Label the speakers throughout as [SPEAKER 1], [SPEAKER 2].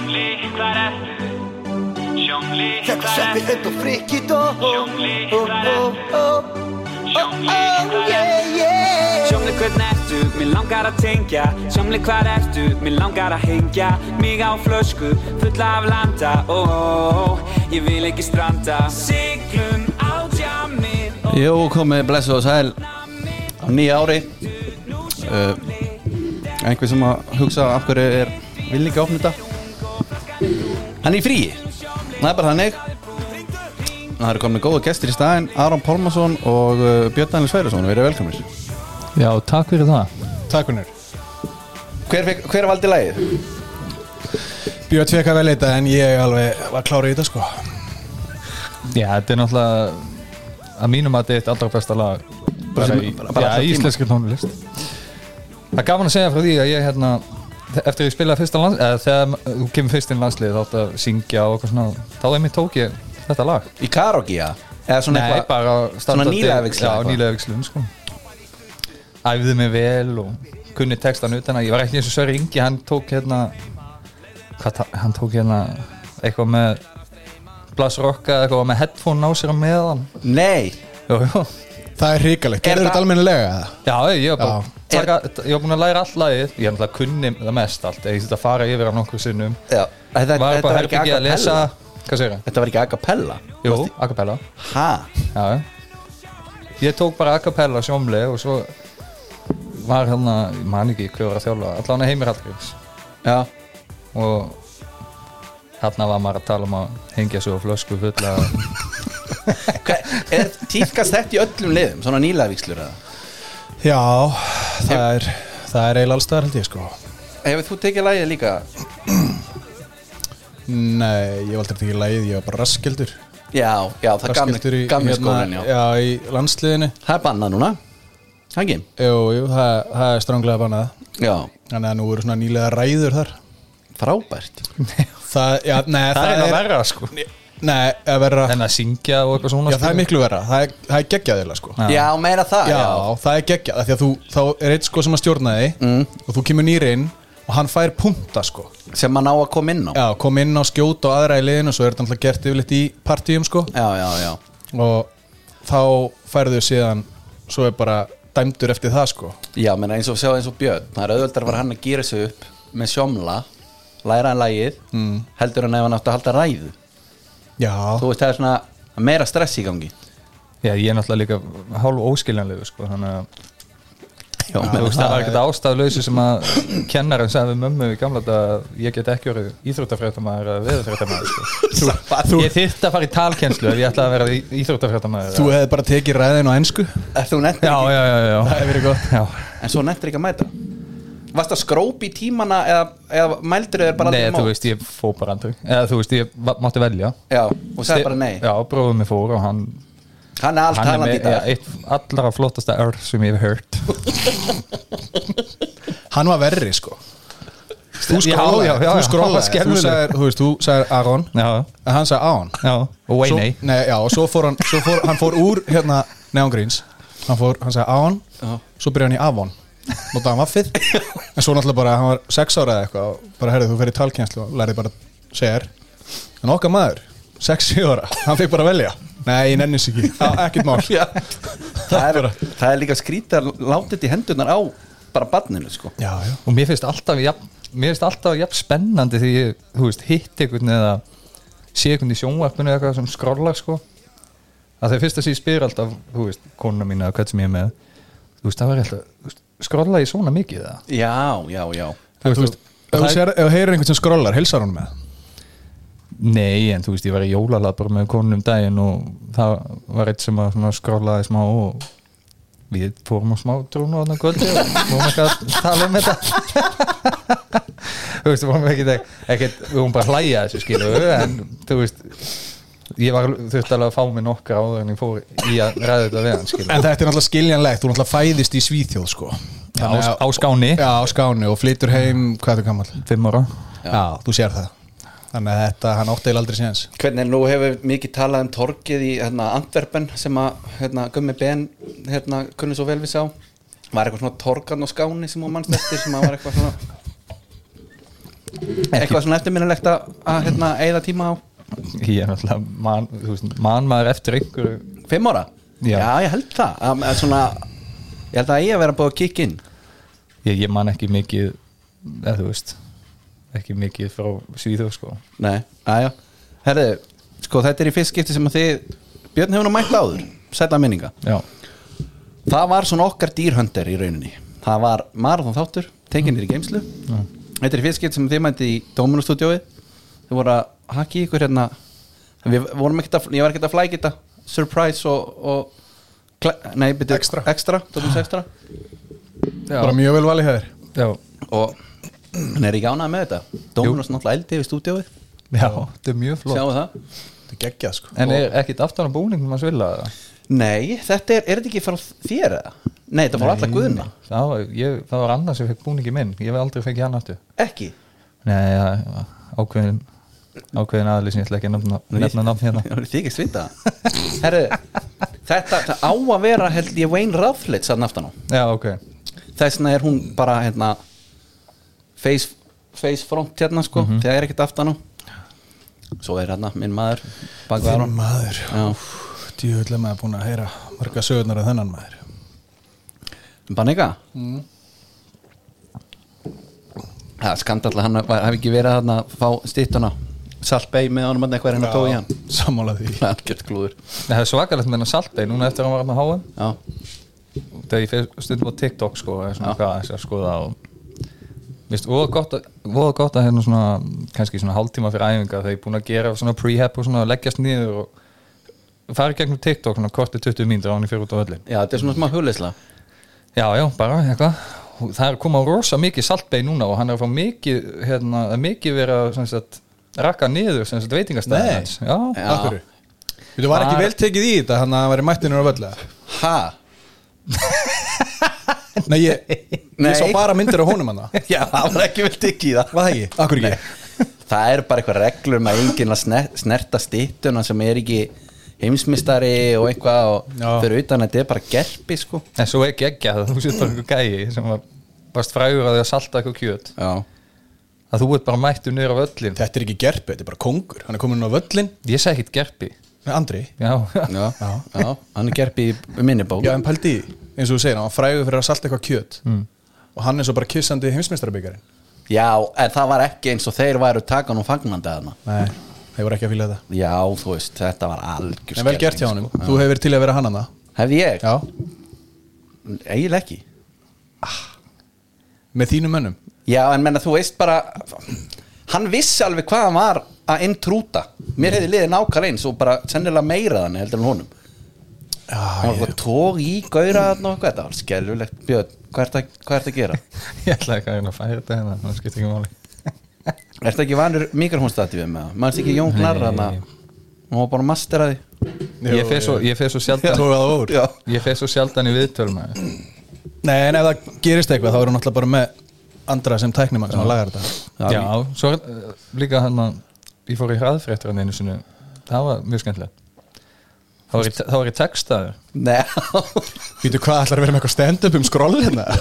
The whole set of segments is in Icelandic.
[SPEAKER 1] Hvar ertu? Sjónli,
[SPEAKER 2] Þetta
[SPEAKER 1] hvar
[SPEAKER 2] seppi
[SPEAKER 1] ertu?
[SPEAKER 2] hund og frikið og
[SPEAKER 1] Sjónli, hvar ertu? Sjónli, hvar ertu?
[SPEAKER 2] Sjónli,
[SPEAKER 3] Sjómli hvern ertu, mér langar að tengja Sjómli hvar ertu, mér langar að hengja Mig á flösku, fulla af landa Ó, ó, ó, ég vil ekki stranda Siglum á djamið og
[SPEAKER 4] Jú, komið blessu og sæl á nýja ári uh, einhver sem að hugsa af hverju er vil ekki opna þetta hann er í fríi það er bara þannig það eru komin góða gestir í staðinn Aron Pálmarsson og uh, Björn Daniel Sværuson verið velkomir
[SPEAKER 5] Já, takk fyrir það
[SPEAKER 6] Takk húnur
[SPEAKER 4] hver, fekk- hver valdi lagið?
[SPEAKER 6] Björn fekk að velja þetta en ég alveg var klárið í þetta sko
[SPEAKER 5] Já, þetta er náttúrulega að mínum að þetta er eitt allra besta lag bara,
[SPEAKER 4] sem-
[SPEAKER 5] í,
[SPEAKER 4] bara- bara
[SPEAKER 5] já,
[SPEAKER 4] allra tíma.
[SPEAKER 5] íslenski tónlist Það er gaman að segja frá því að ég hérna eftir ég spilaði fyrsta lands eða þegar þú kemur fyrst inn í landslið þátt að syngja og eitthvað svona þá einmitt tók ég þetta lag
[SPEAKER 4] í karaoke, já? eða svona
[SPEAKER 5] Nei,
[SPEAKER 4] eitthvað
[SPEAKER 5] bara
[SPEAKER 4] svona nýlegavigsla
[SPEAKER 5] Já, nýlegavikslun, sko Æfði mig vel og kunni textan utan að ég var ekki eins og Sverri Ingi hann tók hérna hvað, ta- hann tók hérna eitthvað með blassrokka eitthvað með headphone á sér á meðan
[SPEAKER 4] nei,
[SPEAKER 5] Jú, jú
[SPEAKER 6] Það er hrikalegt,
[SPEAKER 4] Er
[SPEAKER 6] gerður
[SPEAKER 4] það-
[SPEAKER 6] þetta almennilega eða?
[SPEAKER 5] Já, ég var bara
[SPEAKER 6] Já.
[SPEAKER 5] taka, ég var búin að læra all lagið ég er náttúrulega kunni það mest allt ég þurfti að fara yfir á nokkur sinnum
[SPEAKER 4] já, þetta,
[SPEAKER 5] var
[SPEAKER 4] þetta
[SPEAKER 5] bara
[SPEAKER 4] var ekki
[SPEAKER 5] herbyggið að lesa
[SPEAKER 4] acapella
[SPEAKER 5] hvað segir það?
[SPEAKER 4] þetta var ekki acapella
[SPEAKER 5] Jú, acapella
[SPEAKER 4] ha,
[SPEAKER 5] Já, já. ég tók bara acapella sjómli og svo var hérna, ég man ekki hver var að þjóla, allan að heimir allgriðs
[SPEAKER 4] já
[SPEAKER 5] og hérna var maður að tala um að hengja sig á flösku fulla
[SPEAKER 4] Hva, er tíðkast þetta í öllum liðum svona nýlavíkslur eða?
[SPEAKER 6] Já, það er, það er eiginlega alls staðar held ég sko
[SPEAKER 4] Hefur þú tekið lægið líka?
[SPEAKER 6] Nei, ég valdi þetta ekki lægið, ég var bara raskildur
[SPEAKER 4] Já, já, það er gamli, gamli skólinn, hérna, já.
[SPEAKER 6] hérna- já í landsliðinu
[SPEAKER 4] Það er bannað núna Það ekki?
[SPEAKER 6] Jú, jú, það, það er stránglega bannað
[SPEAKER 4] Já,
[SPEAKER 6] Þannig að nú eru svona nýlega ræður þar
[SPEAKER 4] frábært
[SPEAKER 6] Það, já, nei,
[SPEAKER 5] það er að verra sko
[SPEAKER 6] Nei, að verra
[SPEAKER 5] en að syngja og eitthvað svona sko.
[SPEAKER 6] Já, það er miklu verra, það er, það er geggjaðilega sko
[SPEAKER 4] Já, meira það, Ah, já,
[SPEAKER 6] Já, það er geggjað af Því að þú, þá er eitt sko sem að stjórna þig Og þú kemur nýri inn og hann fær punta sko
[SPEAKER 4] sem maður ná að koma inn á Já,
[SPEAKER 6] Já, kom inn á skjóta og aðra í liðinu Og svo er þetta alltaf gert yfirleitt í partíum sko
[SPEAKER 4] já, já, já.
[SPEAKER 6] Og þá færðu síðan Svo er bara dæmdur eftir það sko
[SPEAKER 4] menn eins og sjá eins og Björn Það er auðvöldar var hann að gýra sig upp með sjómla læra hann lægið mm. heldur hann ef hann átti að halda ræðu
[SPEAKER 6] Já,
[SPEAKER 4] Þú veist, það er svona meira stress í gangi
[SPEAKER 5] já, ég er náttúrulega líka hálf óskiljanlegu sko, þannig að
[SPEAKER 4] Já,
[SPEAKER 5] Þú veist, það var ekkert ástæðlausu sem að kennarinn sagði við mömmu í gamla þetta ég get ekki orðið íþróttafréttamaður eða veðurfréttamaður sko.
[SPEAKER 4] þú,
[SPEAKER 5] Ég þyrfti að fara í talkennslu ef ég ætlaði að vera í- íþróttafréttamaður
[SPEAKER 6] þú hefði bara tekið ræðin á ensku
[SPEAKER 4] er þú nettir
[SPEAKER 5] Já,
[SPEAKER 4] ekki
[SPEAKER 5] já, já, já. Það hefur verið gott já.
[SPEAKER 4] en svo nettir ekki að mæta Varst það skróp í tímana eða, eða mældur þau bara
[SPEAKER 5] Nei,
[SPEAKER 4] aldrei í
[SPEAKER 5] þú
[SPEAKER 4] mót?
[SPEAKER 5] veist, ég fór bara andri Eða þú veist, ég va- mátti velja
[SPEAKER 4] Já, og sagði bara nei
[SPEAKER 5] Já, bróðum mig fór og hann
[SPEAKER 4] Hann er allt
[SPEAKER 5] Hann er
[SPEAKER 4] talandi í
[SPEAKER 5] með ja,
[SPEAKER 4] dag
[SPEAKER 5] eitt allra flottasta ör sem ég hef hört
[SPEAKER 6] Hann var verri sko Þú
[SPEAKER 5] Já, já,
[SPEAKER 6] skrólaði,
[SPEAKER 5] já,
[SPEAKER 6] þú
[SPEAKER 5] já, hann
[SPEAKER 6] skrólaði
[SPEAKER 5] var
[SPEAKER 6] Þú sagðir, þú veist, þú sagðir Aron
[SPEAKER 5] Já,
[SPEAKER 6] En hann sagði Aron
[SPEAKER 5] já, og
[SPEAKER 6] svo,
[SPEAKER 5] way nei
[SPEAKER 6] já, og svo fór hann, svo fór, hann fór úr hérna neangríns hann fór, hann sagði Aon svo byrjaði hann í Avon notaði hann vaffið en svo náttúrulega bara, hann var sex ára eða eitthvað og bara herrið þú fer í talkjænslu og lærið bara segir en okkar maður, sex, sjö ára hann fekk bara að velja nei, ég nennis ekki, Á, ekkert mál já,
[SPEAKER 4] það, er, það er líka skrítið að láta þetta í hendurnar á bara barninu sko
[SPEAKER 6] já,
[SPEAKER 5] og mér finnst alltaf jafn, mér finnst alltaf jafn spennandi því ég, þú veist, hitt einhvern eða sé einhvern í sjónvarpinu eða eitthvað sem skrollar sko að þegar fyrst að sé ég spyr alltaf, þú veist, konuna mín eða hvern sem ég er með þú veist, það var alltaf, þú veist, skrolla ég svona mikið eða
[SPEAKER 4] já, já, já
[SPEAKER 6] en þú veist ef þú sér- ef þú heyrir einhvern sem skrollar, heilsar hún með
[SPEAKER 5] Nei, en þú veist, ég var í jólalað bara með konunum um daginn og það var eitt sem að svona skrollaði smá og við fórum á smá trúnu á þannig kvöldi og fórum eitthvað að tala um þetta Þú veist, við fórum ekkit, ekkit við fórum bara að hlæja að þessu skilu en þú veist ég var, þurfti alveg að fá mig nokkra áður en ég fór í að ræða þetta við hann skilu
[SPEAKER 6] en þetta er náttúrulega skiljanlegt, þú náttúrulega fæðist í Svíþjóð sko
[SPEAKER 5] á,
[SPEAKER 6] Þannig að-
[SPEAKER 5] á skáni,
[SPEAKER 6] já, á skáni og flytur heim, hvað er þú gammal?
[SPEAKER 5] fimm ára
[SPEAKER 6] Já. þú sér það Þannig að þetta, hann átti eða aldrei séns
[SPEAKER 4] hvernig nú hefur mikið talað um torgið í hérna, Antwerpen sem að hérna, Gummi Ben hérna, kunni svo vel við sá var eitthvað svona torgan og skáni sem hún mannst eftir sem að var eitthvað svona eitthvað svona eftirminnilegt að að, hérna, eigða tíma á
[SPEAKER 5] Ég er náttúrulega man, þú veist, man maður eftir einhverju
[SPEAKER 4] fimm ára
[SPEAKER 5] Já.
[SPEAKER 4] ég held það að, að svona, ég held að ég að vera búið að kikka inn
[SPEAKER 5] Ég, ég man ekki mikið eða þú veist ekki mikið frá Svíþjóð sko
[SPEAKER 4] Nei, aðja Herðu, sko þetta er í fyrst skipti sem að þið Björn hefur nú mætt áður, sætla minninga
[SPEAKER 5] Já,
[SPEAKER 4] Það var svona okkar dýrhöndir í rauninni Það var marathon þáttur, tekinir í geimslu Þetta er í fyrst skipti sem þið mætti í Dóminustúdjói Þið voru að haki ykkur hérna Við vorum ekkert að, ég var ekkert að flækja þetta Surprise og, og kle- Nei, byrju,
[SPEAKER 6] Extra.
[SPEAKER 4] extra, Dominus extra
[SPEAKER 5] já,
[SPEAKER 6] bara mjög vel valið hefur
[SPEAKER 5] já,
[SPEAKER 4] Og hann er ekki ánað með þetta Dóminus náttúrulega eldi yfir stúdjóið
[SPEAKER 5] já, þetta er mjög flott
[SPEAKER 4] Sjáum við það
[SPEAKER 6] þetta er geggjað sko
[SPEAKER 5] En er ekkit aftan á búningnum að svilla það?
[SPEAKER 4] Nei, þetta er, er þetta ekki frá þér eða? Nei, þetta frá alla guðuna
[SPEAKER 5] Það var, ég, það var annars sem fekk búningi minn Ég hef aldrei fekk hann aftur
[SPEAKER 4] Ekki
[SPEAKER 5] Nei, já, ákveðin ákveðin aðli sem ég ætla ekki að nefna, nefna nafn hérna
[SPEAKER 4] Það er þykir svita Herru, þetta það á að vera held ég Wayne Rafflitz að naftan á
[SPEAKER 5] Já, ok,
[SPEAKER 4] Þess vegna er hún bara hérna face, face front hérna sko Þegar er ekkert aftan á Svo er hérna minn maður Bakvaron
[SPEAKER 6] Þinn maður
[SPEAKER 4] Já,
[SPEAKER 6] djúðlega maður búin að heyra marga sögurnar af þennan maður
[SPEAKER 4] Banega Það er skandall að hann var- hafi ekki verið þarna að hérna, fá styttuna Salt Bay með honum að eitthvað er hérna tói hann
[SPEAKER 6] sammála því
[SPEAKER 4] Það er algjört glúður
[SPEAKER 5] það er svakalegt með hennar saltei Núna eftir að hann var með háum
[SPEAKER 4] Já,
[SPEAKER 5] þegar ég fer stundum á TikTok sko, eða svona hvað þess að skoða og Vist, voða gott, að- voða gott að hérna svona kannski svona hálftíma fyrir æfinga þegar ég er búin að gera svona prehab og svona leggjast niður og fara í gegnum TikTok svona korti 20 mínútur án í fyrir út á öllin
[SPEAKER 4] já þetta er svona smá hugleysla
[SPEAKER 5] já, já, bara eitthvað Og það er að koma rosa mikið saltbeig núna og hann er að fá mikið hérna, það er mikið verið að sem sagt, rakka niður sem sagt, veitingastæðin
[SPEAKER 6] Nei.
[SPEAKER 5] hans já,
[SPEAKER 4] Já.
[SPEAKER 6] af hverju Þú var ekki
[SPEAKER 5] Bara-
[SPEAKER 6] vel tekið í þetta, hann að það væri mættinur á völdu
[SPEAKER 4] Ha?
[SPEAKER 6] Nei, ég,
[SPEAKER 4] Nei.
[SPEAKER 6] ég sá bara myndir á honum hann Var
[SPEAKER 4] Já, það var ekki vel digg í það
[SPEAKER 6] það ekki? Akkur ekki?
[SPEAKER 4] Það eru bara eitthvað reglur með enginn að sner- snerta styttuna sem er ekki heimsmystari og eitthvað og
[SPEAKER 6] Já.
[SPEAKER 4] fyrir utan að þetta er bara gerpi sko
[SPEAKER 5] en svo ekki ekki að þú sétt bara einhver gæi sem var varst frægur að því að salta eitthvað kjöt
[SPEAKER 4] Já,
[SPEAKER 5] að þú ert bara mættu niður á öllin
[SPEAKER 6] Þetta er ekki gerpi, þetta er bara kongur Hann er komin á völlin
[SPEAKER 5] Ég segi ekkert gerpi
[SPEAKER 6] með Andri
[SPEAKER 5] Já,
[SPEAKER 4] já, já, hann er gerpi í minni bók
[SPEAKER 6] Já, en pældi í, því, eins og þú segir, hann var frægur fyrir að salta eitthvað kjöt Og hann er svo bara kissandi heimsmeistarabikarinn
[SPEAKER 4] en það var ekki eins og þeir væru takan og fagnandi að hana
[SPEAKER 6] Nei, þeir voru ekki að fýla þetta
[SPEAKER 4] Já, þú veist, þetta var algjör
[SPEAKER 6] En vel gert hjá honum, þú hefur verið til að vera hann hann
[SPEAKER 4] Hefði ég?
[SPEAKER 6] Já,
[SPEAKER 4] Eiginlega ekki
[SPEAKER 6] með þínum mönnum
[SPEAKER 4] Já, en menna þú veist bara hann vissi alveg hvað hann var að intrúta mér hefði liðið nákvæmlega eins og bara sennilega meira þannig heldur en honum
[SPEAKER 6] Já,
[SPEAKER 4] hann var bara tók í gauðra þarna og eitthvað þetta var skelvilegt Björn, hvað ert að, hvað ert að gera?
[SPEAKER 5] ég ætlaði ekki að reyna að færa þetta hérna Það skiptir ekki máli
[SPEAKER 4] Ertu ekki vanur mikrofónstatífið með það? Mannst ekki Jón Gnar
[SPEAKER 5] Nei.
[SPEAKER 4] þarna hún var bara að mastera því
[SPEAKER 5] Ég fer svo, ég fer svo sjaldan
[SPEAKER 6] Tók það úr
[SPEAKER 4] Já.
[SPEAKER 5] Ég fer svo sjaldan í viðtölum
[SPEAKER 6] Nei, en ef það gerist eitthvað, þá er hann alltaf bara með Andra sem tæknimann sem hann lagar þetta
[SPEAKER 5] Já, svo er eh, líka hann að Ég fór í hraðfréttur hann einu sinni Það var mjög skemmtilegt Það var í, það var í textaður
[SPEAKER 4] Nei,
[SPEAKER 6] Vítu hvað, ætlar að vera með eitthvað stand-up um skroll hérna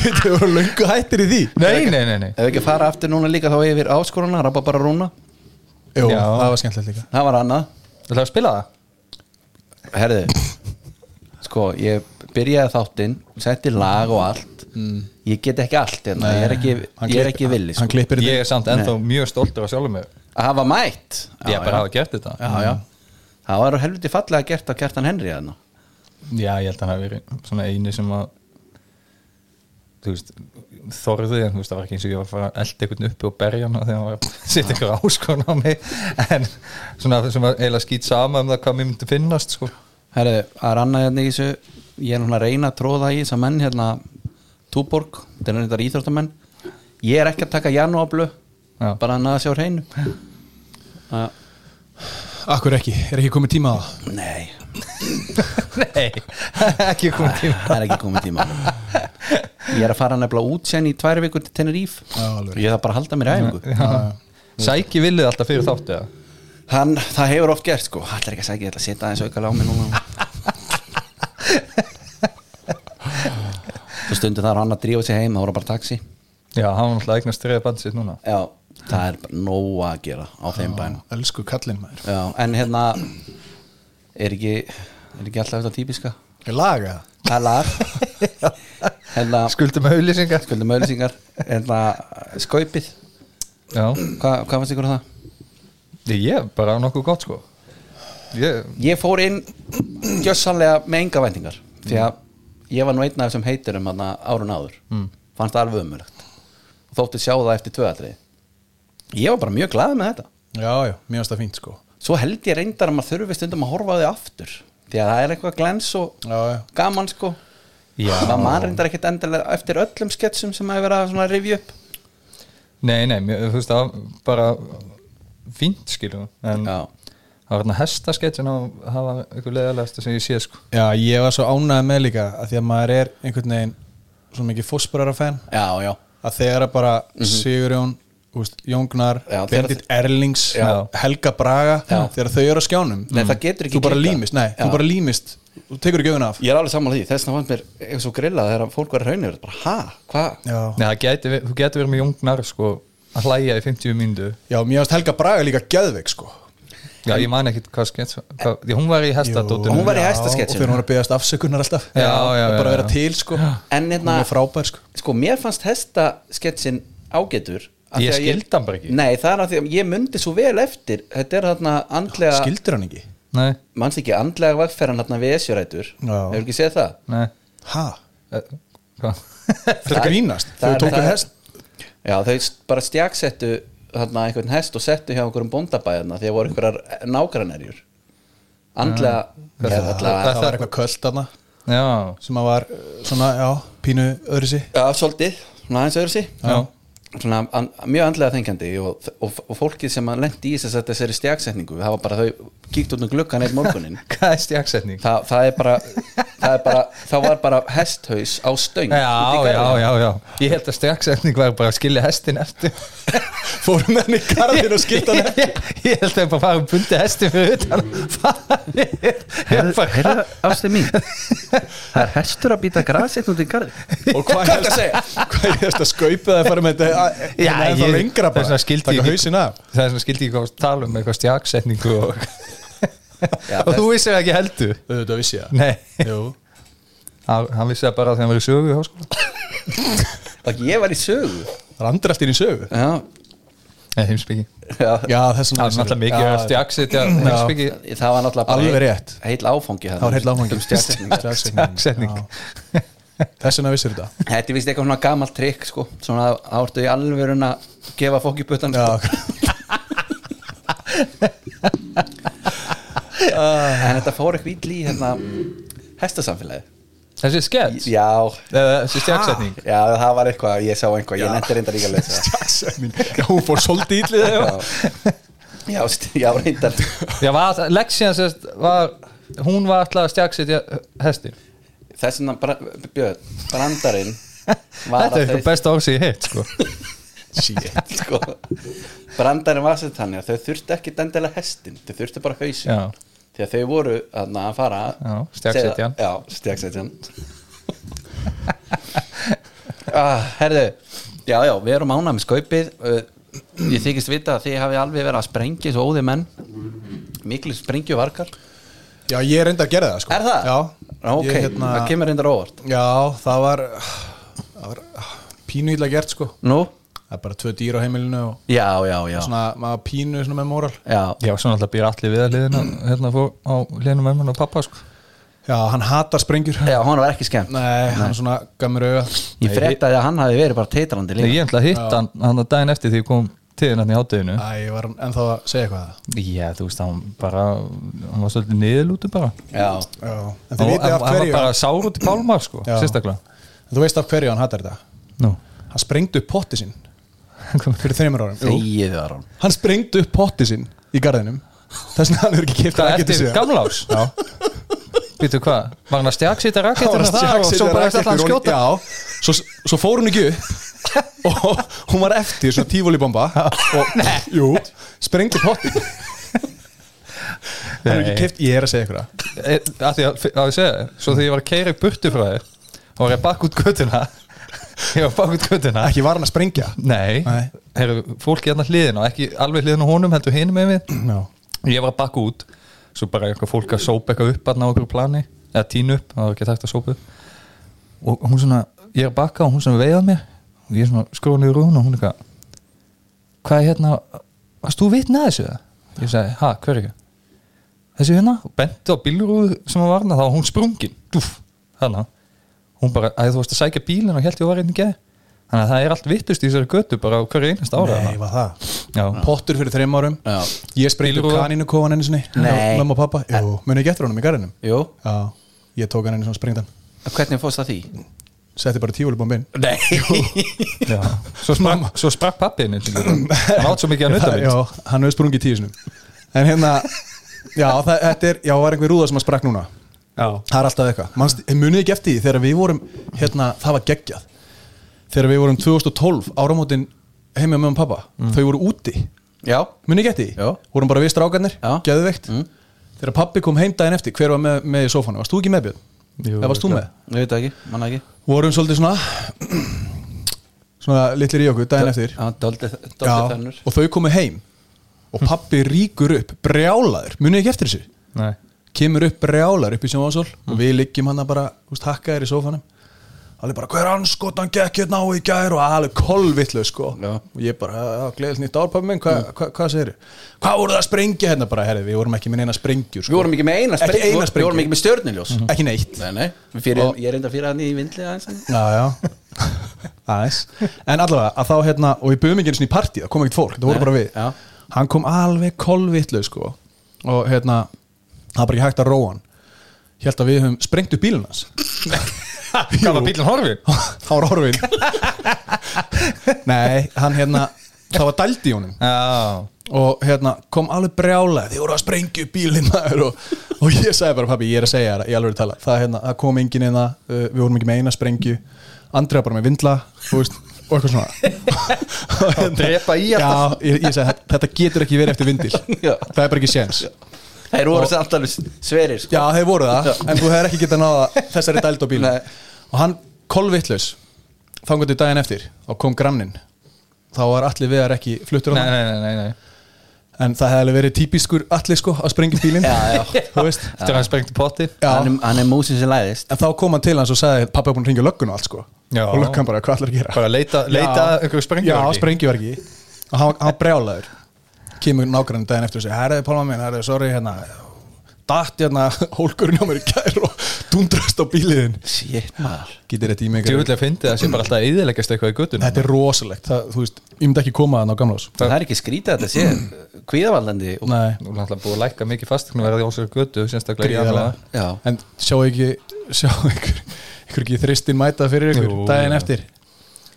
[SPEAKER 6] Vítu, þau voru löngu hættir í því
[SPEAKER 5] Nei, nei, nei, nei
[SPEAKER 4] ef ekki að fara aftur núna líka þá yfir áskoruna, rappa bara rúna
[SPEAKER 6] Jú,
[SPEAKER 5] Já.
[SPEAKER 6] það var skemmtilegt líka
[SPEAKER 4] það var annað
[SPEAKER 5] Það að spila það?
[SPEAKER 4] Herði Sko, ég byrjaði þáttinn Setti lag og allt Ég get ekki allt hérna, ég er ekki,
[SPEAKER 6] Hann
[SPEAKER 4] ég er
[SPEAKER 6] klipp-
[SPEAKER 4] ekki villi
[SPEAKER 6] Hann
[SPEAKER 4] sko.
[SPEAKER 6] klippir
[SPEAKER 5] Ég
[SPEAKER 6] þetta
[SPEAKER 5] er samt ennþá mjög stoltur á sjálfum mér
[SPEAKER 4] Að hafa mætt
[SPEAKER 5] Ég bara hafa gert þetta
[SPEAKER 4] já, já. Mm. Það var helviti fallega gert af Kjartan Henry hérna. þarna
[SPEAKER 5] Já, ég held að hann hafi verið svona eini sem að þú veist, þorði en þú veist, það var ekki eins og ég var að fara að elda einhvern uppi og berja hann af því að hann var að setja einhver áskon á mig en svona sem var eiginlega skýt sama um það hvað mér myndi finnast sko.
[SPEAKER 4] Herði, að ranna hérna í þessu Ég er núna að reyna að tróða í þessa menn hérna Túborg, þetta er hérna íþróttamenn Ég er ekki að taka janúablu
[SPEAKER 5] Já.
[SPEAKER 4] Bara hann að sjá hreinu Það-
[SPEAKER 6] Akkur ekki, er ekki komið tíma á það
[SPEAKER 4] Nei, Ah,
[SPEAKER 5] Nei, ekki komið tíma
[SPEAKER 4] það er ekki komið tíma Ég er að fara nefnilega út sen í tvær vikur til Teneríf
[SPEAKER 6] Já, alveg.
[SPEAKER 4] Ég þarf bara að halda mér í æfingu
[SPEAKER 5] Sæki villið alltaf fyrir þáttu eða?
[SPEAKER 4] Hann, það hefur oft gert sko Það er ekki að segja, ég ætla að setja aðeins auka á mig núna Svo stundu þar hann að drífa sig heim Það voru bara taxi
[SPEAKER 5] Já, hann var náttúrulega eignast þriða band sitt núna
[SPEAKER 4] Já, það er bara nóg að gera á þeim bænum
[SPEAKER 6] elsku kallinn maður
[SPEAKER 4] Já, en hérna er ekki, er ekki alltaf þetta típiska
[SPEAKER 6] Ég laga það
[SPEAKER 4] það er lag hérna,
[SPEAKER 5] Skuldum auðlýsingar
[SPEAKER 4] skuldum öllsingar hérna, skaupið
[SPEAKER 5] Já,
[SPEAKER 4] Hva, hvað fannst ykkur á það?
[SPEAKER 5] ég ég bara á nokkuð gott sko Ég,
[SPEAKER 4] Ég fór inn gjössanlega með enga væntingar því að ég var nú einn af þessum heiturum hérna, árun áður, fannst það alveg umulagt og þótti sjá það eftir tvöatri ég var bara mjög glaðið með þetta
[SPEAKER 6] Já, já, mér finnst það fínt sko
[SPEAKER 4] svo held ég reyndar að maður þurfi stundum að horfa á því aftur því að það er eitthvað glens og
[SPEAKER 6] Já, já.
[SPEAKER 4] gaman sko
[SPEAKER 5] Já.
[SPEAKER 4] maður man reyndar ekkit endilega eftir öllum sketsum sem hefur verið að svona rifja upp
[SPEAKER 5] nei, nei, mér, þú veist það var bara fínt skilum en
[SPEAKER 4] Já.
[SPEAKER 5] það var hérna hestasketsin og það var einhver leiðalegasta sem ég sé sko
[SPEAKER 6] Já, ég var svo ánægð með líka að því að maður er einhvern veginn svo mikið fósparara fan
[SPEAKER 4] já, já,
[SPEAKER 6] að þegar að bara Sigurjón úst, Jóngnar,
[SPEAKER 4] Mhm. Já, þegar-
[SPEAKER 6] Bendit Erlings
[SPEAKER 4] Já.
[SPEAKER 6] Helga Braga,
[SPEAKER 4] Já.
[SPEAKER 6] þegar þau eru á skjánum
[SPEAKER 4] Nei, það getur ekki
[SPEAKER 6] þú bara
[SPEAKER 4] klikkað.
[SPEAKER 6] límist, nei,
[SPEAKER 4] Já.
[SPEAKER 6] þú bara límist þú tekur ekki auðvitað af
[SPEAKER 4] ég er alveg sammála því þess að fannst mér eins og grilla þegar fólk var raunir bara, ha, hvað,
[SPEAKER 6] Já.
[SPEAKER 5] Nei, það gæti, ver- þú gæti verið með jungnar sko að hlæja í 50 mínútu
[SPEAKER 6] Já, mér finnst Helga Braga líka geðveik sko
[SPEAKER 5] Já, ég man ekkit hvað skets hvað, Því hún var í hestadóttunum
[SPEAKER 4] Hún var í
[SPEAKER 6] Já,
[SPEAKER 4] hestasketsinu.
[SPEAKER 6] Og fyrir hún er að beðast afsökunar alltaf
[SPEAKER 5] Já, já,
[SPEAKER 6] Og
[SPEAKER 5] já,
[SPEAKER 6] bara vera
[SPEAKER 5] já.
[SPEAKER 6] til sko
[SPEAKER 4] En hérna-
[SPEAKER 6] Hún er frábær sko
[SPEAKER 4] sko mér fannst hesta sketsin ágætur af því
[SPEAKER 5] Ég
[SPEAKER 4] að
[SPEAKER 5] skildi hann bara ekki.
[SPEAKER 4] Nei, það er að því að ég mundi svo vel eftir Þetta er þarna andlega
[SPEAKER 6] Skildir hann ekki?
[SPEAKER 5] Nei,
[SPEAKER 4] Manst ekki andlega vegferðan þarna við Esjurætur
[SPEAKER 6] Já.
[SPEAKER 4] Hefur ekki séð það?
[SPEAKER 5] nei
[SPEAKER 6] Ha?
[SPEAKER 5] Eh, Hvað?
[SPEAKER 6] Þetta grínast
[SPEAKER 4] Það
[SPEAKER 6] Þau
[SPEAKER 4] er-
[SPEAKER 6] tóku
[SPEAKER 4] það er-
[SPEAKER 6] hest
[SPEAKER 4] Já, þau s- bara stjagsettu þarna einhvern hest og settu hjá einhverjum bóndabæðina því að voru einhverjar nágrannerjur andlega eða
[SPEAKER 6] Það
[SPEAKER 4] allavega-
[SPEAKER 6] var eitthvað kvöld þarna
[SPEAKER 5] Já,
[SPEAKER 6] Sem að var uh, svona, já, pínu öðru sí
[SPEAKER 4] Já, svolítið, svona aðeins öðru sí
[SPEAKER 5] Já.
[SPEAKER 4] Svona an, mjög andlega þengjandi og, og, og fólkið sem að lendi í þess að þessari stjagsetningu það var bara þau kíkt út um gluggan eitt morgunin
[SPEAKER 5] hvað er stjagsetning?
[SPEAKER 4] Þa, það, er bara, það er bara það var bara hesthaus á stöng
[SPEAKER 5] Já, já, já, já Ég held að stjagsetning var bara að skilja hestin eftir
[SPEAKER 6] Fórum með hann í garðin og skilt hann eftir
[SPEAKER 5] ég, ég held að bara fara að bundi hestin fyrir utan Hvað
[SPEAKER 4] Herra, ástu mín Það er hestur að býta grasið út í garði
[SPEAKER 6] Og hvað er að segja? Hvað er þetta að skaupa það að fara með þetta að-
[SPEAKER 5] Já,
[SPEAKER 6] hérna ennþá
[SPEAKER 5] ég-
[SPEAKER 6] lengra
[SPEAKER 5] þess
[SPEAKER 6] bara
[SPEAKER 5] vegna skildi
[SPEAKER 6] Taka
[SPEAKER 5] ég-
[SPEAKER 6] hausin af
[SPEAKER 5] Það er svona skildi ekki að tala um eitthvað stjagsetningu og,
[SPEAKER 4] Já,
[SPEAKER 5] og þú vissir það ekki heldur
[SPEAKER 6] Þetta vissi ég
[SPEAKER 5] Nei,
[SPEAKER 6] Jú
[SPEAKER 5] hann hann vissi það bara þegar hann var í sögu í háskóla
[SPEAKER 4] Og ég var í sögu
[SPEAKER 6] Það er andri eftir í sögu
[SPEAKER 4] Já,
[SPEAKER 5] Nei, heimsbyggi
[SPEAKER 4] já
[SPEAKER 6] Já, þessum
[SPEAKER 5] Það er náttúrulega mikið að stjagsetja heimsbyggi
[SPEAKER 4] það var náttúrulega bara
[SPEAKER 6] Alveg
[SPEAKER 4] heill-
[SPEAKER 6] rétt.
[SPEAKER 4] heill áfangi
[SPEAKER 6] Það var heill áfangi
[SPEAKER 4] um stjarsetningar.
[SPEAKER 5] Stjagsetning
[SPEAKER 6] Þess vegna vissir þetta
[SPEAKER 4] þetta er vist eitthvað svona gamalt trikk sko. svona að ártu í alvörun að gefa fólki butan sko.
[SPEAKER 6] Já,
[SPEAKER 4] en þetta fór eitthvað ítli í hérna, hestasamfélagi
[SPEAKER 5] Þessi skets
[SPEAKER 4] já,
[SPEAKER 5] Eða Þessi stjagsetning
[SPEAKER 4] já, það var eitthvað, ég sá einhvað ég nefndi reyndar líka að lesa það.
[SPEAKER 6] Já, hún fór svolítið ítlið
[SPEAKER 4] já, já, st- já reyndar
[SPEAKER 5] Já, var, Lexian sérst var Hún var alltaf að stjagsetja hestin
[SPEAKER 4] þess vegna bra- Björn, brandarinn var
[SPEAKER 5] Þetta er
[SPEAKER 4] að
[SPEAKER 5] eitthvað
[SPEAKER 4] þau-
[SPEAKER 5] besta orð sem ég heitt sko.
[SPEAKER 4] sko, brandarinn var sér þannig að þau þurftu ekki dendilega hestin þau þurftu bara hausin
[SPEAKER 5] Já.
[SPEAKER 4] því að þau voru þarna, að fara
[SPEAKER 5] Já, stjaksetjan.
[SPEAKER 4] Segja- já, stjaksetjan ah, herðu já, já, við erum ánað með skaupið Uh, ég þykist vita að þið hafi alveg verið að sprengja svo óði menn miklu sprengju vargar
[SPEAKER 6] Já, ég er reyndi að gera það sko.
[SPEAKER 4] er það?
[SPEAKER 6] Já,
[SPEAKER 4] Ná, ok,
[SPEAKER 6] Ég, hérna,
[SPEAKER 4] það kemur reyndar óvart
[SPEAKER 6] Já, það var, það var pínu illa gert sko
[SPEAKER 4] nú,
[SPEAKER 6] Það er bara tvö dýr á heimilinu og
[SPEAKER 4] já, já, já
[SPEAKER 6] svona, maður pínu svona með móral
[SPEAKER 4] já,
[SPEAKER 5] Já, svona alltaf býr allir við að liðina hérna fór á liðinu mömmun og pappa sko.
[SPEAKER 6] Já, hann hatar sprengjur Nei,
[SPEAKER 4] já, hann var ekki skemmt
[SPEAKER 6] hann svona gaf mér auga
[SPEAKER 4] ég frettaði að hann hafi verið bara teitrandi
[SPEAKER 5] Ég
[SPEAKER 4] líka
[SPEAKER 5] ætla að hitta hann, hann að daginn eftir því ég kom til hann í ádeginu
[SPEAKER 6] Æ, ég var ennþá að segja eitthvað að það
[SPEAKER 5] Já, þú veist, hann bara hann var svolítið niðurlútu bara
[SPEAKER 4] já,
[SPEAKER 6] Já, en
[SPEAKER 5] Hann
[SPEAKER 6] þú
[SPEAKER 5] hann
[SPEAKER 6] vitið af
[SPEAKER 5] var
[SPEAKER 6] hverju
[SPEAKER 5] bara sár út í pálmar sko,
[SPEAKER 6] Já.
[SPEAKER 5] sérstaklega
[SPEAKER 6] En þú veist af hverju hann hatar þetta
[SPEAKER 5] Nú,
[SPEAKER 6] Hann sprengdi upp potti sinn
[SPEAKER 5] hann kom
[SPEAKER 6] fyrir þreymur árum Jú.
[SPEAKER 4] þegið var hann
[SPEAKER 6] Hann sprengdi upp potti sinn í garðinum Þess vegna hann er ekki kipta
[SPEAKER 5] Hvað eftir gamlás?
[SPEAKER 6] Já
[SPEAKER 5] Býtu hvað? Var hann að stjagsýta
[SPEAKER 6] Það
[SPEAKER 5] rakettina þar
[SPEAKER 6] var
[SPEAKER 5] og
[SPEAKER 6] stjaksið
[SPEAKER 5] svo
[SPEAKER 6] þegar
[SPEAKER 5] bara
[SPEAKER 6] rakettur
[SPEAKER 5] eftir allan
[SPEAKER 6] og-
[SPEAKER 5] skjóta?
[SPEAKER 6] Já, svo, svo fór hún ekki upp og hún var eftir svona tífólibomba og jú, sprengdi potti Hann er ekki
[SPEAKER 5] Nei.
[SPEAKER 6] keft, ég er að segja ykkur það
[SPEAKER 5] Eh, af því að, að ég segja, þér, svo þegar ég var að keira í burtu frá þér og var ég bakk út göttuna ég var bakut göttuna
[SPEAKER 6] Ekki var hann að sprengja
[SPEAKER 5] Nei,
[SPEAKER 6] Nei.
[SPEAKER 5] Heru, fólk hérna hliðin og ekki alveg hliðin á honum heldur hinum með við
[SPEAKER 6] Já,
[SPEAKER 5] Ég var að bakka út Svo bara eitthvað fólk að sópa eitthvað upp Þannig á okkur plani, eða tínu upp Það var ekki takt að sópa upp Og hún svona, ég er að bakka og hún svona veiðað mér Og ég svona skróði niður rúðun og hún eitthvað Hvað er hérna Varst þú vitna að þessu það? Ég sagði, ha, hver er ekki? Þessi hérna, og benti á bílrúðu sem var varna Þá var hún sprungin, dúf, hana Hún bara, að þú varst að sækja bílinn og held ég var einn í geði Þannig að það er allt vittust í þessari götu bara á hverju einasta ára
[SPEAKER 6] nei, var það
[SPEAKER 5] Já,
[SPEAKER 6] Pottur fyrir þreim árum
[SPEAKER 4] Já.
[SPEAKER 6] Ég sprengdi upp
[SPEAKER 5] Bílrúða.
[SPEAKER 6] kaninu kóan einu sinni
[SPEAKER 4] Nei.
[SPEAKER 6] Hjá Mamma og pappa, jú, muni ekki eftir honum í garðinum
[SPEAKER 4] Jú,
[SPEAKER 6] Já, ég tók hann einu svona sprengdan
[SPEAKER 4] hvernig fórst það því?
[SPEAKER 6] Setti bara tífulubomb inn
[SPEAKER 4] Nei
[SPEAKER 5] Já. Svo sprakk, svo sprakk pappiðin hann átt svo mikið að nuta
[SPEAKER 6] Já,
[SPEAKER 5] mitt
[SPEAKER 6] hann hefur sprungið tíu sinum En hérna, já, það, þetta er Já, var einhver rúða sem að sprakk núna Það er alltaf eitthvað Manst, Munið ekki eftir því þegar við vorum hérna, Það var geggjað Þegar við vorum 2012 áramótin heimja með um pappa
[SPEAKER 4] Mm.
[SPEAKER 6] Þau voru úti
[SPEAKER 4] Já,
[SPEAKER 6] Munið ekki eftir því
[SPEAKER 4] Já.
[SPEAKER 6] Vorum bara við strákarnir
[SPEAKER 4] Já. Mm.
[SPEAKER 6] Geðveikt Þegar pappi kom heim daginn eftir Hver var með, með í sófanu? Varst þú ekki með Björn?
[SPEAKER 5] Jú,
[SPEAKER 6] Eða varst þú með?
[SPEAKER 4] ég veit það ekki, manna ekki
[SPEAKER 6] Vorum svolítið svona Svona litlir í okkur daginn eftir
[SPEAKER 4] Já, doldi
[SPEAKER 6] Já,
[SPEAKER 4] þennur
[SPEAKER 6] og þau komu heim og pappi ríkur upp, brjálaður munið ekki eftir þessu,
[SPEAKER 5] Nei.
[SPEAKER 6] kemur upp brjálaður upp í sjónvansól
[SPEAKER 4] Mm.
[SPEAKER 6] og við liggjum hann bara úst, hakkaðir í sófanum alveg bara hver anskotan gekk hérna á í gær og alveg kolvitlu sko
[SPEAKER 4] Já. Mm.
[SPEAKER 6] og ég bara, gleðis nýtt ár pappi minn hva, hva, hvað segir þið? Hvað voruð það að sprengja hérna bara, herri, við vorum ekki með neina sprengjur
[SPEAKER 4] Við
[SPEAKER 6] sko.
[SPEAKER 4] vorum ekki með eina
[SPEAKER 6] Ekki eina
[SPEAKER 4] Við
[SPEAKER 6] sprengju. Mhm.
[SPEAKER 4] vorum ekki með stjörniljós
[SPEAKER 6] ekki neitt
[SPEAKER 4] Nei, nei, við fyrir,
[SPEAKER 6] Og-
[SPEAKER 4] ég er enda fyrir hann í vindli aðeins en-
[SPEAKER 6] Já, já Aðeins En allavega, að þá hérna Og við buðum ekki einu sinni í partí Það kom ekkert fólk, það voru
[SPEAKER 4] Nei,
[SPEAKER 6] bara við
[SPEAKER 4] já.
[SPEAKER 6] Hann kom alveg kolvitlu sko Og hérna Það var bara ekki hægt að róa hann Hjælt að við höfum sprengt upp bílun hans
[SPEAKER 5] Hvað var bílinn horfin?
[SPEAKER 6] Þá var orfin Nei, hann hérna Það var dælt í honum
[SPEAKER 5] Já,
[SPEAKER 6] og hérna kom alveg brjála þið voru að sprengju bílinn maður og, og ég sagði bara pabbi, ég er að segja þér í alveg tala það, hérna, það kom enginn inn uh, við vorum ekki með eina sprengju Andri var bara með vindla þú veist, og eitthvað svona og
[SPEAKER 5] drepa í
[SPEAKER 6] já, ég, ég sagði, þetta- þetta getur ekki verið eftir vindil
[SPEAKER 4] Já.
[SPEAKER 6] það er bara ekki séns
[SPEAKER 4] Þeir voru samt alveg sverir sko.
[SPEAKER 6] Já, þeir voru það, en þú hefur ekki getað náða þessari dæld á bíl
[SPEAKER 4] Nei.
[SPEAKER 6] og hann kolvitlaus þangaði daginn eftir og kom grannin þá var allir vegar ekki fluttur á
[SPEAKER 5] nei, nei, nei, nei, nei.
[SPEAKER 6] en það hefði alveg verið típiskur allir sko að sprengja bílinn
[SPEAKER 4] Já, já.
[SPEAKER 6] þú veist
[SPEAKER 5] Þetta er hann sprengti potti
[SPEAKER 6] já.
[SPEAKER 4] Hann, er, hann er músin sem læðist
[SPEAKER 6] en þá kom hann til hans og sagði pappa er búin að ringja löggun og allt sko
[SPEAKER 5] Já.
[SPEAKER 6] og löggan bara hvað ætlar að gera
[SPEAKER 5] Bara leita- leita
[SPEAKER 6] Já.
[SPEAKER 5] að einhverju sprengjuverki.
[SPEAKER 6] já sprengjuverki og hann, hann brjálaður kemur nákvæmlega daginn eftir og segir herriði Pálma minn herriði sorry hérna datt hérna hólkurinn á mér í kær og dundrast á bíliðin
[SPEAKER 4] Shit maður
[SPEAKER 6] getur þetta í mig einhverju-
[SPEAKER 5] Djúvilega fyndi það sé bara alltaf að eðilegast eitthvað í göttunum
[SPEAKER 6] þetta er rosalegt það, þú veist ég myndi ekki koma þann á gamlás
[SPEAKER 4] Það er ekki skrítið að þetta sé Kvíðavallandi og
[SPEAKER 6] nei
[SPEAKER 5] Nú er alltaf búið að lækka mikið fastegna verði á sér götu sérstaklega í
[SPEAKER 6] gríðarlega
[SPEAKER 5] janúar.
[SPEAKER 4] Já.
[SPEAKER 6] en sjá ekki sjá ykkur, ykkur ekki þristin mæta fyrir ykkur
[SPEAKER 5] Jú,
[SPEAKER 6] daginn
[SPEAKER 5] já.
[SPEAKER 6] eftir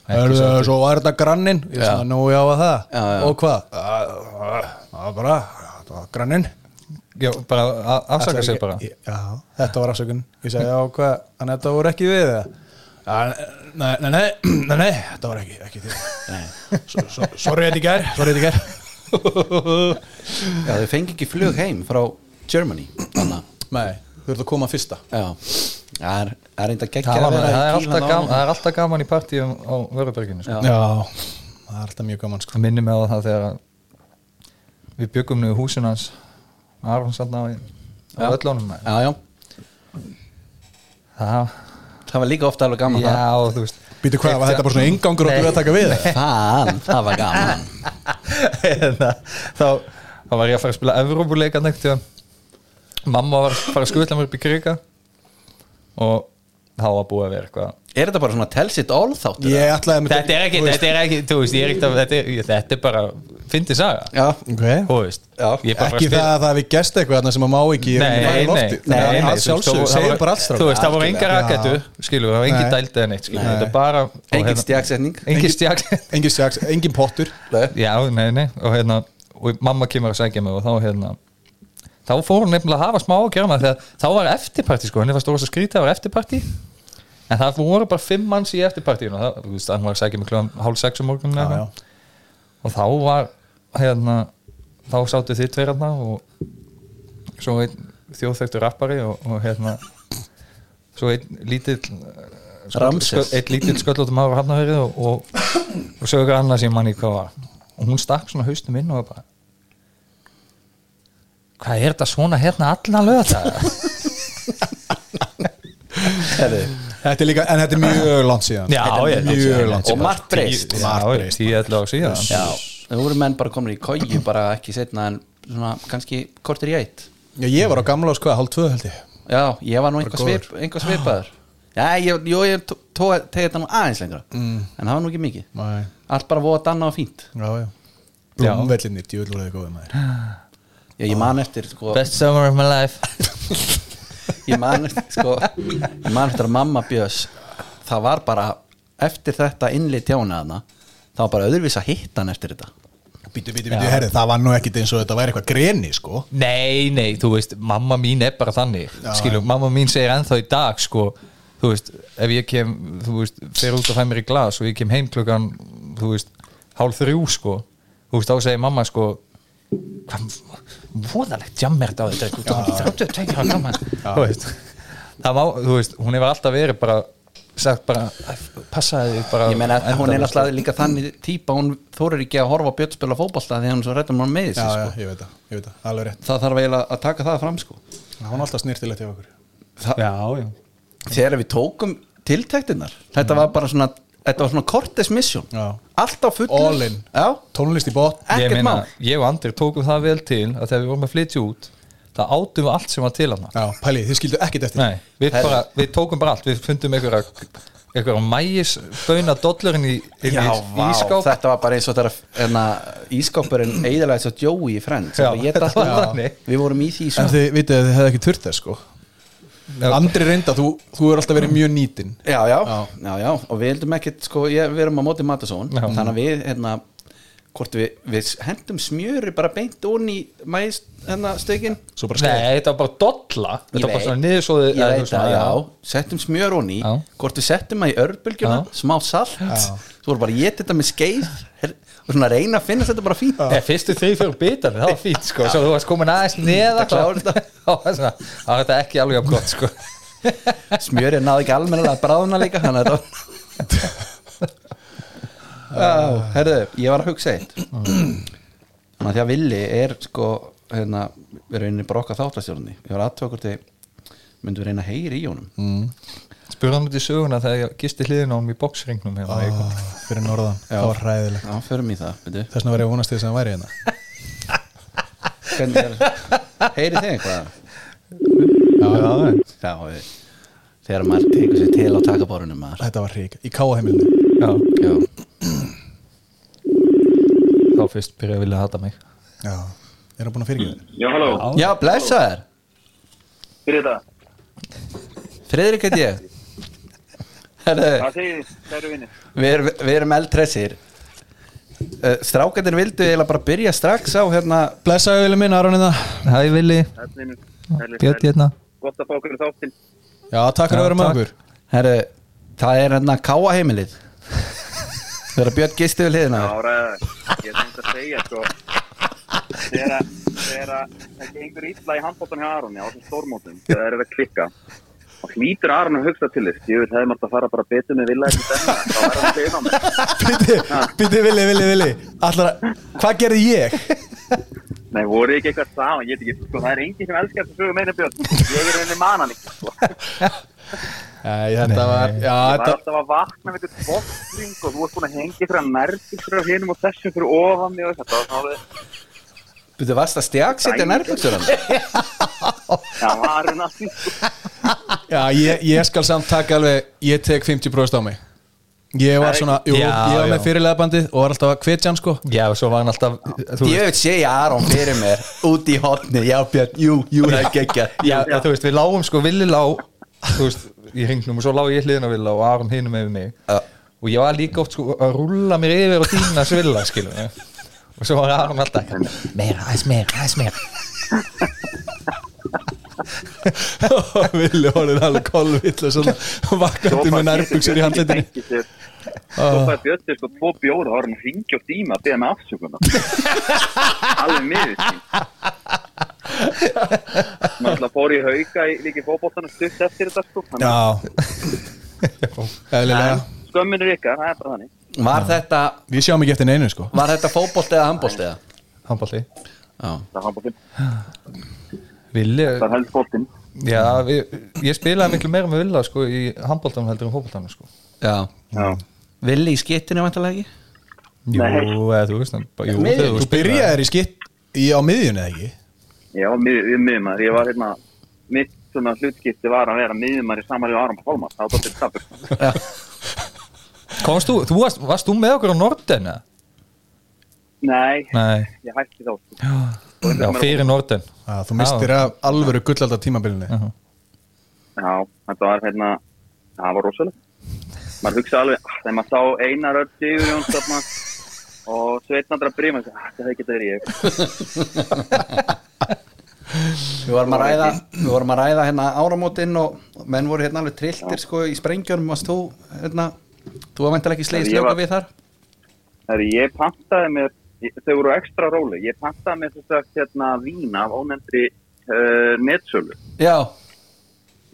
[SPEAKER 5] Ekki
[SPEAKER 6] Erðu,
[SPEAKER 5] svolítið.
[SPEAKER 6] svo var þetta grannin ég
[SPEAKER 4] Já.
[SPEAKER 6] svona nú já að það
[SPEAKER 4] Já, já.
[SPEAKER 6] og hvað það var bara það var grannin
[SPEAKER 5] Já, bara að- afsaka
[SPEAKER 6] Ætlar
[SPEAKER 5] sig
[SPEAKER 6] ekki-
[SPEAKER 5] bara
[SPEAKER 6] já, þetta var afsökun ég sagði já hvað en þetta voru ekki við það Já, nei, nei, nei, nei, nei, þetta var ekki, ekki því Sorry þetta í gær Sorry þetta í gær
[SPEAKER 4] Já, þau fengi ekki flug heim frá Germany Þannig að-
[SPEAKER 6] Nei, þú ert að koma fyrsta
[SPEAKER 4] Já Það er, það er enda geggja
[SPEAKER 5] Það var- það er alltaf gaman-
[SPEAKER 4] gaman
[SPEAKER 5] það er alltaf gaman í partíum á Vörðberginu
[SPEAKER 4] Já.
[SPEAKER 5] sko.
[SPEAKER 6] Já, það er alltaf mjög gaman sko
[SPEAKER 5] Það minnir mig á það þegar að við byggum niður húsin hans Aron sann á í- á öllunum
[SPEAKER 4] Já, já
[SPEAKER 5] Það
[SPEAKER 4] Það var líka ofta alveg gaman
[SPEAKER 5] Já, og þú veist
[SPEAKER 6] Býtu hvað, var þetta bara svona yngangur okkur
[SPEAKER 5] Nei.
[SPEAKER 6] að taka við
[SPEAKER 4] það Fan, það var gaman
[SPEAKER 5] hérna, þá, þá var ég að fara að spila Evrópuleika neitt mamma var að fara að skutla mér upp í kriga og þá var búið að vera eitthvað
[SPEAKER 4] Er þetta bara svona tell sitt all þáttur?
[SPEAKER 6] Ég ætlaði einmitt-
[SPEAKER 5] þetta er ekki, þetta er ekki, þú veist, ég er ekki að, þetta, er, þetta er bara, fyndi saga
[SPEAKER 4] Já
[SPEAKER 6] okay.
[SPEAKER 5] þú veist,
[SPEAKER 4] Já.
[SPEAKER 5] ég er bara að
[SPEAKER 6] Ekki það að það við gest eitthvað þarna sem að má ekki í rauninni fara í
[SPEAKER 5] Nei, nei,
[SPEAKER 6] loftið.
[SPEAKER 5] nei,
[SPEAKER 6] Það
[SPEAKER 5] nei,
[SPEAKER 6] er að
[SPEAKER 5] þú veist,
[SPEAKER 6] sjálfsögðu,
[SPEAKER 5] þá-
[SPEAKER 6] segir
[SPEAKER 5] þá-
[SPEAKER 6] bara alls
[SPEAKER 5] Þú veist, það voru engar
[SPEAKER 6] Já.
[SPEAKER 5] raketu, skilur, það voru engin
[SPEAKER 6] Nei.
[SPEAKER 5] dæld eða neitt, skilur
[SPEAKER 6] Nei.
[SPEAKER 5] Þetta er bara hérna-
[SPEAKER 4] Engin stjaksetning.
[SPEAKER 5] Engin stjagsetning
[SPEAKER 6] Engin stjags, engin pottur
[SPEAKER 5] Já, nei, nei og hérna, og mamma kemur að segja mig og þá hérna þá fór hún nefnilega að hafa smá að gera maður þegar þá var eftirparti sko, henni var stóra að skrýta það var eftirparti en það voru bara fimm manns í eftirpartíinu og það, þú veist, hann var að segja mig kljóðan hálf sex um morgunum
[SPEAKER 6] Já,
[SPEAKER 5] eða
[SPEAKER 6] já.
[SPEAKER 5] eitthvað. og þá var hérna, þá sátu þið tveir hérna og svo einn þjóðþektur rappari og, og hérna svo einn lítill eh,
[SPEAKER 4] Sko, Ramses.
[SPEAKER 5] eitt lítill sköllóttum maður hérna á hafnafyrði og, og, og sögur annað sem manni hvað var og hún stakk svona haustum inn og var bara hvað er þetta svona hérna allan löða
[SPEAKER 6] Þetta er líka, en þetta er mjög langt síðan
[SPEAKER 5] Já,
[SPEAKER 6] Þetta
[SPEAKER 5] já,
[SPEAKER 6] er mjög langt
[SPEAKER 4] og
[SPEAKER 6] síðan
[SPEAKER 4] margt breyst
[SPEAKER 5] já, því ætla á síðan
[SPEAKER 4] já, það voru menn bara komin í kóju bara ekki setna en svona kannski kortir í eitt
[SPEAKER 6] Já, ég var á gamla ás hvað, hálf tvö held ég
[SPEAKER 4] já, ég var nú einhver,
[SPEAKER 6] góður.
[SPEAKER 4] svip, einhver svipaður já, ég, jó, ég tó- tó- tegi þetta nú aðeins lengra en það var nú ekki mikið
[SPEAKER 6] Nei.
[SPEAKER 4] allt bara voða danna og fínt
[SPEAKER 6] Já, já Blómvellinni, djúvel voru þið góðið maður
[SPEAKER 4] já, ég man eftir sko,
[SPEAKER 5] best summer of my life
[SPEAKER 4] ég man eftir sko, ég man eftir að mamma bjöðs það var bara eftir þetta innlit tjána hana það var bara öðruvís að hitta hann eftir þetta
[SPEAKER 6] Bítu, bítu, bítu, herri, það var nú ekkit eins og þetta væri eitthvað greni, sko
[SPEAKER 5] Nei, nei, þú veist, mamma mín er bara þannig skilum, mamma mín segir ennþá í dag sko, þú veist, ef ég kem þú veist, fer út og fæ mér í glas og ég kem heim klukkan, þú veist hálf þrjú, sko, þú veist, þá segir mamma sko hvað, voðalegt jammert á þetta þú tók 32 ára gaman þú veist, það má, þú veist, hún hefur alltaf verið bara, sagt bara passaði þig bara
[SPEAKER 4] ég meina hún er
[SPEAKER 5] endalaust.
[SPEAKER 4] náttúrulega líka þannig típa hún þorir ekki að horfa á Björn spila fótballsta því hann er svo rættum hann með
[SPEAKER 6] Já,
[SPEAKER 4] þessi
[SPEAKER 6] já,
[SPEAKER 4] sko.
[SPEAKER 6] ég veit það, ég veit það, alveg rétt
[SPEAKER 4] það þarf eiginlega að taka það fram sko.
[SPEAKER 6] Það var alltaf snýrtilegt hjá okkur
[SPEAKER 4] það,
[SPEAKER 5] já, já
[SPEAKER 4] þegar við tókum tiltæktinnar þetta var bara svona þetta var svona Cortes mission
[SPEAKER 6] Já.
[SPEAKER 4] allt á fullu
[SPEAKER 6] All in.
[SPEAKER 4] já,
[SPEAKER 6] Tónlist í bótt
[SPEAKER 5] ég,
[SPEAKER 4] ekkert mál
[SPEAKER 5] ég og Andri tókum það vel til að þegar við vorum að flytja út það átum við allt sem var til hann
[SPEAKER 6] Já, pæli, þið skildu ekkit eftir
[SPEAKER 5] Nei, við,
[SPEAKER 4] Herri.
[SPEAKER 5] bara, við tókum bara allt við fundum einhverja einhverja mægis böna dollarin í, inn í,
[SPEAKER 4] Já,
[SPEAKER 5] í
[SPEAKER 4] vá,
[SPEAKER 5] skáp
[SPEAKER 4] þetta var bara eins og þetta enna, ískápurinn eiginlega eins og Joey í Friends
[SPEAKER 5] Já,
[SPEAKER 4] Bara ég
[SPEAKER 5] þetta
[SPEAKER 4] datt í
[SPEAKER 5] var
[SPEAKER 4] það.
[SPEAKER 5] þannig.
[SPEAKER 4] við vorum í því
[SPEAKER 6] En
[SPEAKER 4] svona.
[SPEAKER 6] þið vitið að þið hefði ekki þurft þess, sko
[SPEAKER 5] Já.
[SPEAKER 6] Andri reynda, þú, þú er alltaf verið mjög nýtin
[SPEAKER 4] já, já,
[SPEAKER 6] Já.
[SPEAKER 4] já, já, og við heldum ekkit sko, ég, við erum á móti Matasón
[SPEAKER 5] Já.
[SPEAKER 4] þannig að við, hérna hvort við, við hendum smjöri bara beint onni í mæs, hérna, stökin
[SPEAKER 6] Svo bara skæði
[SPEAKER 5] Nei, þetta var bara dolla
[SPEAKER 4] Ég
[SPEAKER 5] þetta var bara
[SPEAKER 4] veit.
[SPEAKER 5] svona niðursóði
[SPEAKER 4] ég veit það, já, settum smjör onni
[SPEAKER 5] Já.
[SPEAKER 4] hvort við settum það í örbulgjuna
[SPEAKER 5] Já.
[SPEAKER 4] smá salt, svo voru bara að geta þetta með skeið her- og svona reyna að finna þetta bara fínt
[SPEAKER 5] Nei, fyrstu þrý fyrir bitar, það var fínt sko Svo þú varst komin aðeins neða
[SPEAKER 4] Þetta klárar þetta.
[SPEAKER 5] Það var þetta ekki alveg af gott sko
[SPEAKER 4] smjörið náði ekki almennilega að bráðuna líka þannig að þetta var herðu, ég var að hugsa eitt þannig að því að Villi er sko, hérna, við erum inn í brokka þáttastjórni, ég var aðtökur til myndum við reyna að heyri í honum
[SPEAKER 5] Spurðan út í söguna þegar ég gisti hliðin á hann í boksringnum hérna í kvöld.
[SPEAKER 6] Fyrir norðan, það var hræðilegt
[SPEAKER 4] já, förum í það, veitu
[SPEAKER 6] Þess vegna var ég að vonast til þess að hann væri hérna
[SPEAKER 4] Hvernig er, heyri þig eitthvað
[SPEAKER 6] Já, já,
[SPEAKER 4] Já, við, þegar maður tekur sér til á takaborunum maður
[SPEAKER 6] þetta var hrík Í káaheimilinu
[SPEAKER 5] Já,
[SPEAKER 4] Já,
[SPEAKER 5] þá fyrst byrjaði að vilja hata mig
[SPEAKER 6] Já, er hann búin að fyrirgeða þér?
[SPEAKER 1] Já, halló,
[SPEAKER 4] Já blessa þér
[SPEAKER 1] fyrir þetta
[SPEAKER 4] Friðrik heit ég Herðu,
[SPEAKER 1] Hvað segir þið, kæru vinni?
[SPEAKER 4] við, erum- við erum eldressir uh, Strákandir vildu eiginlega bara byrja strax á hérna
[SPEAKER 6] Blessaðu vilja minn, Aron hérna
[SPEAKER 5] Hæ Vili, Björn
[SPEAKER 1] Björn
[SPEAKER 5] hérna
[SPEAKER 1] hérna Gott að fá okkur í þáttinn
[SPEAKER 6] Já, takk fyrir
[SPEAKER 5] Já,
[SPEAKER 6] að vera með
[SPEAKER 5] takk.
[SPEAKER 6] okkur
[SPEAKER 4] Herðu, það er hérna káa heimilið Þegar Björn gisti við hliðina á
[SPEAKER 1] Já,
[SPEAKER 4] þér.
[SPEAKER 1] ræða, ég er samt að segja sko Þegar að- þegar að það gengur illa í handbóttan hjá Aroni á þessum stórmótum þegar það er að klikka og hlýtur Aron að hugsa til þess ég veit hefði maður að fara bara betur með vilja ekki denna þá er hann að segja hann
[SPEAKER 6] Bíti, bíti, villi, villi, villi Allar að, hvað gerði ég?
[SPEAKER 1] Nei, voru ekki eitthvað saman, ég veit ekki sko, það er enginn sem elskar þessu sögum einu björn ég er henni manan ekki sko.
[SPEAKER 6] Nei, þetta var, já,
[SPEAKER 1] Það er
[SPEAKER 6] þetta
[SPEAKER 1] alltaf að vakna með eitthvað bóttring og þú ert búin að hengja ykkur að nærbuksur af hinum og þessum fyrir ofan mig og þetta var svona alveg-
[SPEAKER 4] Þú varst að stjag setja nærbuksur hann
[SPEAKER 1] Já, það er henni að því
[SPEAKER 6] Já, ég, ég skal samt taka alveg Ég tek 50% á mig Ég var svona, jú,
[SPEAKER 5] Já,
[SPEAKER 6] ég var
[SPEAKER 5] já.
[SPEAKER 6] með fyrirlega bandið og var alltaf að hvetja hann sko
[SPEAKER 5] Já, svo var hann alltaf þú veist-
[SPEAKER 4] Ég veit segja Aron fyrir mér Úti í hotni, já Björn, jú, jú, það er geggja
[SPEAKER 5] já, já, þú veist, við lágum sko Vili lá, þú veist, í hringnum og svo lág ég hliðin á Villa og Aron hinum yfir mig
[SPEAKER 4] Já.
[SPEAKER 5] og ég var líka oft sko að rúlla mér yfir og dýna svilla, skilum við og svo var Aron alltaf meira, aðeins meira, aðeins meira
[SPEAKER 6] Og villi orðið alveg kolvill og svona Vakandi með nærbuksur í Ah. handleitinni
[SPEAKER 1] Svo fær Björn sko tvo bjóra og hann hringi og dýma að beða með afsökunar Alveg miður sín Náttúrulega fór í hauka í líki fótboltan og stutt eftir þetta sko Þannig að
[SPEAKER 6] Já, Eðlilega.
[SPEAKER 1] Skömmin er ykkar, það er bara þannig
[SPEAKER 4] Var þetta,
[SPEAKER 6] Við sjáum ekki eftir neinu sko
[SPEAKER 4] var þetta fótbolt eða handbolt eða?
[SPEAKER 5] handbólti
[SPEAKER 4] Já,
[SPEAKER 1] Það er handboltinn,
[SPEAKER 5] Villi,
[SPEAKER 1] það er held boltinn
[SPEAKER 5] já, við, ég spilaði miklu meira með Villa sko í handbóltanum heldur en fótbóltanum sko
[SPEAKER 4] já
[SPEAKER 1] Já
[SPEAKER 4] Villi í skittinu vantarlega ekki?
[SPEAKER 5] Jú,
[SPEAKER 1] Nei.
[SPEAKER 5] eða þú veist hann Jú,
[SPEAKER 4] Miðjunni.
[SPEAKER 5] þegar
[SPEAKER 6] Þú
[SPEAKER 5] þú spilaði
[SPEAKER 6] byrjaðir í skitt í, á miðjunni eða ekki?
[SPEAKER 1] Já, mið, miðumar, ég var hérna mitt svona hlutskipti var að vera miðumar í samanlega Aron Pálmar, þá dottir tapur
[SPEAKER 5] Komst þú, þú varst, varst þú með okkur á Norden eða?
[SPEAKER 1] Nei,
[SPEAKER 5] Nei,
[SPEAKER 1] ég hætti þá sko.
[SPEAKER 5] já, fyrir Norden
[SPEAKER 6] Að þú mistir af alvöru gullaldar tímabilinu
[SPEAKER 5] Já.
[SPEAKER 1] Já, þetta var hérna það var rosalega maður hugsa alveg, ah, þegar maður sá Einar Örn Sigur Jónsson og Sveitnandra Bríman ah, þetta hefði getað verið ég
[SPEAKER 4] Við vorum að ræða, við vorum að ræða hérna áramótin og menn voru hérna alveg trilltir sko í sprengjörnum og þú hérna, þú var vantarlega ekki slegið
[SPEAKER 1] Ég
[SPEAKER 4] slöka
[SPEAKER 1] var-
[SPEAKER 4] við þar?
[SPEAKER 1] Þegar ég pantaði mér, ég- þau voru á ekstra róli, ég pantaði mér þess að hérna vína af ónefndri uh, netsölu.
[SPEAKER 4] Já,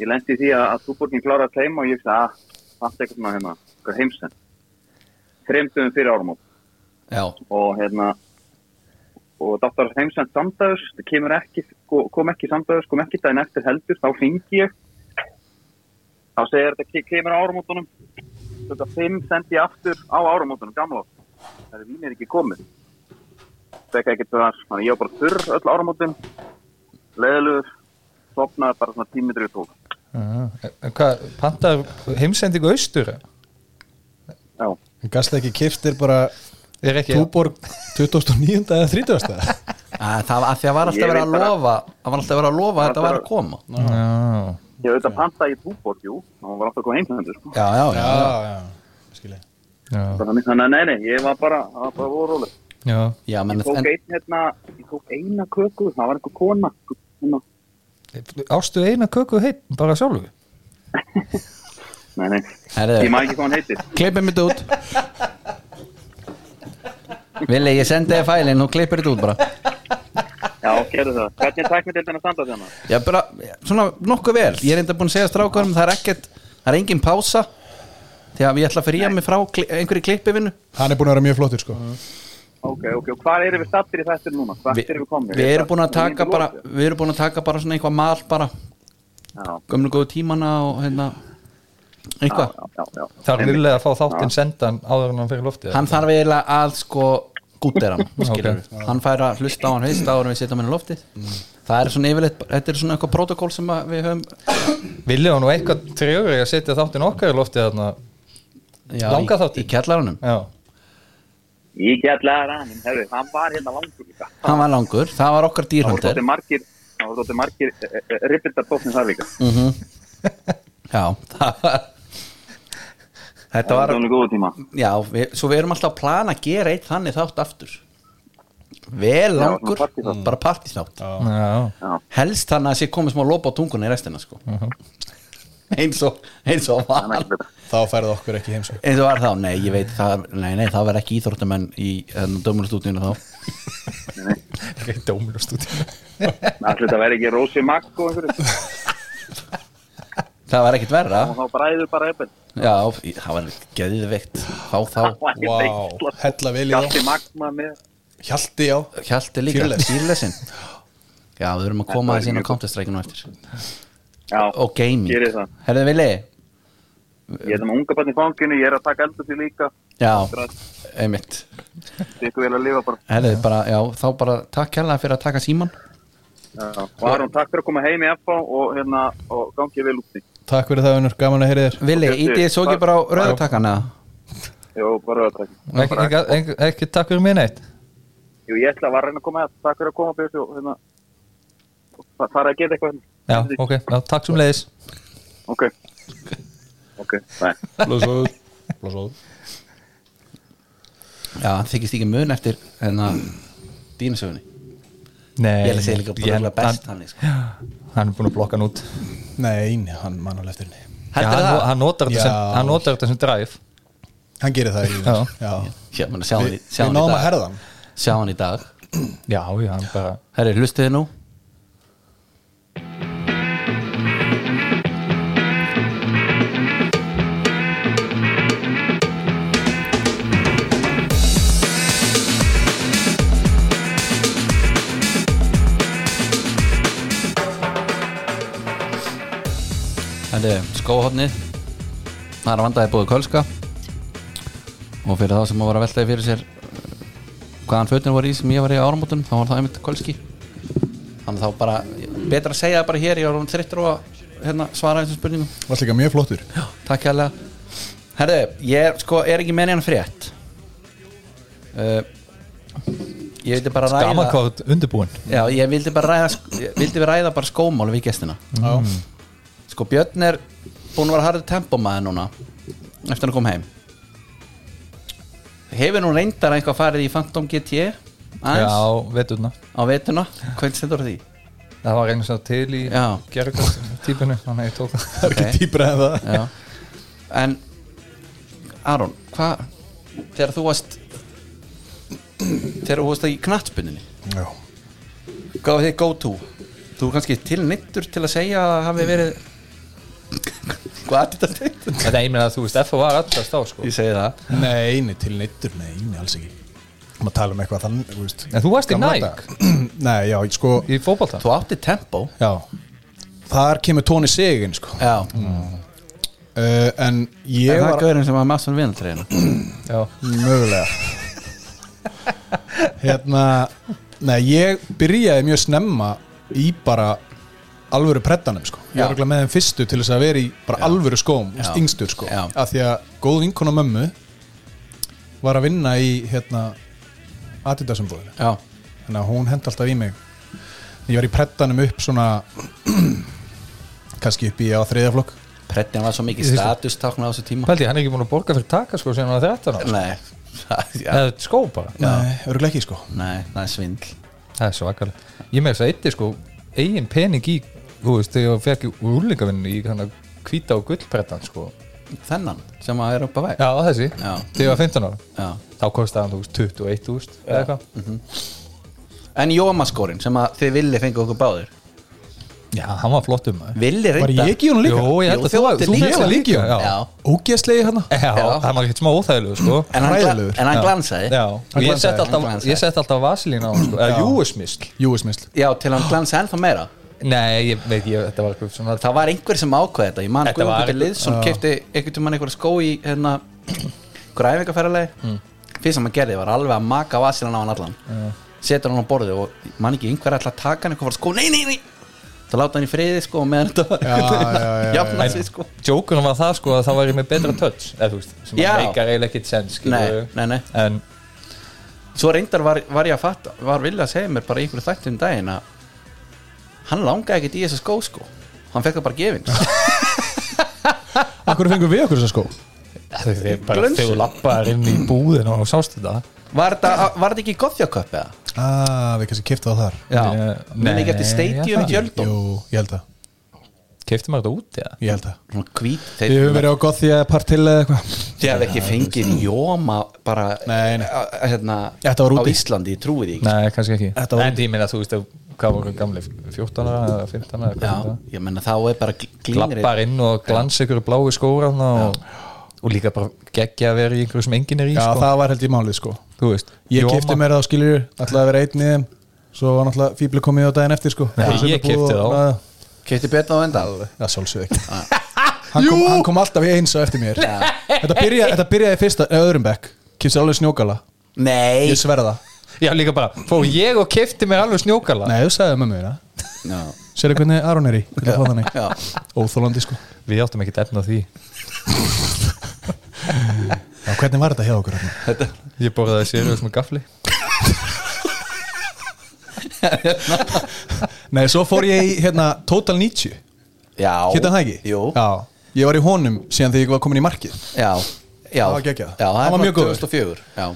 [SPEAKER 1] Ég lendi í því að, að túborgin klára að teima og ég sagði að panta eitthvað svona hérna, eitthvað heimsend. Þreymduðum fyrir árum
[SPEAKER 4] já,
[SPEAKER 1] og hérna og dáttar heimsend samdæðus, það kemur ekki, sko, kom ekki samdæðus, kom ekki daginn eftir heldur, þá hringi ég. Þá segir þetta ke- kemur á árumótunum, þetta fimm sendi ég aftur á árumótunum, gamla. Það er vín er ekki komið. Fekka ekkert það, þannig ég var bara þurr öll árumótin, leðilugur, sopnaði bara svona tímitri og tók.
[SPEAKER 5] Já, en Hvað, pantaður heimsendingu austur eh? eða?
[SPEAKER 1] Já,
[SPEAKER 6] Gasta ekki kiftir bara
[SPEAKER 5] Er ekki
[SPEAKER 6] Túborg 2009. eða 30.
[SPEAKER 4] að, það var að því að var alltaf
[SPEAKER 1] Ég
[SPEAKER 4] verið að
[SPEAKER 1] veit bara-
[SPEAKER 4] lofa það var alltaf verið að lofa að þetta var að koma
[SPEAKER 5] Já,
[SPEAKER 1] ég auðvitað pantaði í túborg, jú, og hann var alltaf komið heimsendur, sko.
[SPEAKER 4] Já, já, já,
[SPEAKER 6] já Skilja
[SPEAKER 5] já,
[SPEAKER 1] Þannig að nei, nei, ég var bara, það var bara voru róleg.
[SPEAKER 5] já
[SPEAKER 4] já menn,
[SPEAKER 1] Ég tók,
[SPEAKER 4] en,
[SPEAKER 1] einn, hérna, ég tók eina köku, það var einhver kona hérna.
[SPEAKER 5] Ástu eina köku heitt bara sjálfu
[SPEAKER 1] Nei, nei, ég
[SPEAKER 4] herðu,
[SPEAKER 1] maður ekki hvað hann heitir
[SPEAKER 4] klippum þetta út Vili, ég sendi þér fælinn og klippir þetta út bara
[SPEAKER 1] Já, gerðu það, hvernig tæk mér til þennan standa þérna?
[SPEAKER 4] Já, bara, svona nokkuð vel Ég er enda búin að segja strákarum, það er ekkert það er engin pása því að ég ætla að fría mig frá kli, einhverju klippivinu
[SPEAKER 6] Hann er búin að vera mjög flottur sko
[SPEAKER 1] Ok, ok, og hvað erum við stattir í þessum núna? Hvað
[SPEAKER 4] Vi,
[SPEAKER 1] erum við komnir?
[SPEAKER 4] við erum búin að taka
[SPEAKER 1] Við
[SPEAKER 4] bara
[SPEAKER 1] erum
[SPEAKER 4] við erum búin að taka bara svona einhvað mal bara
[SPEAKER 1] Já,
[SPEAKER 4] gömlu góðu tímana og hérna
[SPEAKER 1] já,
[SPEAKER 4] einhvað,
[SPEAKER 1] já, já
[SPEAKER 5] Það er vilja að fá þáttinn sendan áður en hann fyrir loftið
[SPEAKER 4] hann þarf eiginlega að sko gútera hann, skilur
[SPEAKER 5] Ok.
[SPEAKER 4] hann fær að hlusta á hann veist áður en við setjum hann í loftið það er svona yfirleitt, þetta er svona eitthvað protokól sem að við höfum
[SPEAKER 5] Vilja hann nú eitthvað trjóri að setja þáttinn okkar í loftið þarna
[SPEAKER 4] já, í,
[SPEAKER 5] Langa þáttinn.
[SPEAKER 4] í kjallaranum
[SPEAKER 5] Já,
[SPEAKER 1] Ég get leðar að hann, herru, hann var hérna langur líka
[SPEAKER 4] hann var langur, það var okkar
[SPEAKER 1] Það voru
[SPEAKER 4] dýrhundir
[SPEAKER 1] þótti margir, það voru þótti margir e, e, e, rippildar tóknir þar líka
[SPEAKER 4] já, það var þetta
[SPEAKER 1] Það var
[SPEAKER 4] var
[SPEAKER 1] alveg góðu tíma
[SPEAKER 4] já, við, svo við erum alltaf að plana að gera eitt þannig þátt aftur vel
[SPEAKER 1] Já,
[SPEAKER 4] langur,
[SPEAKER 1] svona partyþátt.
[SPEAKER 4] bara partíþátt
[SPEAKER 5] já,
[SPEAKER 4] helst þannig að sé komið smá lópa á tungunni í restina sko. eins og eins og var
[SPEAKER 1] Þannig að-
[SPEAKER 6] Þá færðu okkur ekki sko. heimsók
[SPEAKER 4] eins og var þá, nei ég veit það, nei, nei, það verð ekki íþróttamenn í dömurstúdíunum þá
[SPEAKER 5] ekki dóminustúdíu
[SPEAKER 1] Ætli þetta verði ekki Rósi Magg og einhverju
[SPEAKER 4] það var ekkit verra,
[SPEAKER 1] og þá bræður bara eitthvað
[SPEAKER 4] já, í- það var geðveikt þá þá,
[SPEAKER 6] Vá, hella vel í þá
[SPEAKER 1] Gatti Magma með
[SPEAKER 6] Hjalti já
[SPEAKER 4] hjalti líka
[SPEAKER 6] Fearless.
[SPEAKER 4] fyrlesin já, við erum að koma þessi inn á counterstrike nú eftir
[SPEAKER 1] Já,
[SPEAKER 4] og gaming,
[SPEAKER 1] Gerið það.
[SPEAKER 4] herðu villi
[SPEAKER 1] Ég er það með unga barn í fanginu, ég er að taka eldur því líka
[SPEAKER 4] já, einmitt
[SPEAKER 1] Þetta er ykkur vel að lifa bara
[SPEAKER 4] herðu bara, já, þá bara takk hérlega fyrir að taka síman
[SPEAKER 1] Já. Og Aron, takk fyrir að koma heim í FH og, hérna, og gangi vel úti
[SPEAKER 6] Takk fyrir það unnur, gaman að heyri þér
[SPEAKER 4] villi,
[SPEAKER 1] Ok,
[SPEAKER 4] ítið svo ekki bara á rauðatakana
[SPEAKER 1] Jó, bara að takk
[SPEAKER 5] Ekki, ekki, ekki, ekki takk fyrir mér neitt
[SPEAKER 1] Jú, ég ætla að var að reyna að koma að Takk fyrir að koma Björn og hérna fa- fara að geta eitthvað hérna.
[SPEAKER 5] Já, ok, já, takk sem leiðis
[SPEAKER 1] Ok Ok, bye
[SPEAKER 6] Blóðsóð Blóðsóð
[SPEAKER 4] já, hann þykist ekki mun eftir en að dýnasögunni
[SPEAKER 5] Nei,
[SPEAKER 4] Ég held að segja líka bara
[SPEAKER 5] held-
[SPEAKER 4] best
[SPEAKER 5] hann,
[SPEAKER 4] hann sko.
[SPEAKER 5] hann er búin að blokka hann út já,
[SPEAKER 6] Nei, nei, hann mann alveg eftir henni
[SPEAKER 4] Heldur
[SPEAKER 5] hann,
[SPEAKER 4] það?
[SPEAKER 5] hann notar þetta sem,
[SPEAKER 6] Já.
[SPEAKER 5] hann notar þetta sem drive
[SPEAKER 6] Hann gerir það í lífið
[SPEAKER 5] Já.
[SPEAKER 6] Já.
[SPEAKER 4] Já, menn, sjá, hann
[SPEAKER 6] Við
[SPEAKER 4] í- sjá,
[SPEAKER 6] við
[SPEAKER 4] hann í
[SPEAKER 6] náðum að
[SPEAKER 4] dag.
[SPEAKER 6] herða hann
[SPEAKER 4] sjá hann í dag
[SPEAKER 5] Já, já, hann bara
[SPEAKER 4] Herri, hlustið þið nú Herðu, skóhotnið Það er að vandaði búið kölska Og fyrir þá sem að var að veltaði fyrir sér eh, Hvaðan fötin voru í sem ég var í áramótum Þá var það einmitt kölski Þannig þá bara, betra að segja það bara hér Ég var um þreyttur á að hérna, svara þessum spurningum
[SPEAKER 6] Varst líka mjög flottur
[SPEAKER 4] Takk hérlega Herðu, ég er, sko, er ekki menið hann frétt uh, Ég vildi bara ræða
[SPEAKER 5] Gamakort undirbúin
[SPEAKER 4] Já, ég vildi bara ræða, ég vildi við ræða bara skómál við gestina
[SPEAKER 6] mm.
[SPEAKER 4] Sko Björn er búin að vera harður tempómaður núna eftir að kom heim Hefur nú reyndar eitthvað farið í Phantom GT aðeins
[SPEAKER 5] Já, veturna
[SPEAKER 4] á vetuna Hvernig stendur á því?
[SPEAKER 5] Það var einu svona til í
[SPEAKER 4] Já.
[SPEAKER 5] gerðkort típinu Þannig að ég tók það
[SPEAKER 6] Það er
[SPEAKER 4] Ok.
[SPEAKER 6] ekki típra en það
[SPEAKER 4] Já. En Aron, hvað þegar þú varst þegar þú varst í knattspunninni
[SPEAKER 6] Já.
[SPEAKER 4] hvað var þið go to? Þú er kannski tilnittur til að segja að það hafi verið Hvað er þetta tengt?
[SPEAKER 5] Þetta er einminn að þú veist, F var allast á sko
[SPEAKER 4] Ég segi það
[SPEAKER 6] Nei, eini til neittur, nei, eini alls ekki Má tala um eitthvað þannig, þú veist
[SPEAKER 5] En þú varst í
[SPEAKER 6] gamla
[SPEAKER 5] Nike?
[SPEAKER 6] daga. Nei, já, sko,
[SPEAKER 5] Í fótbolta
[SPEAKER 4] Þú átti tempo
[SPEAKER 6] já Þar kemur tóni sigin, sko uh,
[SPEAKER 4] Já,
[SPEAKER 6] En
[SPEAKER 4] ég
[SPEAKER 6] ég
[SPEAKER 4] það var
[SPEAKER 6] var
[SPEAKER 4] gaurinn sem var massan vinatræðina
[SPEAKER 5] Já,
[SPEAKER 6] Mögulega Hérna Nei, ég byrjaði mjög snemma Í bara alvöru preddanum, sko Ég
[SPEAKER 4] Já.
[SPEAKER 6] var örugglega með þeim fyrstu til þess að vera í Bara alvöru skóm,
[SPEAKER 4] Já.
[SPEAKER 6] yngstur, sko
[SPEAKER 4] Já.
[SPEAKER 6] Af því að góð vinkona mömmu Var að vinna í, hérna Adidasumboðinu
[SPEAKER 4] Já,
[SPEAKER 6] þannig að hún hend alltaf í mig ég var í prettanum upp svona kannski upp í á þriðaflokk
[SPEAKER 4] prettin var svo mikið
[SPEAKER 5] Ég-
[SPEAKER 4] statustákn á þessu tíma
[SPEAKER 5] pældi, ég, hann er ekki búin að borga fyrir taka sko Sérna að þetta ná
[SPEAKER 4] Nei, það- já,
[SPEAKER 5] Það er skó bara
[SPEAKER 6] nei, örgulega ekki sko
[SPEAKER 4] nei, það er svindl
[SPEAKER 5] Það er svakalega Ég með þess að eitti sko eigin pening í Þú veist, þegar ég fekk úrlingavinnu í hann að hvíta og gullbrettan sko
[SPEAKER 4] Þennan sem að er upp að veg
[SPEAKER 5] Já, þessi,
[SPEAKER 4] Já.
[SPEAKER 5] þegar ég var 15 ára
[SPEAKER 4] Já. Mhm.
[SPEAKER 5] Þá kostaði hann, þú veist, 21.000 eða eitthvað
[SPEAKER 4] En Jómaskórin sem að þið villi fengið okkur báður
[SPEAKER 5] Já, hann var flott um maður
[SPEAKER 4] Villi
[SPEAKER 6] var
[SPEAKER 4] reynda
[SPEAKER 6] ég ekki í honum líka?
[SPEAKER 5] Jó, ég held
[SPEAKER 4] Jú,
[SPEAKER 5] að þú
[SPEAKER 4] þú
[SPEAKER 5] var
[SPEAKER 4] átti líka.
[SPEAKER 5] Ég var líka,
[SPEAKER 4] Já.
[SPEAKER 5] já
[SPEAKER 6] ógeðslegi hann
[SPEAKER 5] Já,
[SPEAKER 4] Já.
[SPEAKER 5] hann var ekkert smá óþægilegu, sko
[SPEAKER 4] En hann, gla
[SPEAKER 6] Hræðilegur.
[SPEAKER 4] en hann
[SPEAKER 5] Já.
[SPEAKER 4] glansaði
[SPEAKER 5] Já, og ég
[SPEAKER 6] glansaði,
[SPEAKER 5] sett
[SPEAKER 4] hann
[SPEAKER 5] alltaf,
[SPEAKER 4] glansaði.
[SPEAKER 5] ég sett alltaf vasilín á hann, sko Eða júismisl
[SPEAKER 6] júismisl
[SPEAKER 4] Já, til hann glansaði ennþá meira
[SPEAKER 5] Nei, ég veit, ég, þetta var eitthvað svona
[SPEAKER 4] Það var einhver sem ákvaði þetta Ég man
[SPEAKER 5] Þetta var-
[SPEAKER 4] Guðmundur Liðsson kefti einhvern tímann einhverja skó í hérna græfingarferðarlegi mm. Fyrst sem hann gerði var alveg að maka vasilann á hann allan Setur hann á borðið og man ekki einhver ætla að taka hann eitthvað var skó Nei, nei, nei Það láta hann í friði sko og meðan þetta var
[SPEAKER 6] já, já, já, já.
[SPEAKER 4] Jafna sig sko
[SPEAKER 5] Jokerinn var það, sko, að það var ég með betra touch Eða, þú veist, sem
[SPEAKER 4] Já.
[SPEAKER 5] að meikar eiginlega ekkert
[SPEAKER 4] Nei,
[SPEAKER 5] sens, skilurðu.
[SPEAKER 4] nei, nei
[SPEAKER 5] En,
[SPEAKER 4] Svo reyndar var, var ég að fatta Var vilja að segja mér bara í einhverju þættum daginn að Hann langaði ekkert í þessa skó sko Hann fekk það bara gefins
[SPEAKER 6] akkur fengum við okkur þessa skó
[SPEAKER 5] þú veist, ég bara
[SPEAKER 4] Glönsuð.
[SPEAKER 5] þegar þú lappaðar inn í búðin og sást þetta
[SPEAKER 4] Var þetta var þetta ekki gothjaköpp eða?
[SPEAKER 6] ah, við kannski kipta það þar
[SPEAKER 4] Já,
[SPEAKER 5] Ég-
[SPEAKER 4] menn ekki
[SPEAKER 5] Nei,
[SPEAKER 4] eftir
[SPEAKER 5] ég
[SPEAKER 4] stadium
[SPEAKER 5] það
[SPEAKER 4] í Kjöldum
[SPEAKER 6] jú, ég held að
[SPEAKER 5] Keifti maður þetta út, eða?
[SPEAKER 6] ég held að
[SPEAKER 4] Svona hvít
[SPEAKER 6] við höfum
[SPEAKER 4] þeir-
[SPEAKER 6] verið á gott því að partil eða eitthvað
[SPEAKER 4] Þið hafði ekki fengið jóma bara
[SPEAKER 6] Nei, nei.
[SPEAKER 4] a- a- Hérna,
[SPEAKER 6] Þetta
[SPEAKER 4] á
[SPEAKER 6] var úti.
[SPEAKER 4] Íslandi, ég trúi því ekki
[SPEAKER 5] Nei, kannski ekki
[SPEAKER 6] Þetta var-
[SPEAKER 5] En ég meina, þú veist, hvað voru gamli 14 ára, eða 15 ára, hvað
[SPEAKER 4] Já,
[SPEAKER 5] var
[SPEAKER 4] ég menna þá er bara gl-
[SPEAKER 5] það
[SPEAKER 4] glínir
[SPEAKER 5] Lappar inn og glans ykkur bláu skóra og, og líka bara geggja að vera í einhverju sem enginn er í,
[SPEAKER 6] já,
[SPEAKER 5] sko
[SPEAKER 6] það var held ég málið sko
[SPEAKER 5] Þú veist
[SPEAKER 6] ég
[SPEAKER 5] Jóma-
[SPEAKER 6] kipti mér það á skiljur alltaf að vera einn í þeim svo var náttúrulega fíbli komið á daginn eftir sko
[SPEAKER 5] Nei, ég keypti það á.
[SPEAKER 4] Kefti betna á enda
[SPEAKER 6] Já, sjálfsög ekki hann, kom, hann kom alltaf eins og eftir mér Þetta byrjaði, þetta byrjaði fyrsta, eða öðrum bekk Kipsi alveg snjókala,
[SPEAKER 4] Nei
[SPEAKER 6] ég sverða
[SPEAKER 5] Já, líka bara, fór ég og kefti mér alveg snjókala
[SPEAKER 6] Nei, þú sagði mömmu þína
[SPEAKER 4] Já,
[SPEAKER 6] Sérðu hvernig Aron er í, vil að fá þannig
[SPEAKER 4] já.
[SPEAKER 6] Óþólandi sko
[SPEAKER 5] Við áttum ekkert efna því
[SPEAKER 6] Já, hvernig var þetta hjá okkur? Arnar?
[SPEAKER 5] Ég borðaði sérjus með gafli
[SPEAKER 6] Nei, svo fór ég í hérna Total 90
[SPEAKER 4] já
[SPEAKER 6] Hérna það ekki?
[SPEAKER 4] Jú, já,
[SPEAKER 6] Já, ég var í honum síðan þegar ég var komin í markið
[SPEAKER 4] já, já
[SPEAKER 6] Það var geggjað.
[SPEAKER 4] Já,
[SPEAKER 6] Hann var
[SPEAKER 4] er
[SPEAKER 6] mjög góður.
[SPEAKER 4] 2004, já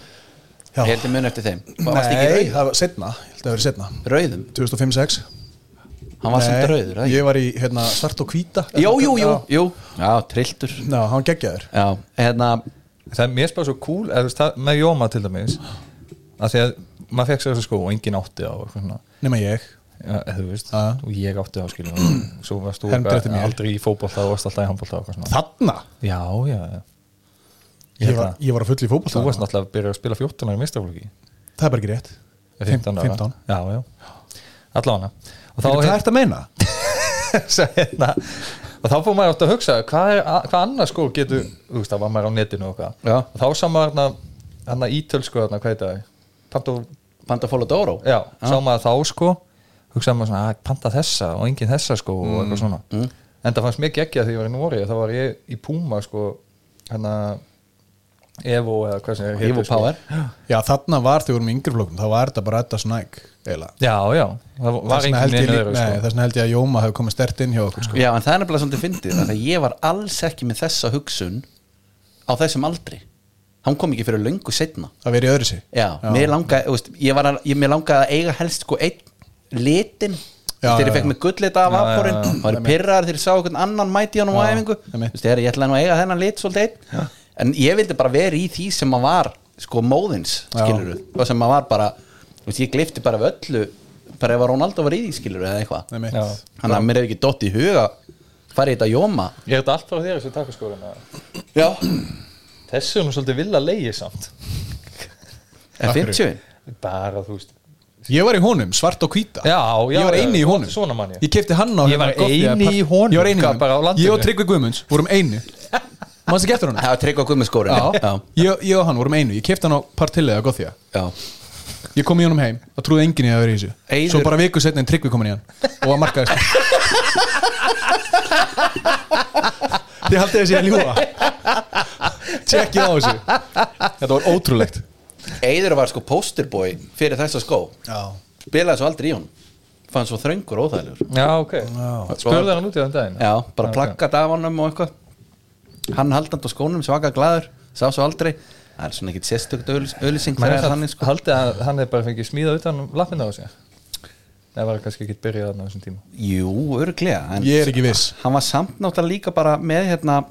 [SPEAKER 6] Já.
[SPEAKER 4] Heldur mun eftir þeim Varst ekki
[SPEAKER 6] Nei,
[SPEAKER 4] rauð,
[SPEAKER 6] það var setna, ég held að það verið setna
[SPEAKER 4] rauðum
[SPEAKER 6] 2005-06
[SPEAKER 4] Hann var sem rauður, eða ekki?
[SPEAKER 6] Ég var í hérna svart og hvíta
[SPEAKER 4] Jú, jú, jú, jú Já, trilltur
[SPEAKER 6] Já, hann geggjaður
[SPEAKER 4] Já, hérna
[SPEAKER 5] Það er mér spáð svo cool, eða þú veist, það- með Jóma til dæmis að því að maður fekk sér þessu skó og enginn átti á og svona
[SPEAKER 6] Nema ég
[SPEAKER 5] Já, eða þú veist,
[SPEAKER 6] Já.
[SPEAKER 5] og ég átti á skilja og svo varst þú
[SPEAKER 6] Hendur
[SPEAKER 5] eitthvað
[SPEAKER 6] eftir mér.
[SPEAKER 5] aldrei í fótbolta og varst alltaf í handbolta og eitthvað svona
[SPEAKER 6] Þarna?
[SPEAKER 5] Já, já, já hérna,
[SPEAKER 6] Ég var,
[SPEAKER 4] Hérna.
[SPEAKER 6] ég var að fulli í fótbolta
[SPEAKER 5] Þú varst náttúrulega að byrja að spila 14 ára í mistaflóki
[SPEAKER 6] Það er bara ekki rétt
[SPEAKER 5] 15 ára
[SPEAKER 6] 15.
[SPEAKER 5] Já, já, allavega Og
[SPEAKER 6] Þá,
[SPEAKER 5] þá
[SPEAKER 6] Hvað ertu að meina?
[SPEAKER 5] hérna, og og þá fór maður átt að hugsa hvað, er, hvað annars sko getur þú veist, þá var maður á netinu og hvað
[SPEAKER 4] Já.
[SPEAKER 5] og þá sá maður hana, hana ítölsku hana, hvað heita það, Panto
[SPEAKER 4] Panda Fóla Dóró
[SPEAKER 5] já, sá maður þá sko hugsaði maður svona, að panta þessa og engin þessa sko og eitthvað svona en það fannst mér geggja þegar ég var í Nóri þá var ég í Puma sko hérna Evo eða hvað sem heitir,
[SPEAKER 4] Evo
[SPEAKER 5] sko.
[SPEAKER 4] Power.
[SPEAKER 6] Já, þarna var þegar við vorum í yngri flokkum, þá var þetta bara Edda Snæk, eiginlega.
[SPEAKER 5] já, já, það var
[SPEAKER 6] Þessna
[SPEAKER 5] engin
[SPEAKER 6] held ég
[SPEAKER 5] neina
[SPEAKER 6] líka-
[SPEAKER 5] öðru
[SPEAKER 6] Nei,
[SPEAKER 5] sko
[SPEAKER 6] þessna held ég að Jóma hefur komið stert inn hjá okkur, sko.
[SPEAKER 4] Já, en það er nefnilega svolítið fyndið af því að ég var alls ekki með þessa hugsun á þessum aldri hann kom ekki fyrir löngu setna
[SPEAKER 6] Það verið öðru sér.
[SPEAKER 4] Já, mér langaði, þú veist, ég var að, ég, mér langaði að eiga helst sko einn litin
[SPEAKER 6] Já,
[SPEAKER 4] þegar ég
[SPEAKER 6] já,
[SPEAKER 4] fekk
[SPEAKER 6] já.
[SPEAKER 4] mig gullita af afhórin þá var ég pirrar þegar ég sá einhvern annan mæti hann á æfingu, þú
[SPEAKER 6] einmitt.
[SPEAKER 4] veist, þegar ég ætlaði nú að eiga þennan lit svolítið einn, en ég vildi bara vera í því sem maður var sko móðins, skilur og sem maður var bara, þú veist, ég glifti bara af öllu, bara ef að Ronaldo var í því skilur eða eitthvað,
[SPEAKER 6] Nei, mitt.
[SPEAKER 5] Já.
[SPEAKER 4] þannig að mér hef ekki dott í huga farið þetta jóma
[SPEAKER 5] ég er þetta allt frá þér þessu takkaskórin
[SPEAKER 4] Já,
[SPEAKER 5] þessu er nú svolítið vilja leiði samt
[SPEAKER 4] en 50
[SPEAKER 5] bara þú veist
[SPEAKER 6] Ég var í honum, svart og hvíta.
[SPEAKER 5] Já, já,
[SPEAKER 6] Ég var
[SPEAKER 5] já,
[SPEAKER 6] eini í
[SPEAKER 5] svona-
[SPEAKER 6] honum.
[SPEAKER 5] svona man ég.
[SPEAKER 6] Ég kefti hann á
[SPEAKER 5] Ég var
[SPEAKER 6] hérna, gott-
[SPEAKER 5] eini
[SPEAKER 6] part-
[SPEAKER 5] í honum.
[SPEAKER 6] Ég var eini í
[SPEAKER 5] Hvað,
[SPEAKER 6] honum.
[SPEAKER 5] bara á landinu?
[SPEAKER 6] Ég og Tryggvi Guðmunds vorum einu. Mann sem getur hann?
[SPEAKER 4] Það var trygg á guðmeskórin Já,
[SPEAKER 6] Ég, ég og hann vorum einu. Ég kefti hann á partillið að gott því að.
[SPEAKER 4] já
[SPEAKER 6] Ég kom í honum heim og trúði enginn í að vera í þessu.
[SPEAKER 4] Eiður-
[SPEAKER 6] Svo bara viku setna en Tryggvi komin í hann og að markaði þessu. Þið haldið þessi að ljúa. Tjekkið á þessu. Þetta var ótrúlegt.
[SPEAKER 4] Eiður var sko posterboy fyrir þessa skó
[SPEAKER 6] Já.
[SPEAKER 4] spilaði svo aldrei í hún fann svo þröngur og óþægilegur
[SPEAKER 5] já, ok, spurðu hann út í þann daginn
[SPEAKER 4] já, bara
[SPEAKER 5] Já,
[SPEAKER 4] plakkat af honum og eitthvað hann haldandi á skónum svaka glaður, sá svo aldrei það er svona ekkit sérstökt auðlýsing
[SPEAKER 5] Maður
[SPEAKER 4] þegar
[SPEAKER 5] er
[SPEAKER 4] það er
[SPEAKER 5] hann
[SPEAKER 4] þannig
[SPEAKER 5] sko
[SPEAKER 4] sko
[SPEAKER 5] Haldið að hann er bara fengið smíða utan um lappinu á sig Það var kannski ekki byrjað þarna á þessum tíma
[SPEAKER 4] jú, örglega, en
[SPEAKER 6] Ég er ekki viss.
[SPEAKER 4] hann var samt náttúrulega líka bara með hérna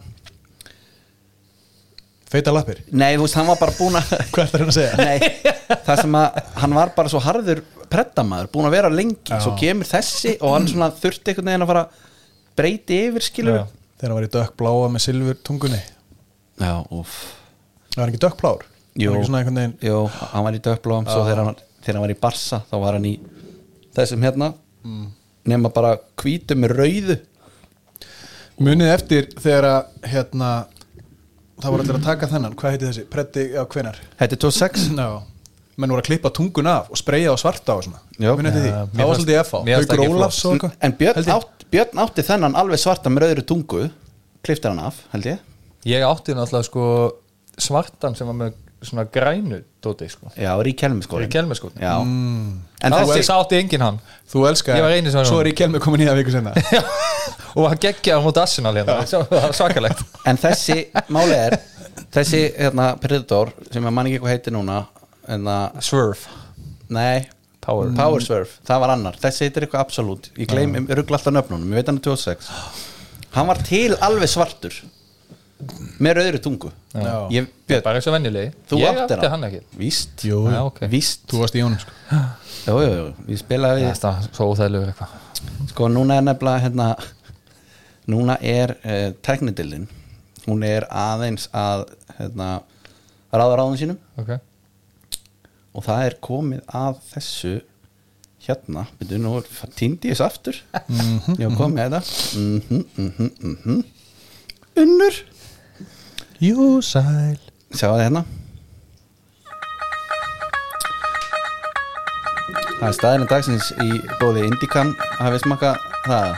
[SPEAKER 6] Feita lappir.
[SPEAKER 4] nei, þú veist, hann var bara búin að
[SPEAKER 6] Hvað er það hann að segja?
[SPEAKER 4] Nei, það sem að hann var bara svo harður preddamaður, búin að vera lengi svo kemur þessi og hann svona þurfti einhvern veginn að fara breyti yfir skilur
[SPEAKER 5] Já.
[SPEAKER 6] Þegar hann var í dökkbláa með silfur tungunni.
[SPEAKER 4] já úff
[SPEAKER 6] Það var hann ekki dökkblár.
[SPEAKER 4] Jú,
[SPEAKER 6] Var hann ekki svona einhvern veginn.
[SPEAKER 4] jú, hann var í döfblóm svo þegar hann, þegar hann var í Barsa þá var hann í þessum hérna
[SPEAKER 6] Mm.
[SPEAKER 4] nema bara hvítu með rauðu
[SPEAKER 6] Munið eftir þegar að hérna, það voru allir að taka þennan. Hvað heiti þessi? Preddi á hvenar?
[SPEAKER 4] Þetta er 26
[SPEAKER 6] Já, menn voru að klippa tungun af og spreyja á svarta og svona
[SPEAKER 4] Já.
[SPEAKER 6] Munið eftir því,
[SPEAKER 5] Já, mér
[SPEAKER 6] það var
[SPEAKER 5] fannst-
[SPEAKER 6] svolítið FH
[SPEAKER 5] mér fannst
[SPEAKER 6] Haukur
[SPEAKER 5] ekki
[SPEAKER 6] Ólafs og
[SPEAKER 4] en,
[SPEAKER 6] eitthvað
[SPEAKER 4] en Björn,
[SPEAKER 6] Held ég.
[SPEAKER 4] átt, Björn átti þennan alveg svarta með rauðri tungu kliftir hann af, held ég
[SPEAKER 5] Ég átti náttúrulega sko svartan sem var með svona grænu dóti sko
[SPEAKER 4] Já, Ríkjelmiskórin
[SPEAKER 5] Ríkhelmiskórinn.
[SPEAKER 4] Já En
[SPEAKER 6] Mm.
[SPEAKER 5] En
[SPEAKER 4] þessi,
[SPEAKER 5] þessi átti enginn hann
[SPEAKER 6] Þú elskar,
[SPEAKER 5] Ég var eini sem var
[SPEAKER 6] svo er
[SPEAKER 5] honum.
[SPEAKER 6] ég kelmi komin í það viku senna
[SPEAKER 5] Og hann geggjaði hann mútið Arsenal hérna Það var svakalegt
[SPEAKER 4] en þessi máli er þessi hérna Predator sem ég man ekki hvað heiti núna en að,
[SPEAKER 5] Swerve
[SPEAKER 4] nei
[SPEAKER 5] Power. Ah.
[SPEAKER 4] Swerve, það var annar þessi heitir eitthvað absolutt, ég gleym, ég ruggla alltaf nöfnunum ég veit hann er 26 hann var til alveg svartur með rauðri tungu
[SPEAKER 5] Já.
[SPEAKER 4] ég, Björn,
[SPEAKER 5] Bara eins og venjulegi
[SPEAKER 4] þú
[SPEAKER 5] Ég
[SPEAKER 4] átti
[SPEAKER 5] átti hann ekki
[SPEAKER 4] víst,
[SPEAKER 6] Jú,
[SPEAKER 5] Já, ok
[SPEAKER 4] víst
[SPEAKER 6] þú varst í honum sko.
[SPEAKER 4] jú, jú, jú, ég spilaði við
[SPEAKER 5] Þetta var svo óþægilegur eitthvað
[SPEAKER 4] sko núna er nefnilega hérna, núna er uh, teknidillin hún er aðeins að hérna, ráða ráðum sínum
[SPEAKER 5] Ok
[SPEAKER 4] og það er komið að þessu hérna, byrju nú týndi ég þessu aftur
[SPEAKER 5] Mhm.
[SPEAKER 4] ég var komið að þetta mhm, mhm, mhm unnur,
[SPEAKER 6] Jú, sæl
[SPEAKER 4] sjá það hérna það er staðinu dagsins í bóði Indikan hafið smakað það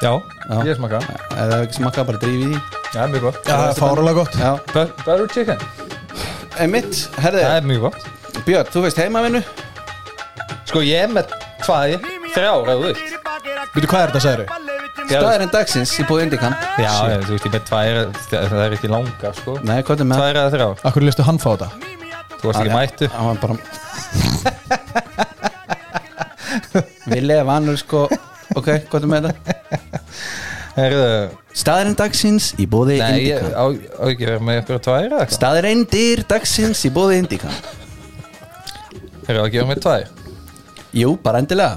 [SPEAKER 5] Já,
[SPEAKER 4] Já.
[SPEAKER 5] ég smaka
[SPEAKER 4] eða hafið ekki smakað bara drífið í því
[SPEAKER 5] Já, mjög gott
[SPEAKER 6] Það er fárulega gott
[SPEAKER 4] já,
[SPEAKER 5] Bu- Butter chicken
[SPEAKER 4] einmitt, herði,
[SPEAKER 5] Það er mjög gott
[SPEAKER 4] Björn, þú veist heimavinnu
[SPEAKER 5] Sko ég er með tvær, þrjár eða þú vilt
[SPEAKER 6] Veitu hvað er þetta, sagður?
[SPEAKER 4] staðinu dagsins í bóði Indikan
[SPEAKER 5] Já, ég, þú veist, ég með tvær, það það er ekki langar, sko
[SPEAKER 4] nei, hvað er með
[SPEAKER 5] Tvær eða þrjár,
[SPEAKER 6] Akkur listu hann fá þetta?
[SPEAKER 5] þú varst ekki mættu
[SPEAKER 4] hann var bara Vili er vanur sko ok, hvað er með þetta?
[SPEAKER 5] Herðu,
[SPEAKER 4] Staðirinn dagsins í bóði
[SPEAKER 5] nei, ég
[SPEAKER 4] Indikan
[SPEAKER 5] á, á ekki verið með ykkur tvær eða eitthvað
[SPEAKER 4] Staðirindir dagsins í bóði Indikan
[SPEAKER 5] Herðu, á ekki verið með tvær
[SPEAKER 4] Jú, bara endilega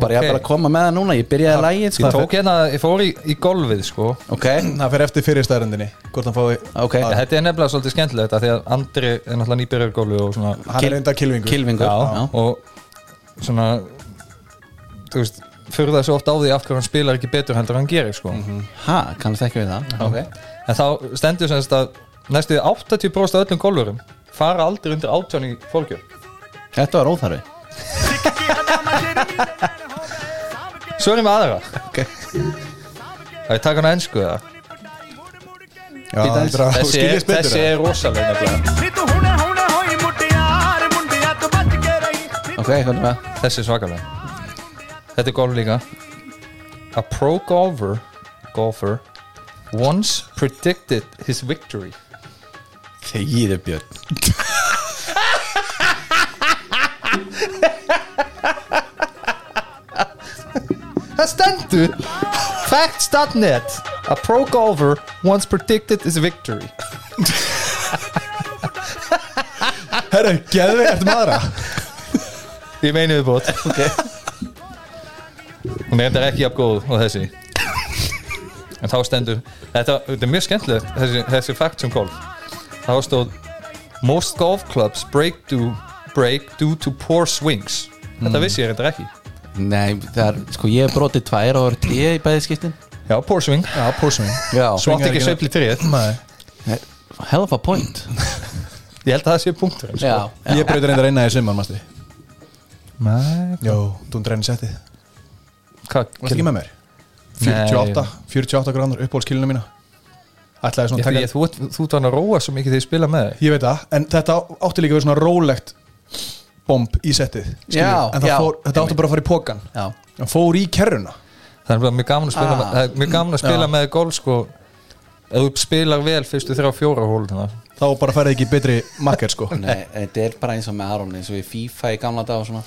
[SPEAKER 4] bara ég
[SPEAKER 5] Ok.
[SPEAKER 4] er bara að koma með það núna, ég byrjaði lægið
[SPEAKER 5] Ég
[SPEAKER 4] sko.
[SPEAKER 5] tók hérna, ég fór í, í golfið, sko
[SPEAKER 4] ok,
[SPEAKER 6] Það fer eftir fyrir staðrendinni Hvort hann fái
[SPEAKER 4] ok
[SPEAKER 5] Þetta er nefnilega svolítið skemmtilegt af Því að Andri er náttúrulega nýbyrjar í golfi og svona
[SPEAKER 6] Hann er reynda kilvingur
[SPEAKER 4] kilvingur
[SPEAKER 5] Og svona, þú veist, furða svo oft á því af hverju hann spilar ekki betur heldur en hann gerir sko.
[SPEAKER 4] ha, kannast ekki við það
[SPEAKER 5] en þá stendur semst að næstu því 80% af öllum golfurum fara aldrei undir 18 í fólkjör
[SPEAKER 4] Þetta var óþarfi
[SPEAKER 5] svo erum við aðra okay. það er takan að ennsku það
[SPEAKER 6] Já, heldur að
[SPEAKER 5] þessi, er-
[SPEAKER 6] skiljast betur
[SPEAKER 5] þessi er rosalega nefnilega.
[SPEAKER 4] Ok, hvernig með
[SPEAKER 5] þessi er svakalega þetta er golf líka a pro golfer golfer once predicted his victory
[SPEAKER 4] Þegið er Björn
[SPEAKER 5] Það stendur Facts.net A pro golfer once predicted his victory
[SPEAKER 6] Herru, geðu við eftir maðra
[SPEAKER 5] Ég meini við bótt okay. Hún er þetta ekki jafn góð og þessi En þá stendur Þetta, þetta er mjög skemmtilegt þessi, þessi fact um golf Þá stóð Most golf clubs break, do, break due to poor swings Þetta vissi ég þetta ekki
[SPEAKER 4] Nei, það er, sko ég hef brotið tvær og það eru tíu í bæði skiptin
[SPEAKER 5] Já, poor swing
[SPEAKER 6] Já, pórsving
[SPEAKER 4] Já,
[SPEAKER 5] Svo átti ekki
[SPEAKER 6] ekki-
[SPEAKER 5] sveifli tríð
[SPEAKER 4] hell of a point sko.
[SPEAKER 5] Ég held að það sé sko. punktur
[SPEAKER 4] Já,
[SPEAKER 6] Ég breytir reyndar einna í suman, mástu
[SPEAKER 5] Nei,
[SPEAKER 6] Jó, þú dreynir settið
[SPEAKER 5] hvað
[SPEAKER 6] Varst ekki með mér?
[SPEAKER 5] Nei.
[SPEAKER 6] 48, 48 gráður uppbólskilinu mína Ætlaði svona
[SPEAKER 5] Ég,
[SPEAKER 6] að taka
[SPEAKER 5] ég, þú, ert- þú ert hann að róa svo mikið þegar ég spila með þig
[SPEAKER 6] Ég veit það, en þetta átti líka við svona rólegt bomb í settið skilur.
[SPEAKER 4] Já,
[SPEAKER 6] En það
[SPEAKER 4] já.
[SPEAKER 6] fór, þetta átti bara að fara í pókan
[SPEAKER 4] Já.
[SPEAKER 6] En fór í kerruna
[SPEAKER 5] Það er bara mjög gaman að spila,
[SPEAKER 4] Ah.
[SPEAKER 5] með, það er mjög gaman að spila
[SPEAKER 6] Já.
[SPEAKER 5] með golf sko Ef þú spilar vel fyrstu þrjá fjóra hóluna
[SPEAKER 6] Þá bara færði ekki betri makker sko
[SPEAKER 4] Nei, þetta er bara eins og með Aron eins og í FIFA í gamla dag og svona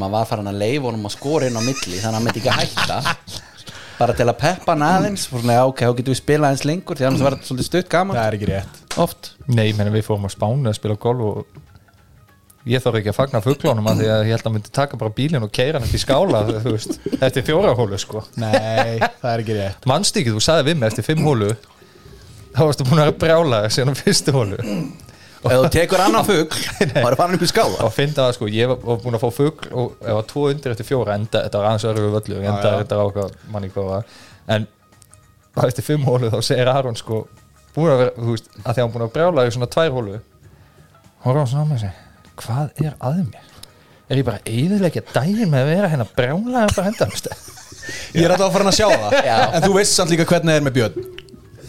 [SPEAKER 4] maður var farin að leifa honum að skora inn á milli þannig að hann myndi ekki að hætta bara til að peppa hann aðeins og svona, já, ok, þá getum við spilað aðeins lengur því annars var þetta svolítið stutt gaman
[SPEAKER 6] Það er ekki rétt
[SPEAKER 4] oft
[SPEAKER 5] Nei, menn við fórum að spánu að spila golf og ég þarf ekki að fagna fuglónum að því að ég held að myndi taka bara bílinn og keira hann upp í skála þú veist, eftir fjóra hólu sko
[SPEAKER 6] Nei, það er ekki rétt
[SPEAKER 5] Manst ekki, þú sagði við mig eftir fimm hólu þá varstu búin að vera brjála síðan á fyrstu hólu
[SPEAKER 4] og ef þú tekur annan fugg bara er farin upp í skáða
[SPEAKER 5] og finna það sko, ég var- var búin að fá fugl og ég var tvo undir eftir fjóra enda, þetta var aðeins örgu völlu enda
[SPEAKER 6] já.
[SPEAKER 5] þetta var okkar manni hvað var en bara eftir fimm hólu þá segir Aron sko, búin að vera, þú veist að því að hann búin að brjála í svona tvær hólu horfa hann svona á mig og segir hvað er að mér? Er ég bara eiginlega daginn með að vera hérna brjála bara henda, veist
[SPEAKER 6] Ég er alltaf að fara að sjá það
[SPEAKER 4] Já.
[SPEAKER 6] En þú veist samt líka hvernig það er með Björn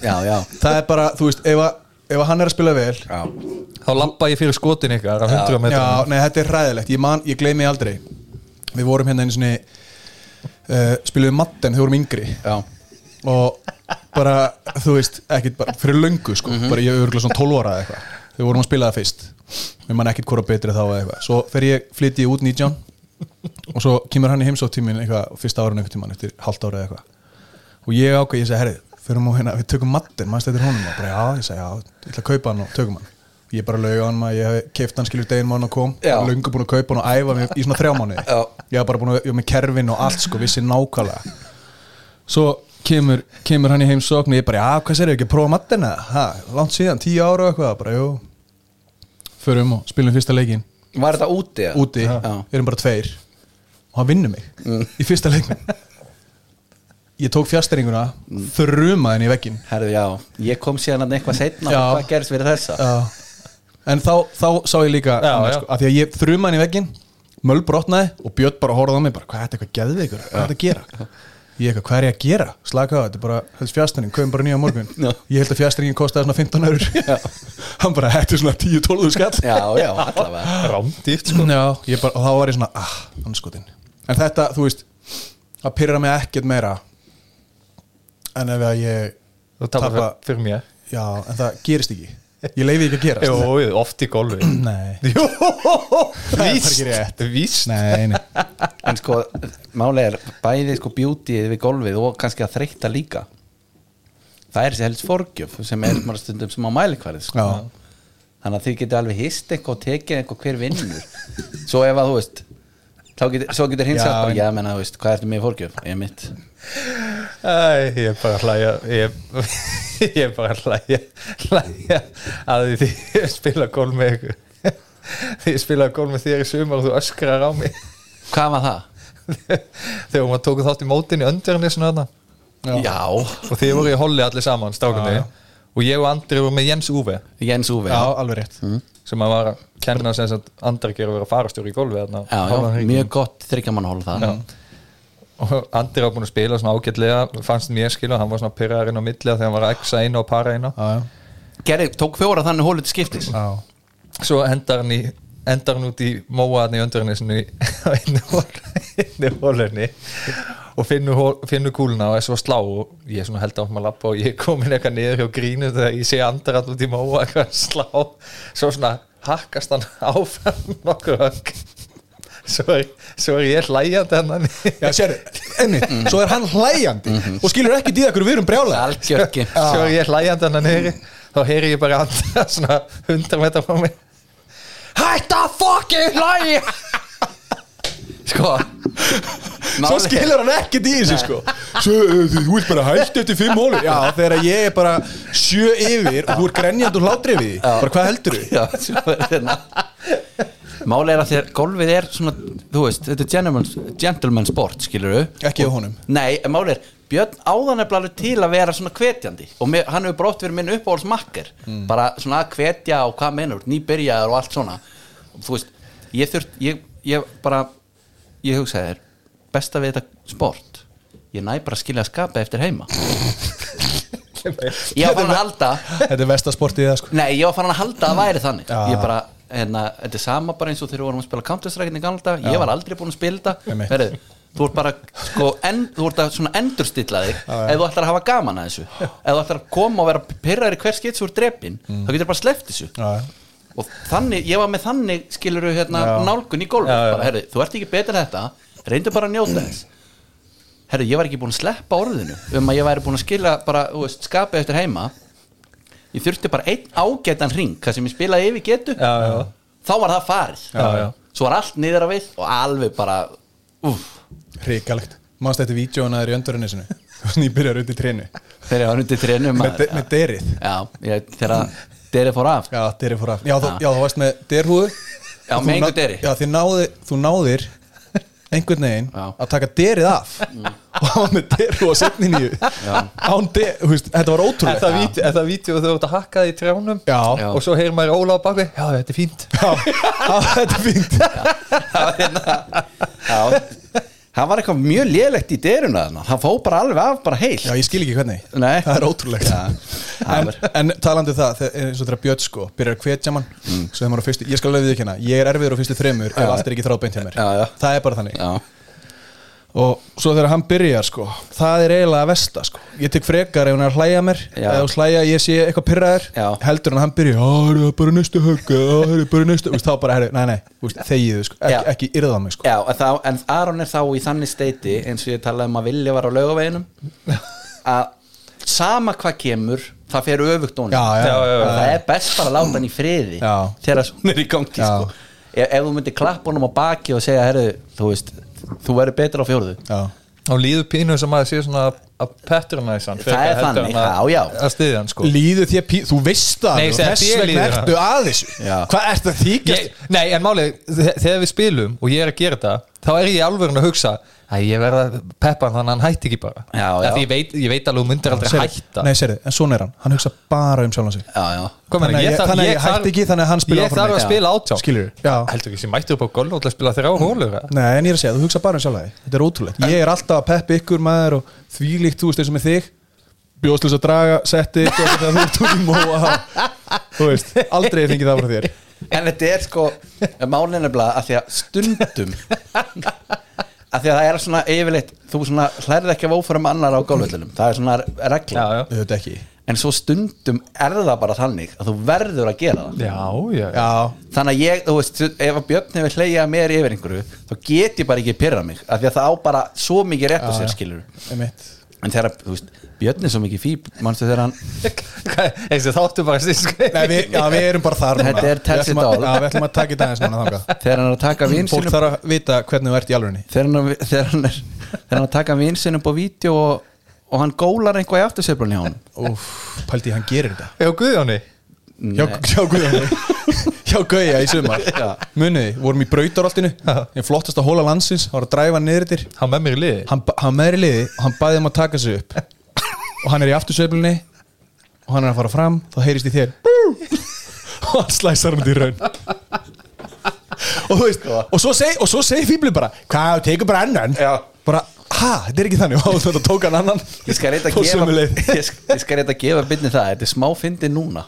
[SPEAKER 4] já, já,
[SPEAKER 6] Það er bara, þú veist, ef, að- ef að hann er að spila vel
[SPEAKER 4] já,
[SPEAKER 5] þá lappa ég fyrir skotin ykkar að 100
[SPEAKER 6] Já,
[SPEAKER 5] metrum
[SPEAKER 6] nei, þetta er ræðilegt, ég, man, ég gleymi því aldrei Við vorum hérna einu sinni uh, Spiluðum matten, þegar við vorum yngri
[SPEAKER 4] já.
[SPEAKER 6] Og bara, þú veist, ekkit bara Fyrir löngu, sko, bara ég er örgulega svona 12 ára eða eitthvað Þegar við vorum að spila það fyrst Við mann ekkit hvora betri þá eða eitthvað Svo fer ég, flytti ég út 19 Og svo kemur hann í heimsóttímin eitthvað Fyrsta ára einhvern tímann, eftir halvt ára eða eitthvað Og ég ákvað, ég segi, herri, förum á hérna Við tökum matten, maður stættir honum Og bara, já, ég segi, já, ég ætla að kaupa hann og tökum hann Ég bara lauga hann maður, ég hef keift hann skilur deginn maður og kom,
[SPEAKER 4] Já.
[SPEAKER 6] löngu búin að kaupa hann og æfa mig í svona þrjá mánuði
[SPEAKER 4] Já.
[SPEAKER 6] Ég hef bara búin að, ég var með kerfin og allt sko, vissi nákvæmlega Svo kemur, kemur hann í heimsókn og ég bara, já, hvað sér ekki að prófa matten eða? Ha, langt síðan, tíu ára og eitthvað, bara, jú Förum og spilum fyrsta leikinn
[SPEAKER 4] var þetta úti? eða?
[SPEAKER 6] úti,
[SPEAKER 4] já. Mm.
[SPEAKER 6] erum bara tveir og hann vinnur mig í fyrsta leiknum ég tók fjastringuna
[SPEAKER 4] Mm.
[SPEAKER 6] þruma henni í veggin
[SPEAKER 4] Herðu, já, ég kom síðan að eitthvað setna
[SPEAKER 6] Já.
[SPEAKER 4] hvað gerst fyrir þessa?
[SPEAKER 6] uh, en þá, þá sá ég líka
[SPEAKER 5] Já,
[SPEAKER 6] annað,
[SPEAKER 5] já.
[SPEAKER 6] Sko, að því að ég þruma henni í veggin möll brotnaði og Björn bara horfði á mig bara, hvað er þetta eitthvað geðveikur, hvað er þetta að gera ég eitthvað, hvað er ég að gera, slaka á þetta er bara, helst fjastringin, köfum bara nýja á morgun
[SPEAKER 4] Já.
[SPEAKER 6] ég held að fjastringin kostaði svona 15 eurur hann bara, þetta er svona 10-12 skall
[SPEAKER 4] já, já, allavega
[SPEAKER 5] rámdýrt
[SPEAKER 6] sko. Já, ég bara, og þá var ég svona ah, anskotin En þetta, þú veist, það pyrra mig ekkert meira En ef að ég
[SPEAKER 5] þú tapar
[SPEAKER 6] tapa-
[SPEAKER 5] fyrir mér
[SPEAKER 6] Já, en það gerist ekki Ég leifi ekki að gerast
[SPEAKER 5] Jó, oft í golfi
[SPEAKER 6] Nei,
[SPEAKER 5] Jú,
[SPEAKER 6] bara
[SPEAKER 5] víst,
[SPEAKER 6] ekki rétt.
[SPEAKER 5] víst
[SPEAKER 6] nei, nei
[SPEAKER 4] en sko, málega er bæði sko beautyið við golfið og kannski að þreytta líka það er þessi helst forgjöf sem er bara stundum sem á mælikvarið sko.
[SPEAKER 6] Já.
[SPEAKER 4] þannig að þið getur alveg hist eitthvað og tekið eitthvað hver vinnur svo ef að þú veist þá getur, svo getur hins
[SPEAKER 6] Já,
[SPEAKER 4] að bara,
[SPEAKER 6] en-
[SPEAKER 4] já menna þú veist, hvað ertu með í forgjöf? Ég mitt
[SPEAKER 5] Æ, ég er bara að hlæja ég, ég er bara að hlæja, hlæja að því því ég spila gól með ykkur því ég spila gól með þér í sumar og þú öskrar á mig
[SPEAKER 4] hvað var það?
[SPEAKER 5] þegar maður tóku þátt í mótin í öndjarnisinu þarna
[SPEAKER 4] Já,
[SPEAKER 5] og þið voru í holli allir saman strákunni og ég og Andri voru með Jens Uwe
[SPEAKER 4] Jens Úfi
[SPEAKER 6] Já, alveg rétt
[SPEAKER 4] Mm.
[SPEAKER 5] sem að var að kenna sem sagt Andri gerir að vera farastjóri í golfi þarna á
[SPEAKER 4] já, já,
[SPEAKER 5] hálfan hring.
[SPEAKER 4] mjög gott þryggjamanhól það
[SPEAKER 5] og Andri var búin að spila svona ágætlega fannst mér skilja og hann var svona pyrraður inn á milli af þegar hann var að exa inn og para inn á
[SPEAKER 6] Já, já,
[SPEAKER 4] Gerði, tók fjóra þannig hólu til skiptis
[SPEAKER 6] já
[SPEAKER 5] svo endar hann í endar hann út í móaðan í öndurinnissinu inn í hólunni og finnur, hol, finnur kúluna og er svo að slá og ég er svona held áfram að lappa og ég er komin eitthvað niður hjá grínu þegar ég sé andar allt út í móa eitthvað að slá svo svona hakkast hann áfram nokkur högg svo er, svo er ég hlægjandi hennan
[SPEAKER 6] Já, sér, enni, svo er hann hlæjandi
[SPEAKER 4] Mhm.
[SPEAKER 6] og skilur ekki dýða hverju við erum brjálega
[SPEAKER 4] Algjörgi
[SPEAKER 5] svo er ég hlægjandi hennan niður þá heyri ég bara andra svona 100 metra frá mig Hætta fucking hlægja
[SPEAKER 4] Sko
[SPEAKER 6] Svo
[SPEAKER 4] málið-
[SPEAKER 6] skilur hann ekki í þessu sko Svo, uh, þú vilt bara hægt eftir fimm hólur Já, þegar ég er bara sjö yfir og þú er grenjandi og hlátri við því. Bara hvað heldur þú?
[SPEAKER 4] Já, svo er þetta Máli er að þér, golfið er svona Þú veist, þetta er gentleman, gentleman sport Skilur
[SPEAKER 6] Ekki á honum
[SPEAKER 4] Nei, en máli er, Björn áðan er alveg til að vera svona hvetjandi og mér, hann hefur brótt verið minn uppáhaldsmakkar bara svona að hvetja og hvað menur nýbyrjaður og allt svona og þú veist, ég þurft ég, ég bara, ég hugsaði þér besta við þetta sport ég næ bara að skilja að skapa eftir heima ég var farin að halda
[SPEAKER 6] Þetta er vestasportið það sko
[SPEAKER 4] nei, ég var farin að halda að væri þannig
[SPEAKER 6] Já.
[SPEAKER 4] ég bara, hérna, þetta er sama bara eins og þegar við vorum að spila Counter-Strike í gamla dag ég var aldrei búin að spila þetta
[SPEAKER 6] Einmitt.
[SPEAKER 4] Herðu, þú ert bara sko, en, þú ert að svona endurstilla þig ef þú ætlar að hafa gaman að þessu ef þú ætlar að koma og vera pyrraður í hver skitt svo er drepin,
[SPEAKER 6] Mm.
[SPEAKER 4] þá getur bara sleppt þessu
[SPEAKER 6] Já, já.
[SPEAKER 4] og þannig, ég var með þannig skilur þú hérna nálgun í golf bara, herri, þú ert ekki betur en þetta reyndu bara að njóta þess herri, ég var ekki búin að sleppa orðinu um að ég væri búin að skila bara, þú veist, skapa eftir heima ég þurfti bara einn ágætan ring hvað sem ég spilaði yfir getu
[SPEAKER 5] já, já.
[SPEAKER 4] þá var það farið
[SPEAKER 5] Já, já.
[SPEAKER 4] svo var allt niður að við og alveg bara úf,
[SPEAKER 6] Ríkalegt Manst þetta vídjóna þér í öndurinu sinu Þannig byrjar út í trénu
[SPEAKER 4] þegar ég var undir trénum
[SPEAKER 6] Með, de, með derið
[SPEAKER 4] já, ég, þegar derið fór af
[SPEAKER 6] Já, derið fór af Já, þú, já, þú varst með derhúðu
[SPEAKER 4] Ah. Já,
[SPEAKER 6] Þú
[SPEAKER 4] með engu
[SPEAKER 6] ná-
[SPEAKER 4] deri.
[SPEAKER 6] Já, þið náði, þú náðir einhvern veginn
[SPEAKER 4] Já. Mm.
[SPEAKER 6] að taka derið af og hann var með derhúðu að setni nýju Án derið, þú veist, þetta var
[SPEAKER 5] Er það
[SPEAKER 6] ótrúlega
[SPEAKER 5] vídeo- er það vídeo þau átt að hakka það í trjánum
[SPEAKER 6] Já.
[SPEAKER 5] og svo heyrir maður Óla á bakvið já þetta er fínt
[SPEAKER 6] Já, já, þetta er fínt
[SPEAKER 4] Já, það var eitthvað mjög lélegt í deruna þannig Það fóð bara alveg af, bara heil
[SPEAKER 6] Já, ég skil ekki hvernig
[SPEAKER 4] Nei.
[SPEAKER 6] Það er ótrúlegt
[SPEAKER 4] Já, það
[SPEAKER 6] en,
[SPEAKER 4] var-
[SPEAKER 6] en talandi um það, þegar- eins og þeirra bjött sko Byrjar að hvetja mann
[SPEAKER 4] Mm.
[SPEAKER 6] Svo þegar maður á fyrstu, ég skal alveg viðkjanna Ég er erfiður á fyrstu þremur ef allt er ekki þráðbeint hjá mér
[SPEAKER 4] Já, já.
[SPEAKER 6] Það er bara þannig
[SPEAKER 4] Já,
[SPEAKER 6] og svo þegar hann byrjar sko það er eiginlega að vesta sko ég tek frekar ef hann er að hlæja mér
[SPEAKER 4] Já.
[SPEAKER 6] eða hlæja að ég sé eitthvað pyrraður
[SPEAKER 4] Já.
[SPEAKER 6] heldur en að hann byrja já, það er bara næstu högg já, það er bara næstu Vist, þá bara, herri, nei, nei, úst, þegiðu sko
[SPEAKER 4] Já.
[SPEAKER 6] ekki, ekki yrða mig sko
[SPEAKER 4] Já en, þá, en Aron er þá í þannig steiti eins og ég talaði um að vilja var á laugaveginum að sama hvað kemur það fer öfugt honum
[SPEAKER 6] Já, já, já, já.
[SPEAKER 4] Og það er best bara að láta hann í friði
[SPEAKER 6] Já.
[SPEAKER 4] þegar svona er í gangi
[SPEAKER 6] Já.
[SPEAKER 4] sko. ef, ef þú myndir klappa honum á baki og segja herru, þú veist, þú verður betur á fjórðu
[SPEAKER 6] já,
[SPEAKER 5] og líður pínu sem maður sé svona að- að patronize hann
[SPEAKER 4] Það er þannig, já, já.
[SPEAKER 5] að stiðja hann sko
[SPEAKER 6] líðu þér pí þú veist það
[SPEAKER 5] Nei, ég
[SPEAKER 6] og
[SPEAKER 5] segi að
[SPEAKER 6] þess
[SPEAKER 5] þér
[SPEAKER 6] vegna
[SPEAKER 5] líður það.
[SPEAKER 6] ertu að þessu
[SPEAKER 4] Já.
[SPEAKER 6] hvað ertu að þykjast
[SPEAKER 5] ég, nei en málið þe- þegar við spilum og ég er að gera þetta þá er ég alveg að hugsa að ég verða að peppa hann þannig að hann hætti ekki bara
[SPEAKER 4] Já,
[SPEAKER 5] Af
[SPEAKER 4] já.
[SPEAKER 5] því ég veit, ég veit alveg að þú myndir aldrei
[SPEAKER 6] Sérðu,
[SPEAKER 5] hætta
[SPEAKER 6] nei, sérðu, en svona er hann, hann hugsa bara um sjálfan sig
[SPEAKER 4] Já, já
[SPEAKER 5] Hvað meina,
[SPEAKER 6] Þannig að ég-
[SPEAKER 5] þarf-
[SPEAKER 6] þannig að ég
[SPEAKER 5] þarf-
[SPEAKER 6] hætti ekki, þannig að hann spilar
[SPEAKER 5] ég
[SPEAKER 6] áfram
[SPEAKER 5] þarf að
[SPEAKER 4] með-
[SPEAKER 5] spila átján
[SPEAKER 6] Skilurðu? Já.
[SPEAKER 5] heldur ekki sem mættur upp á golf og spila þrjá hólur eða?
[SPEAKER 6] Nei, en ég er að segja, þú hugsa bara um sjálf þig Þetta er ótrúlegt Ég er alltaf að peppa ykkur maður og þvílíkt, þú veist, eins og með þig Bjóðslis að draga, setti og þetta þú ert út í móa Þú veist, aldrei ég fengið það frá þér
[SPEAKER 4] En þetta er sko Málin er bara að því að stundum að því að það er svona yfirleitt þú svona hlærið ekki af ófærum annar á gólföllunum það er svona regla
[SPEAKER 5] já já
[SPEAKER 6] Þetta ekki
[SPEAKER 4] en svo stundum er það bara þannig að þú verður að gera það
[SPEAKER 5] já já, já.
[SPEAKER 6] Já,
[SPEAKER 4] þannig að ég, þú veist, ef að Björn hefur hleyjað mér yfir einhverju, þá get ég bara ekki pyrra mig, af því að það á bara svo mikið rétt á sér skilur,
[SPEAKER 6] einmitt
[SPEAKER 4] en þegar, þú veist Björn er svo mikið fíb, mannstu þegar hann
[SPEAKER 5] eins og þáttu bara sko. sísk
[SPEAKER 6] Nei, við, já, við erum bara þar núna.
[SPEAKER 4] Þetta er
[SPEAKER 6] Við ætlum að-
[SPEAKER 4] telsidál.
[SPEAKER 6] Já, við ætlum að taka í dagins núna þangað
[SPEAKER 4] þegar hann er að taka vinn
[SPEAKER 6] Fólk
[SPEAKER 4] sínum
[SPEAKER 6] þarf að vita hvernig þú ert í alvörinni
[SPEAKER 4] þegar hann, þegar hann er þegar hann taka vinn sinn upp á vídeo og, og hann gólar einhvað í afturseflunni á hann
[SPEAKER 6] Úf, pældi, hann gerir þetta
[SPEAKER 5] já Guðjóni
[SPEAKER 6] Já, já, guðjóni hjá Gauja í sumar Muniði, vorum í brautaroltinu Ég flottast að hóla landsins, var að dræfa niður yfir
[SPEAKER 5] Hann með mér í liði
[SPEAKER 6] hann, ba- hann meðri liði og hann bæði um að taka sig upp og hann er í aftursveiflunni og hann er að fara fram, þá heyrist í þér Bú! og hann slæsar hann út í raun og þú veist og svo seg- og svo segir fíblin bara hvað, tekur bara annan
[SPEAKER 5] Já.
[SPEAKER 6] bara, ha, þetta er ekki þannig og þetta tók hann annan
[SPEAKER 4] Ég skal reynda að
[SPEAKER 6] Og
[SPEAKER 4] gefa
[SPEAKER 6] sömu leið.
[SPEAKER 4] ég, sk- ég skal reynda að gefa byrni það Þetta er smá fyndi núna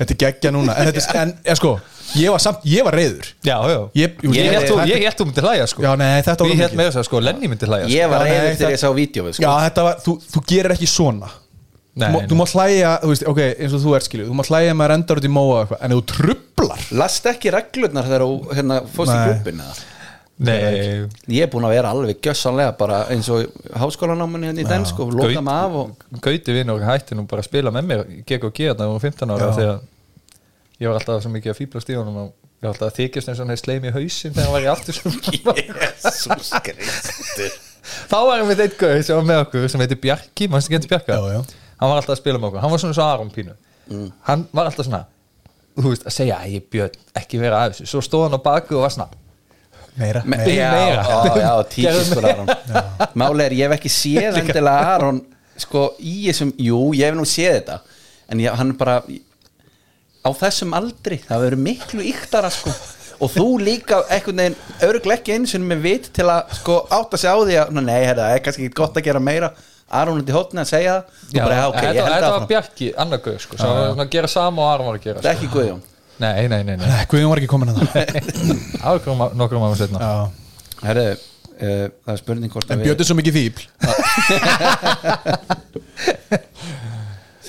[SPEAKER 6] þetta er geggja núna en, þetta, er- en ja, sko, ég var samt, ég var reyður
[SPEAKER 5] Já, já
[SPEAKER 6] Ég- jú,
[SPEAKER 5] Ég
[SPEAKER 6] ég-
[SPEAKER 5] held þú- ég held þú myndi hlæja sko
[SPEAKER 6] Já, nei, þetta var
[SPEAKER 5] Við
[SPEAKER 6] mikið.
[SPEAKER 5] held með þess að sko Lenny myndi hlæja
[SPEAKER 4] Ég var
[SPEAKER 6] Já, nei,
[SPEAKER 4] reyður þegar ég sá
[SPEAKER 6] það-
[SPEAKER 4] vídjóið
[SPEAKER 6] já,
[SPEAKER 4] sko.
[SPEAKER 6] þetta var, þú, þú gerir ekki svona
[SPEAKER 5] Nei,
[SPEAKER 6] þú, má,
[SPEAKER 5] nei.
[SPEAKER 6] þú mátt hlæja, þú veist, ok, eins og þú ert skilju þú mátt hlæja með rendar út í móa og eitthvað en ef þú trublar
[SPEAKER 4] Last ekki reglurnar þegar þú hérna, fórst í
[SPEAKER 6] Nei.
[SPEAKER 4] klubbin eða?
[SPEAKER 5] Nei
[SPEAKER 4] Ég er búin að vera alveg gjössanlega bara eins og háskólanáminni hérna í dansk og
[SPEAKER 5] Gaut-
[SPEAKER 4] loka mig af og
[SPEAKER 5] Gauti vinn og hætti nú bara að spila með mér í GKG þarna voru 15 ára
[SPEAKER 6] Já.
[SPEAKER 5] hérna, þegar ég var alltaf svo mikið að fýblast í honum og ég var alltaf að þykjast eins og hann hefði sleim í hausinn þegar hann var í aftur
[SPEAKER 4] Jesus Kristur
[SPEAKER 5] þá var einmitt einn gauð sem var með okkur sem heitir Bjarki, mannstu ekki hendur Bjarka
[SPEAKER 6] Já, já.
[SPEAKER 5] hann var alltaf að spila með okkur, hann var svona svo Aron pínu hann var alltaf svona þú veist, að segja, æ, Björn, ekki vera að þessu svo stóð hann á baku og var svona
[SPEAKER 6] meira,
[SPEAKER 4] Me,
[SPEAKER 5] Nei.
[SPEAKER 4] já,
[SPEAKER 5] Meira.
[SPEAKER 4] já, já,
[SPEAKER 5] Gerðu
[SPEAKER 4] tíkistur Aron Máli er, ég hef ekki séð endilega Aron sko í þessum, jú, ég hef nú séð þetta en ég, hann bara á þessum aldri, það verður miklu yktara sko og þú líka einhvern veginn örglega ekki eins og með vit til að sko átta sig á því að "Nú, nei, heyrðu, það er kannski ekki gott að gera meira Aron hundi hótni að segja það og
[SPEAKER 5] Já,
[SPEAKER 4] bara, já, ok,
[SPEAKER 5] þetta,
[SPEAKER 4] ég held
[SPEAKER 5] þetta var
[SPEAKER 4] að
[SPEAKER 5] Bjarki, annar gauð sko, sem var svona að gera sama og Aron var að gera
[SPEAKER 4] það
[SPEAKER 5] sko.
[SPEAKER 4] er ekki Guðjón
[SPEAKER 5] nei, nei, nei, nei,
[SPEAKER 6] Nei, Guðjón var ekki komin að það
[SPEAKER 5] það var nokkrum- nokkrum árum setna
[SPEAKER 4] Herru, uh, það er spurning hvort
[SPEAKER 6] En Björn er svo mikið fíbl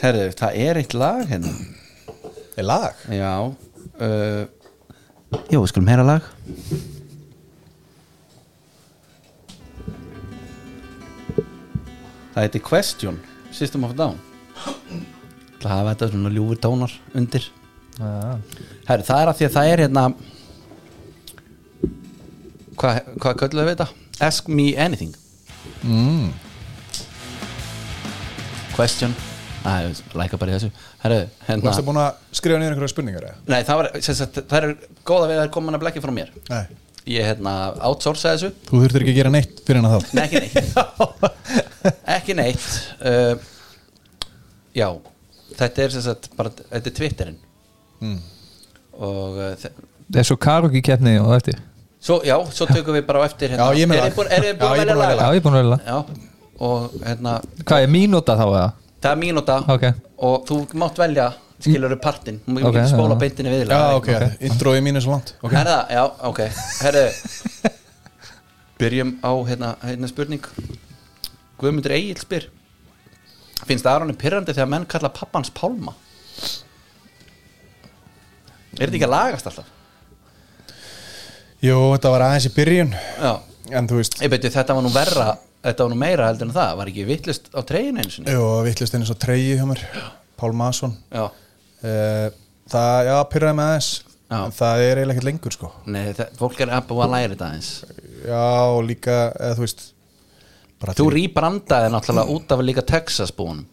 [SPEAKER 4] Herru, það er eitt lag hérna
[SPEAKER 6] Er lag?
[SPEAKER 4] Já uh, Jó, við skulum heyra lag Það heitir Question System of a Down Það hafa þetta svona ljúfur tónar undir
[SPEAKER 5] Já.
[SPEAKER 4] Herri, það er af því að það er hérna Hvað hva kölluðu við þetta? Ask me anything mm. Question Það er læka bara í þessu Herri,
[SPEAKER 6] Þú
[SPEAKER 4] hérna
[SPEAKER 6] varst að búin að skrifa niður einhverja spurningar eða?
[SPEAKER 4] Nei, það var, sem sagt, það er góða við að það er komin að blekki frá mér
[SPEAKER 6] Nei
[SPEAKER 4] Ég, hérna, outsourcaði þessu
[SPEAKER 6] Þú þurftir ekki að gera neitt fyrir hennar þá
[SPEAKER 4] Nei, ekki neitt Ekki neitt uh, Já, þetta er sem sagt bara, þetta er Twitterin Og uh, þe-
[SPEAKER 5] það er svo karaoke keppni og þetta
[SPEAKER 4] svo, já, svo tökum við bara á eftir hérna.
[SPEAKER 6] Já, ég með
[SPEAKER 4] Er
[SPEAKER 6] lag.
[SPEAKER 4] þið búin er þið búin
[SPEAKER 6] Já, ég
[SPEAKER 4] að
[SPEAKER 6] er búin að
[SPEAKER 4] velja
[SPEAKER 5] já,
[SPEAKER 4] lag?
[SPEAKER 5] ég er búin að velja það.
[SPEAKER 4] Já, og hérna
[SPEAKER 5] hvað er mínúta þá eða?
[SPEAKER 4] Það er mínúta
[SPEAKER 5] Ok.
[SPEAKER 4] og þú mátt velja skilurðu partinn, þú
[SPEAKER 5] Ok,
[SPEAKER 4] getur spóla
[SPEAKER 5] já.
[SPEAKER 4] beintinni við
[SPEAKER 6] Já, ok, introið mínu er svo langt
[SPEAKER 4] okay. Herða, já, ok Herðu Byrjum á hérna, hérna spurning Guðmundur Egil spyr Finnst Aronni pyrrandi þegar menn kalla pappans pálma? Er þetta ekki
[SPEAKER 6] Mm.
[SPEAKER 4] að lagast alltaf?
[SPEAKER 6] Jú, þetta var aðeins í byrjun
[SPEAKER 4] Já
[SPEAKER 6] En þú veist,
[SPEAKER 4] Ég beti, þetta var nú verra Þetta var nú meira heldur en það Var ekki vittlust á treginu eins og
[SPEAKER 6] jú, vittlust einu svo treyju hjá mér Pál Mason
[SPEAKER 4] Já
[SPEAKER 6] Eh, Það, já, pyrraði með aðeins
[SPEAKER 4] Já.
[SPEAKER 6] En það er eiginlega ekkert lengur, sko
[SPEAKER 4] Nei, þetta, fólk er að búa að læra þetta eins
[SPEAKER 6] Já, og líka, eða, þú veist bara
[SPEAKER 4] Þú
[SPEAKER 6] til-
[SPEAKER 4] rýbrandaði náttúrulega út af líka Texas búinum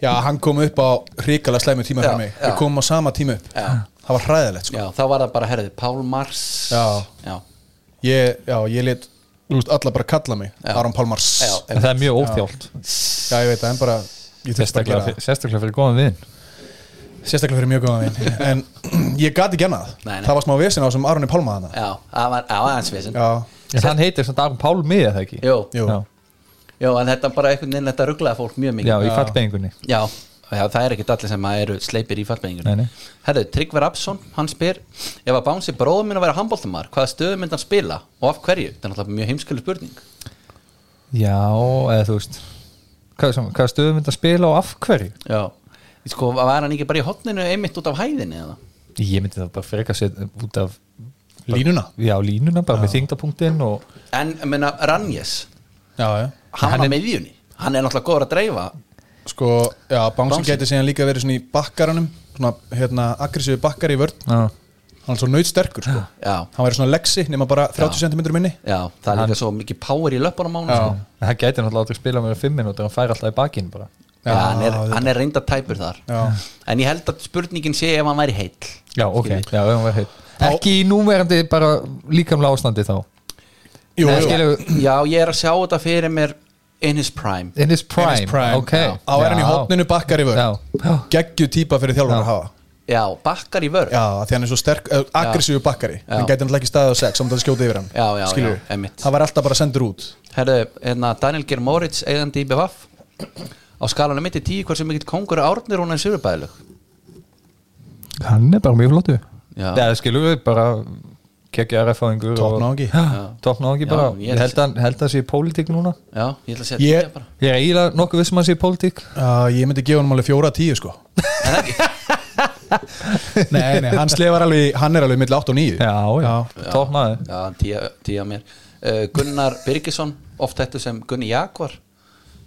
[SPEAKER 6] Já, hann kom upp á hrikalega slæmu tíma
[SPEAKER 4] Já,
[SPEAKER 6] fyrir mig
[SPEAKER 4] já.
[SPEAKER 6] Við komum á sama tíma upp
[SPEAKER 4] Já.
[SPEAKER 6] Það var hræðilegt, sko
[SPEAKER 4] Já, þá var það bara, herðu, Pál Mars
[SPEAKER 6] Já.
[SPEAKER 4] Já
[SPEAKER 6] Ég, já, ég let, þú veist, alla bara kalla mig
[SPEAKER 4] Já.
[SPEAKER 6] Aron Pálmars
[SPEAKER 4] Já,
[SPEAKER 5] En það er mjög óþjált
[SPEAKER 6] Já, ég veit það, en bara ég þurfti
[SPEAKER 5] sérstaklega,
[SPEAKER 6] bara að gera
[SPEAKER 5] fyrir- sérstaklega fyrir góðan vinn
[SPEAKER 6] það Sérstaklega fyrir mjög góðan vinn En ég gati ekki annað
[SPEAKER 4] Nei, nei.
[SPEAKER 6] Það var smá vesen á sem Aronni Pálma þarna
[SPEAKER 4] Já, það var aðeins vesen
[SPEAKER 6] Já,
[SPEAKER 5] En hann heitir svona Aron Pálmi eða það ekki?
[SPEAKER 4] Jú,
[SPEAKER 6] jú,
[SPEAKER 5] Já,
[SPEAKER 4] jú, en þetta bara einhvern veginn þetta rugglaði fólk mjög
[SPEAKER 5] já
[SPEAKER 4] mikið
[SPEAKER 5] í fallbeigingunni
[SPEAKER 4] já, já, það er ekkert allir sem að eru sleipir í fallbeigingur
[SPEAKER 5] Nei, nei.
[SPEAKER 4] Herðu, Tryggvar Absson, hann spyr Ef að bánsi bróðum minn að vera handbóltamar hvaða stöðu mynd hann spila og af hverju? Það er náttúrulega mjög heimskuleg spurning
[SPEAKER 5] Já, eða þú veist Hvað, sem, hvað stöðum þetta að spila og af hverju?
[SPEAKER 4] Já Sko, var hann ekki bara í hotninu einmitt út af hæðinni eða?
[SPEAKER 5] Ég myndi það bara freka sér út af
[SPEAKER 6] línuna
[SPEAKER 5] Já, línuna, bara með þingdapunktinn og
[SPEAKER 4] En, ég meina, Ranjes
[SPEAKER 6] Já, já
[SPEAKER 4] Hann var með viðjunni Hann er náttúrulega góður að dreifa
[SPEAKER 6] Sko, já, Bánsin
[SPEAKER 4] Bangsi.
[SPEAKER 6] gæti síðan líka verið svona í bakkaranum Svona, hérna, aggressífi bakkar í vörn
[SPEAKER 5] já,
[SPEAKER 6] Hann er svo nautsterkur, sko
[SPEAKER 4] Já,
[SPEAKER 6] Hann væri svona leksi, nema bara 30 cm minni
[SPEAKER 4] já, það er líka svo mikið power í löpunum á hann sko.
[SPEAKER 5] En hann gæti náttúrulega aldrei spila með fimm minútur Hann fær alltaf í bakinn bara
[SPEAKER 4] Já, hann, er,
[SPEAKER 6] auðvitað.
[SPEAKER 4] hann er reynda tæpur þar
[SPEAKER 6] Já.
[SPEAKER 4] En ég held að spurningin sé ef hann væri heill
[SPEAKER 5] Já, ok, já, við höfum verið heitt Ekki í núverandi bara líkamlega ástandi þá
[SPEAKER 6] Jú,
[SPEAKER 5] Nei,
[SPEAKER 6] jú.
[SPEAKER 5] skilur,
[SPEAKER 4] Já, ég er að sjá þetta fyrir mér in his prime
[SPEAKER 5] In his prime,
[SPEAKER 6] Dennis Prime,
[SPEAKER 5] ok
[SPEAKER 6] já. á er hann í
[SPEAKER 5] Já.
[SPEAKER 6] hotninu bakkar yfir
[SPEAKER 5] Já. Já.
[SPEAKER 6] geggju típa fyrir þjálfur
[SPEAKER 5] Já.
[SPEAKER 6] að hafa
[SPEAKER 4] Já, bakkar í vörn
[SPEAKER 6] já, af því hann er svo sterk, uh, aggressífu bakkari hann gæti náttúrulega ekki staðið á sex, samt að skjóta yfir hann
[SPEAKER 4] Já, já,
[SPEAKER 6] Skilur
[SPEAKER 4] já, einmitt.
[SPEAKER 6] hann var alltaf bara sendur út
[SPEAKER 4] Herðu, hérna Daniel Geir Moritz eigandi í BVF á skalanum mitt í tíu hversu mikill kongur árnir hún er sigurbæðilög
[SPEAKER 5] Hann er bara mjög flottu
[SPEAKER 4] Já.
[SPEAKER 5] Það skilur við bara Kekja RF-fáðingur
[SPEAKER 6] Toppnáungi.
[SPEAKER 5] Topnáðingi
[SPEAKER 4] Já,
[SPEAKER 5] bara
[SPEAKER 4] ég
[SPEAKER 5] Ég
[SPEAKER 4] held-
[SPEAKER 5] held að, held að sé í pólitík núna
[SPEAKER 4] Já, ég ætla að segja
[SPEAKER 6] Ég-
[SPEAKER 4] þetta bara
[SPEAKER 5] Ég er eiginlega nokkuð vissum að sé í pólitík
[SPEAKER 6] uh, ég myndi gefa hann alveg fjóra tíu sko
[SPEAKER 4] En ekki,
[SPEAKER 6] nei, nei, hann slefar alveg, hann er alveg milli 8 og 9
[SPEAKER 5] Já, já, topnáði
[SPEAKER 4] já, hann tíu, tíu að mér uh, Gunnar Birgisson, oft þetta sem Gunni Jakvar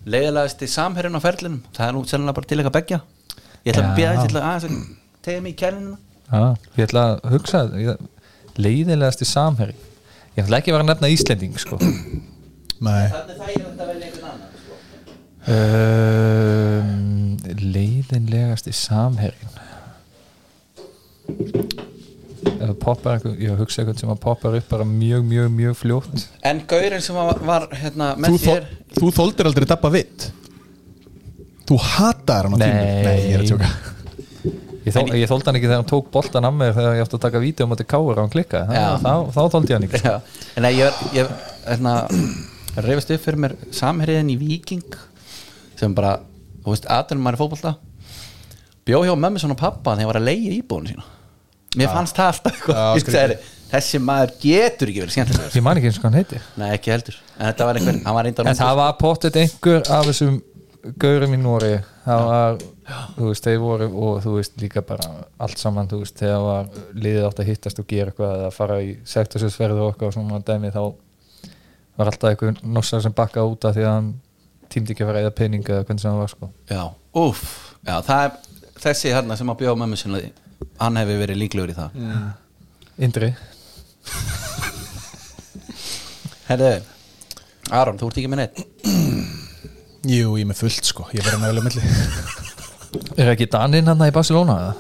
[SPEAKER 4] leiðilegasti samherrin á ferlinum það er nú sennilega bara til eitthvað begja Ég ætla að
[SPEAKER 5] Já.
[SPEAKER 4] bíða þess, ég ætla aðeins að tegja mig í kælinina
[SPEAKER 5] Já, ég ætla að hugsa ég- Leiðilegasti samherri Ég ætla ekki að vera að nefna Íslending sko.
[SPEAKER 6] nei,
[SPEAKER 4] Þannig það er þetta vel einhvern annan sko.
[SPEAKER 5] um, Leiðinlegasti samherrin Ef það poppar eitthvað, ég hugsa eitthvað sem að poppar upp bara mjög, mjög, mjög fljótt
[SPEAKER 4] En Gaurin sem var, var hérna, með
[SPEAKER 6] þú, þó,
[SPEAKER 4] þér
[SPEAKER 6] þú þóldir aldrei dabba vitt þú hatar hann á tímum
[SPEAKER 5] Nei.
[SPEAKER 6] nei, ég er að tjóka
[SPEAKER 5] Ég, þó, ég þóldi hann ekki þegar hann tók boltan af mér þegar ég átti að taka vídeo um að þetta káur á hann klikka
[SPEAKER 4] Já.
[SPEAKER 5] þá, þá þóldi ég hann ekki
[SPEAKER 4] Já, en nei, ég, var- ég hérna, reyfist upp fyrir mér samherriðin í Viking sem bara, þú veist, aðtunum maður í fótbolta bjó hjá mömmu svona pappa þegar ég var að leiða íbúinu sína mér fannst það alltaf
[SPEAKER 6] Já,
[SPEAKER 4] eitthvað Ég sagði, þessi maður getur ekki verið skemmtilegur
[SPEAKER 5] ég man ekki eins og hvað hann heiti
[SPEAKER 4] nei, ekki heldur, en þetta var einhver hann var reynda
[SPEAKER 5] en það var pottet einhver af þessum gaurum í Nóri það var, þú veist, þeir voru og þú veist líka bara allt saman þú veist, þegar var liðið átt að hittast og gera eitthvað eða fara í sektorsfjörðu okkar og svona dæmi þá var alltaf einhver nossar sem bakka út af því að hann tímdi ekki að fara eða peninga eða hvernig sem hann var sko
[SPEAKER 4] já, úf, já, það er þessi hérna sem að bjó mömmu sína hann hefur verið líklegur í það
[SPEAKER 5] Indri,
[SPEAKER 4] herðu, Aron, þú ert ekki með neitt
[SPEAKER 6] jú, ég er með fullt sko, ég verður með alveg milli
[SPEAKER 5] er ekki Daninn hann í Barcelona eða?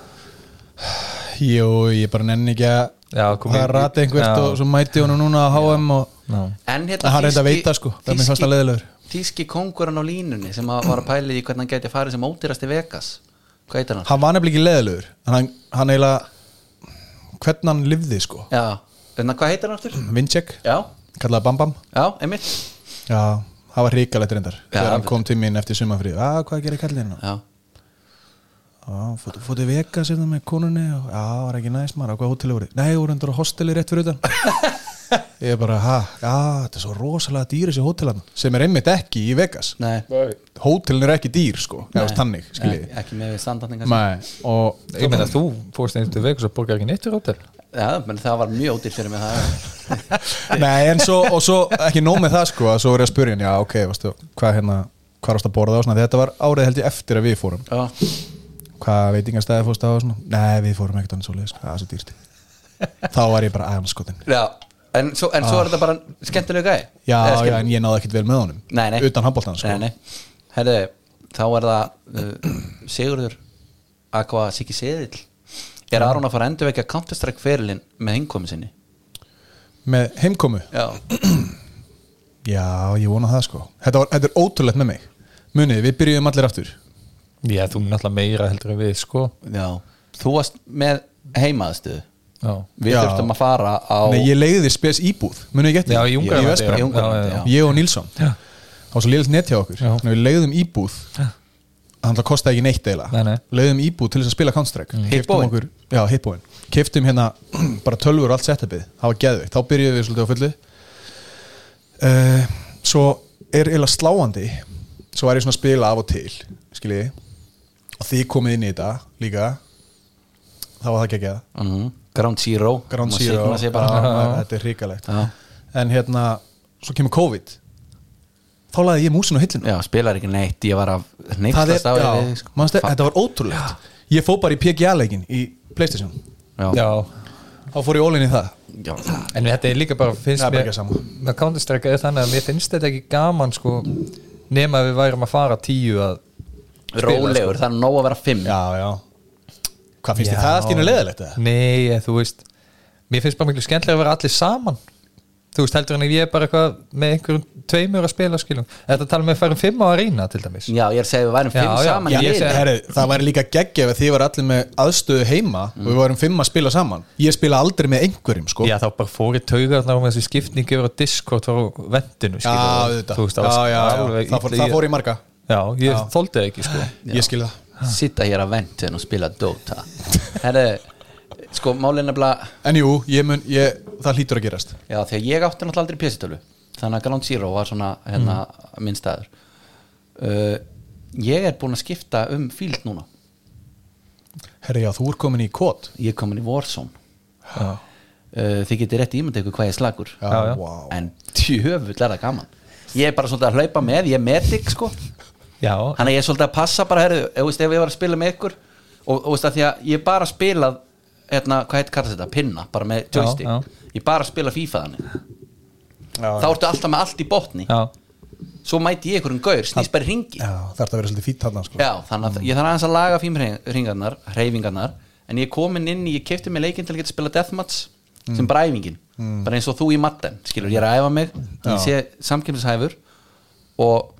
[SPEAKER 6] jú, ég bara nenni ekki að
[SPEAKER 5] Já, kom
[SPEAKER 6] að
[SPEAKER 5] í-
[SPEAKER 6] rata einhvert
[SPEAKER 5] Já.
[SPEAKER 6] og svo mæti hún núna að HM og
[SPEAKER 5] Já.
[SPEAKER 4] En hérna
[SPEAKER 6] Að hann reyndi að
[SPEAKER 4] þýski-
[SPEAKER 6] veita, sko. Það er mér
[SPEAKER 4] þýski-
[SPEAKER 6] fannst hann leiðilegur.
[SPEAKER 4] Þýski kongurinn á línunni sem að var að pæli í hvernig hann gæti farið sem ódýrasti Vegas Hvað heitir hann?
[SPEAKER 6] hann var nefnilega ekki leðilegur hann, hann eiginlega hvernig hann lifði sko
[SPEAKER 4] Já, en hvað heitir hann aftur?
[SPEAKER 6] Vincek,
[SPEAKER 4] Já,
[SPEAKER 6] kallaði Bam Bam
[SPEAKER 4] já, einmitt
[SPEAKER 6] já, það var hrikalegt reyndar þegar hann
[SPEAKER 4] við-
[SPEAKER 6] kom til mín eftir sumafrið að hvað gerir kallið hérna
[SPEAKER 4] Já,
[SPEAKER 6] Já, fóttu fót í veka sérna með konunni og já, var ekki næst maður, á hvað hóteli voru nei, voru endur á hosteli rétt fyrir utan ég bara, ha, já, þetta er svo rosalega dýr þessi hótelan, sem er einmitt ekki í Vegas,
[SPEAKER 4] nei,
[SPEAKER 6] hótelin er ekki dýr sko, eða stannig, skiljið
[SPEAKER 4] nei ekki með við standartninga sem-
[SPEAKER 6] Nei, og
[SPEAKER 5] Ég meina þú fórst einhvern til Vegas og borgar ekki neitt fyrir hótel
[SPEAKER 4] Já, menn það var mjög ódýrt fyrir mig það
[SPEAKER 6] Nei, en svo, og svo ekki nóg með það sko að svo voru ég að spyrja hann, já ok, veistu, hvað hérna, hvað varst að borða á svona, þetta var árið held ég eftir að við fórum,
[SPEAKER 4] Já,
[SPEAKER 6] hvað veitingastæði fórst á svona, nei við fórum ekkert annars svoleiðis, sko, það er svo dýrt Þá var ég bara aðanskotin
[SPEAKER 4] já En svo, en svo er þetta bara skemmtilega gæði
[SPEAKER 6] Ah. Já,
[SPEAKER 4] Eða
[SPEAKER 6] já,
[SPEAKER 4] skemmtileg-
[SPEAKER 6] en ég náði ekkert vel með honum
[SPEAKER 4] Nei, nei.
[SPEAKER 6] Utan handbóltan sko
[SPEAKER 4] Nei, nei Herðu, þá er það uh, Sigurður Aqua Siki Seðill Er Aron að fara endur vekja Counter-Strike ferilinn með hinkomi sinni?
[SPEAKER 6] Með heimkomu,
[SPEAKER 4] Já
[SPEAKER 6] já ég vona það sko Þetta, var, þetta er ótrúlegt með mig Munið, við byrjuðum allir aftur
[SPEAKER 5] Já, þú náttúrulega meira heldur en við sko
[SPEAKER 4] Já Þú varst með heimaðstöðu
[SPEAKER 5] Já,
[SPEAKER 4] Við
[SPEAKER 6] Já.
[SPEAKER 4] þurftum að fara á
[SPEAKER 6] Nei, ég leiði spes íbúð, munið ekki
[SPEAKER 5] já
[SPEAKER 6] eftir
[SPEAKER 5] í
[SPEAKER 6] því?
[SPEAKER 5] Ungarlandi
[SPEAKER 6] Vesperan.
[SPEAKER 4] í Ungverjalandi, já.
[SPEAKER 6] ég og Nilsson það var svo liðilt nett hjá okkur
[SPEAKER 5] Já.
[SPEAKER 6] Þannig að við leiðum íbúð þannig að kostaði ekki neitt eila
[SPEAKER 5] Nei, Mm. nei.
[SPEAKER 6] leiðum íbúð til þess að spila Counter-Strike Keyptum
[SPEAKER 4] Hitboy.
[SPEAKER 6] okkur- já, hitbóin keftum hérna bara tölvur og allt setupið það var geðveikt, þá byrjuðum við svolítið á fullu uh, svo er eila sláandi svo er ég svona að spila af og til skiljiði og þið komið inn í þetta líka þá var það ekki ekki
[SPEAKER 4] Mhm. Ground Zero
[SPEAKER 6] Ground
[SPEAKER 4] Má
[SPEAKER 6] Zero
[SPEAKER 4] signa sig bara.
[SPEAKER 6] Já, þetta er hrikalegt
[SPEAKER 4] Já.
[SPEAKER 6] en hérna, svo kemur COVID þá laði ég músin á hillinu
[SPEAKER 4] Já, spilar ekki neitt Ég var að
[SPEAKER 6] það er,
[SPEAKER 4] neittast á
[SPEAKER 6] já,
[SPEAKER 4] við sko.
[SPEAKER 6] manstu,
[SPEAKER 4] Fa-
[SPEAKER 6] þetta var ótrúlegt ég fó bara í PGA-leikin í Playstation
[SPEAKER 4] Já,
[SPEAKER 6] þá fór ég ólinni í það
[SPEAKER 4] já það-
[SPEAKER 5] En þetta er líka bara finnst
[SPEAKER 6] Það er bara
[SPEAKER 5] mér-
[SPEAKER 6] ekki sama.
[SPEAKER 5] með Counter-Strike er þannig að mér finnst þetta ekki gaman sko nema að við værum að fara tíu að
[SPEAKER 4] Rólegur, það er nóg að vera fimm
[SPEAKER 6] Já, já Hvað finnst
[SPEAKER 5] Já.
[SPEAKER 6] þið það allt í hennu leðilegt eða?
[SPEAKER 5] Nei, eh, þú veist Mér finnst bara miklu skemmtilega að vera allir saman Þú veist, heldur en ef ég er bara eitthvað með einhverjum tveimur að spila skilum Þetta tala með að fara um fimm á arína til dæmis
[SPEAKER 4] Já, ég er að segja við værum
[SPEAKER 5] Já,
[SPEAKER 4] fimm
[SPEAKER 5] já,
[SPEAKER 4] saman
[SPEAKER 5] já,
[SPEAKER 4] í
[SPEAKER 5] ég
[SPEAKER 4] liði
[SPEAKER 5] segi-
[SPEAKER 6] Herri, það væri líka geggjaf að þið var allir með aðstöðu heima og við varum fimm að spila saman Ég spila aldrei með einhverjum sko
[SPEAKER 5] Mm. Já, þá bara fórið taugarnar með þessi skipningi yfir á Discord frá vendinu
[SPEAKER 6] Já, auðvitað.
[SPEAKER 5] Þú veist, það var
[SPEAKER 6] já, já, já.
[SPEAKER 5] alveg
[SPEAKER 6] Það, fór,
[SPEAKER 5] illa í-
[SPEAKER 6] það fór í marga
[SPEAKER 5] Já, ég þoldi það ekki sko
[SPEAKER 6] Ég skil það
[SPEAKER 4] Sitta hér á ventin og spila Dota Herri, sko, málið er nefnilega
[SPEAKER 6] En jú, ég mun, ég, það hlýtur að gerast
[SPEAKER 4] Já, því að ég átti náttúrulega aldrei pjessitölu Þannig að Ground Zero var svona hérna,
[SPEAKER 6] Mm.
[SPEAKER 4] minn staður uh, Ég er búinn að skipta um fíld núna
[SPEAKER 6] Herri, já, þú er komin í kót
[SPEAKER 4] Ég er komin í Warzone
[SPEAKER 5] Já,
[SPEAKER 4] uh, Þið getið rétt ímyndið ykkur hvað ég er slagur
[SPEAKER 6] Já,
[SPEAKER 5] Já, já.
[SPEAKER 6] vá.
[SPEAKER 4] En tjöfull er það gaman Ég er bara svolítið að hlaupa með, ég er medic sko
[SPEAKER 5] já
[SPEAKER 4] Þannig að ég er svolítið að passa bara heru, ef, veist, ef ég var að spila með ykkur Og, og veist, að því að ég er bara að spila hérna, Hvað heit kallast þetta? Pinna, bara með joystick
[SPEAKER 5] já.
[SPEAKER 4] Ég er bara að spila FIFA þannig Þá
[SPEAKER 6] Já,
[SPEAKER 4] ertu alltaf með allt í botni
[SPEAKER 5] já.
[SPEAKER 4] Svo mæti ég ykkur um gaur, snýst bara í ringi
[SPEAKER 6] já það ert að vera svolítið fýtt hann sko.
[SPEAKER 4] Já, þannig að ég þarf aðeins að laga fímringarnar, hreyfingarnar en ég er komin inn í, ég kefti mig leikinn til að geta spila deathmatch
[SPEAKER 6] Mm.
[SPEAKER 4] sem bara æfingin bara eins og þú í matten, skilur, ég er að æfa mig ég sé samkjöfnishæfur og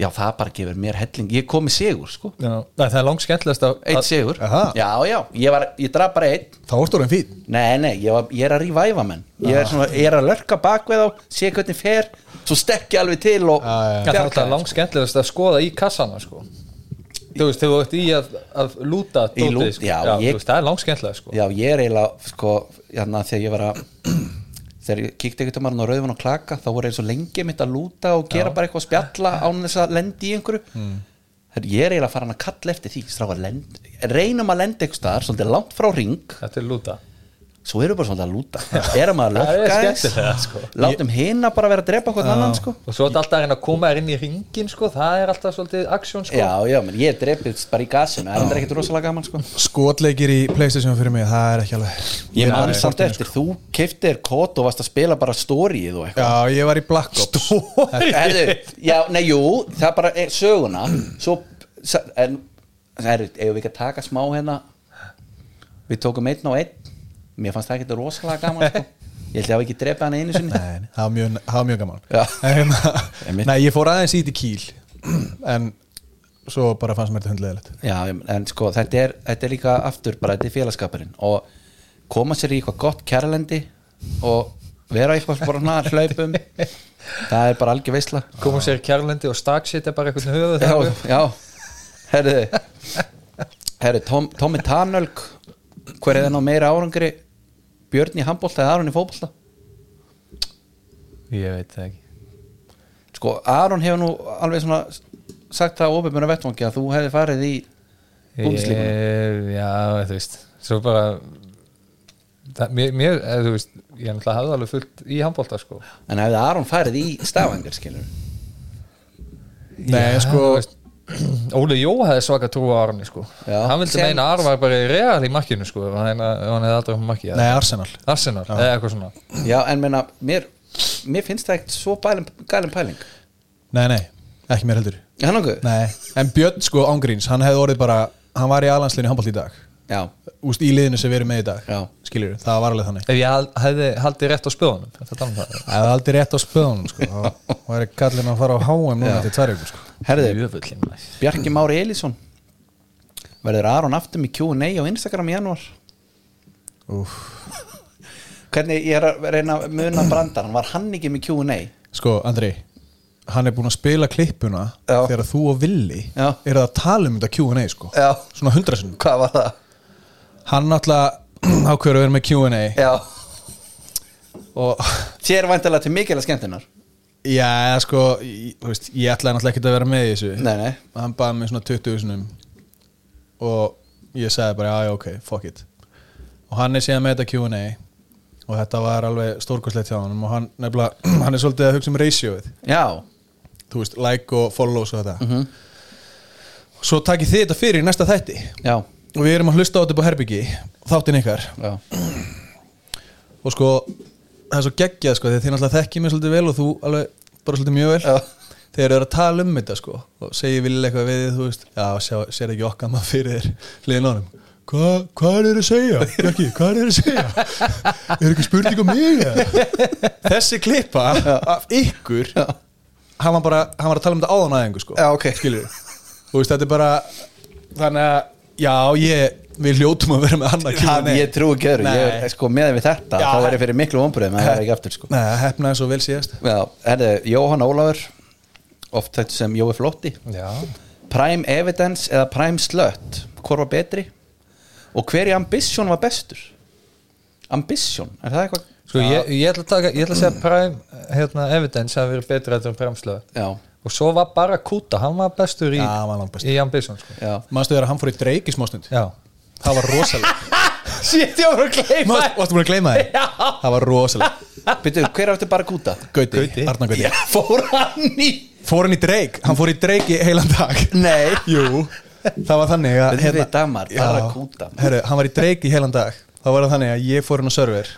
[SPEAKER 4] já, það bara gefur mér helling, ég kom í sigur, sko
[SPEAKER 5] já. Nei, Það er langt skemmtilegast að
[SPEAKER 4] eitt sigur,
[SPEAKER 6] Aha.
[SPEAKER 4] já, já, ég var ég draf bara einn,
[SPEAKER 6] Þá ertu orðin fýtt
[SPEAKER 4] nei, nei, ég, var, ég er að rífæfa menn, ég er, svona, ég er að lörka bakveð á, sé hvernig fer svo stekki alveg til og
[SPEAKER 6] Já, já.
[SPEAKER 5] Já, það er
[SPEAKER 4] bjarga
[SPEAKER 5] alltaf
[SPEAKER 4] þeim,
[SPEAKER 5] langt skemmtilegast að skoða í kassana sko. Þú veist, þegar þú ert í að, að lúta
[SPEAKER 4] Í
[SPEAKER 5] dótið,
[SPEAKER 4] lút-
[SPEAKER 5] sko.
[SPEAKER 4] já,
[SPEAKER 5] já
[SPEAKER 4] ég-
[SPEAKER 5] þú veist, það er langt skemmtilegast sko.
[SPEAKER 4] Já, ég er eiginlega, sko, hérna þegar ég var að þegar ég kíkti ekkert um hann á rauðan og klaka þá voru eins og lengi mitt að lúta og gera bara eitthvað að spjalla án þess að lendi í einhverju mm. ég er eiginlega farin að kalla eftir því stráka, lend, reynum að lenda einhvers staðar svolítið langt frá ring,
[SPEAKER 5] Þetta er lúta
[SPEAKER 4] svo erum við bara svolítið að lúta erum að
[SPEAKER 5] Það er
[SPEAKER 4] lökka eins
[SPEAKER 5] skemmtilega, sko.
[SPEAKER 4] látum hina bara vera að drepa hvort annan sko.
[SPEAKER 5] Og svo er alltaf að reyna að koma þér inn í ringin sko. Það er alltaf svolítið aksjón sko.
[SPEAKER 4] já, já, menn ég drepist bara í gasinu það er ekkert rosalega gaman sko.
[SPEAKER 6] Skotleikir í Playstation fyrir mig, það er ekki alveg
[SPEAKER 4] ég sko.
[SPEAKER 6] er
[SPEAKER 4] man
[SPEAKER 6] alveg-
[SPEAKER 4] samt eftir, þú keftir kót og varst að spila bara stórið og eitthvað
[SPEAKER 6] Já, ég var í Black Ops Stóri
[SPEAKER 4] Herðu, já, nei, jú, það er bara eh, söguna Svo, sa- en Herðu, eigum við ekki að taka smá hérna Við tókum einn og einn Mér fannst það ekki rosalega gaman sko. Ég held ég hafi ekki drepið hann einu sinni
[SPEAKER 6] Nei, það var mjög, það var mjög gaman
[SPEAKER 4] Já.
[SPEAKER 6] en, hérna-
[SPEAKER 4] Einmitt.
[SPEAKER 6] Nei, ég fór aðeins í þetta kýl En svo bara fannst mér þetta hundleðilegt
[SPEAKER 4] Já, en sko, þetta er, þetta er líka aftur bara, þetta er félagskapurinn og koma sér í eitthvað gott kærlendi og vera í eitthvað bara svona hlaupum það er bara algjör veisla
[SPEAKER 5] Koma sér í kjærlendi og staksetja bara eitthvað höfuð
[SPEAKER 4] já,
[SPEAKER 5] þar.
[SPEAKER 4] já herðu herðu, Tom, Tommy Tanölk hver er það ná meira árangri Björn í handbólta eða Aron í fótbolta
[SPEAKER 5] Ég veit það ekki
[SPEAKER 4] sko, Aron hefur nú alveg svona sagt það á ofinbjörna vettvangi að þú hefði farið í Búndeslíkunni.
[SPEAKER 5] Ég- Já, þú veist Svo bara það, Mér, mér eh, þú veist Ég er náttúrulega hafði alveg fullt í handbólta sko.
[SPEAKER 4] en hefði Aron farið í stafangar skilur
[SPEAKER 6] Nei,
[SPEAKER 5] Já,
[SPEAKER 6] sko,
[SPEAKER 5] þú veist, Óli Jó hefði svaka trú á Arni sko.
[SPEAKER 4] Já.
[SPEAKER 5] Hann vildi
[SPEAKER 4] Sem-
[SPEAKER 5] meina að Arn var bara í real í makkinu sko, ef hann ef hann hefði aldrei hann makki
[SPEAKER 6] nei, Arsenal
[SPEAKER 5] Arsenal, eða eitthvað svona
[SPEAKER 4] já, en meina, mér, mér finnst það ekkert svo bælum, gælum pæling
[SPEAKER 6] Nei, nei, ekki mér heldur
[SPEAKER 4] já, nokkuð?
[SPEAKER 6] Nei, en Björn sko ángríns, hann hefði orðið bara Hann var í alanslinu handbólt í dag
[SPEAKER 4] já,
[SPEAKER 6] Úst í liðinu sem við erum með í dag
[SPEAKER 4] Já.
[SPEAKER 6] Skilur, það var alveg þannig
[SPEAKER 5] Ef ég hal- hefði haldið rétt á spöðunum Þetta tala um það
[SPEAKER 6] Það er aldrei rétt á spöðunum sko þá væri kallin að fara á HM núna til tvær ykkur sko
[SPEAKER 4] herðu,
[SPEAKER 5] Jöfullinn, maður.
[SPEAKER 4] Bjarki Mári Elísson verður Aron aftur með Q&A á Instagram í janúar
[SPEAKER 6] Úff.
[SPEAKER 4] hvernig ég er að reyna að muna brandarann var hann ekki með Q&A
[SPEAKER 6] Sko, Andri Hann er búinn að spila klippuna
[SPEAKER 4] Já.
[SPEAKER 6] Þegar þú og Willi
[SPEAKER 4] Já.
[SPEAKER 6] eru að tala um þetta Q&A sko
[SPEAKER 4] Já.
[SPEAKER 6] Svona hundra sinnum
[SPEAKER 4] hvað var það?
[SPEAKER 6] Hann náttúrulega ákveður að vera með Q&A
[SPEAKER 4] já,
[SPEAKER 6] Og
[SPEAKER 4] þér væntalega til mikilvæg skemmtinnar
[SPEAKER 6] já, sko ég, þú veist, ég ætlaði náttúrulega ekki að vera með í þessu
[SPEAKER 4] nei, nei,
[SPEAKER 6] Hann baði mig svona 20 sinum Og ég sagði bara, já, já, ok, fuck it Og hann er síðan með þetta Q&A Og þetta var alveg stórkostlegt hjá honum Og hann, nefnilega, hann er svolítið að hugsa um ratioið
[SPEAKER 4] já,
[SPEAKER 6] þú veist, like og follows og þetta
[SPEAKER 4] Mhm.
[SPEAKER 6] svo takið þið þetta fyrir í næsta þætti
[SPEAKER 4] já,
[SPEAKER 6] og við erum að hlusta á þetta på herbyggi þáttinn ykkar
[SPEAKER 4] já
[SPEAKER 6] og sko, það er svo geggjað sko, þegar þið náttúrulega þekkið mér svolítið vel og þú alveg bara svolítið mjög vel
[SPEAKER 4] Já.
[SPEAKER 6] þegar þau eru að tala um þetta sko og segir vilja eitthvað við þið, þú veist já, sjá, sér ekki okkar maður fyrir þér hliðin á honum Hva, hvað er þeir að segja? Bjarki, hvað er þeir að segja? er ekki spurning um mig? eða? þessi klippa af ykkur hann var bara, hann var að tala um þetta áðan aðeins sko.
[SPEAKER 4] Já, ok.
[SPEAKER 6] skilur þú veist, þetta er bara þannig að, já, ég við hljótum að vera með annað
[SPEAKER 4] Hann, ég trú ekki öðru,
[SPEAKER 6] Nei.
[SPEAKER 4] ég, sko, með við þetta
[SPEAKER 6] Já.
[SPEAKER 4] þá væri fyrir miklu vombriðum að það er ekki aftur sko.
[SPEAKER 6] Nei, það hefnaði svo vel síðast
[SPEAKER 4] Já, herðu, Jóhann Ólafur oft þetta sem Jói Flotti
[SPEAKER 6] Já
[SPEAKER 4] Prime Evidence eða Prime Slut hvort var betri og hver í Ambition var bestur Ambition, er það eitthvað
[SPEAKER 5] Sko, ég, ég, ætla að taka, ég ætla að segja Prime hérna, Evidence hafi verið betra þetta um Premslöð
[SPEAKER 4] Já,
[SPEAKER 5] og svo var bara Kuta, hann var bestur í,
[SPEAKER 6] Já, hann var langbestur.
[SPEAKER 5] í Ambition sko.
[SPEAKER 4] já
[SPEAKER 6] Manstu þegar hann fór í dreik í smástund
[SPEAKER 5] Já,
[SPEAKER 6] Það var rosalega
[SPEAKER 4] Shit, ég var að gleyma
[SPEAKER 6] Manstu, varstu búin að gleyma þið? Já Það var rosalega
[SPEAKER 4] Býtu, hver átti bara gúta?
[SPEAKER 6] Gauti, Arna Gauti
[SPEAKER 4] Fór hann í
[SPEAKER 6] Fór hann í dreik Hann fór í dreik í heilan dag
[SPEAKER 4] Nei
[SPEAKER 6] Jú Það var þannig að hérna-
[SPEAKER 4] Við við Damar, bara kúta.
[SPEAKER 6] Herru, hann var í dreik í heilan dag Þá var það þannig að ég fór hann á server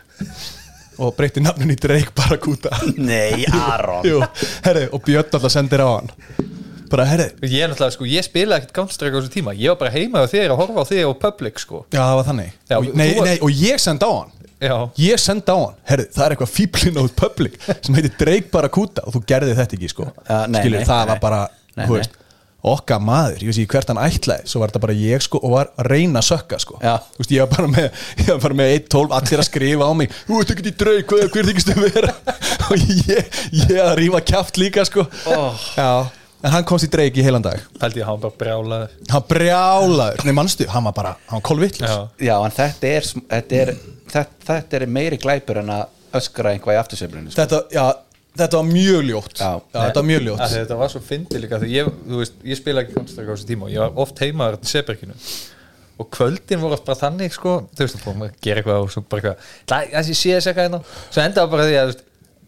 [SPEAKER 6] Og breytti nafnin í dreik bara kúta
[SPEAKER 4] Nei, Aron
[SPEAKER 6] Jú, herru, og Björn alltaf sendir á hann Bara, herru
[SPEAKER 5] ég er náttúrulega, sko, ég spilaði ekkert Counter-Strike á þessu tíma, ég var bara heima á þér að horfa á þér og Public, sko
[SPEAKER 6] Já, það var þannig
[SPEAKER 5] Já,
[SPEAKER 6] og,
[SPEAKER 5] þú
[SPEAKER 6] nei,
[SPEAKER 5] var-
[SPEAKER 6] nei, og ég send á hann
[SPEAKER 5] Já,
[SPEAKER 6] ég sendi á hann, herru, það er eitthvað fíblin á public sem heitir Drake Barracuda og þú gerði þetta ekki, sko
[SPEAKER 4] Já, nei,
[SPEAKER 6] skilur,
[SPEAKER 4] nei,
[SPEAKER 6] það
[SPEAKER 4] nei.
[SPEAKER 6] var bara,
[SPEAKER 4] Nei,
[SPEAKER 6] þú
[SPEAKER 4] nei.
[SPEAKER 6] veist okka maður, ég veist ekki hvert hann ætlaði svo var þetta bara ég, sko, og var að reyna að sökka, sko
[SPEAKER 4] Já.
[SPEAKER 6] þú veist, ég var bara með, ég var bara með 1.12, allir að skrifa á mig þú veist ekki í Drake, hvað, hver þykist þau vera og ég, ég að rífa kjaft líka, sko já, en hann komst í Drake í heilan dag
[SPEAKER 5] held ég að hann bara brjálaður
[SPEAKER 6] hann brjálaður, nei, manstu, hann var bara hann var kolvitlis
[SPEAKER 5] Já,
[SPEAKER 4] Já, en þetta er, sm- þetta er, þetta, þetta er meiri glæpur en að öskra einhvað í aftursveiflunni sko.
[SPEAKER 6] þetta, já, þetta var mjög ljótt
[SPEAKER 4] Já.
[SPEAKER 6] þetta var mjög ljótt
[SPEAKER 5] Af því Þetta var svo fyndið líka því ég, þú veist, ég spila ekki Counter-Strike á þessu tíma og ég var oft heima þarna í Seberginu og kvöldin voru oft bara þannig sko, þú veist, þá fórum við að gera eitthvað og svo bara eitthvað, "Æ, þessi sé þess eitthvað hérna svo endaði bara því að, þú veist,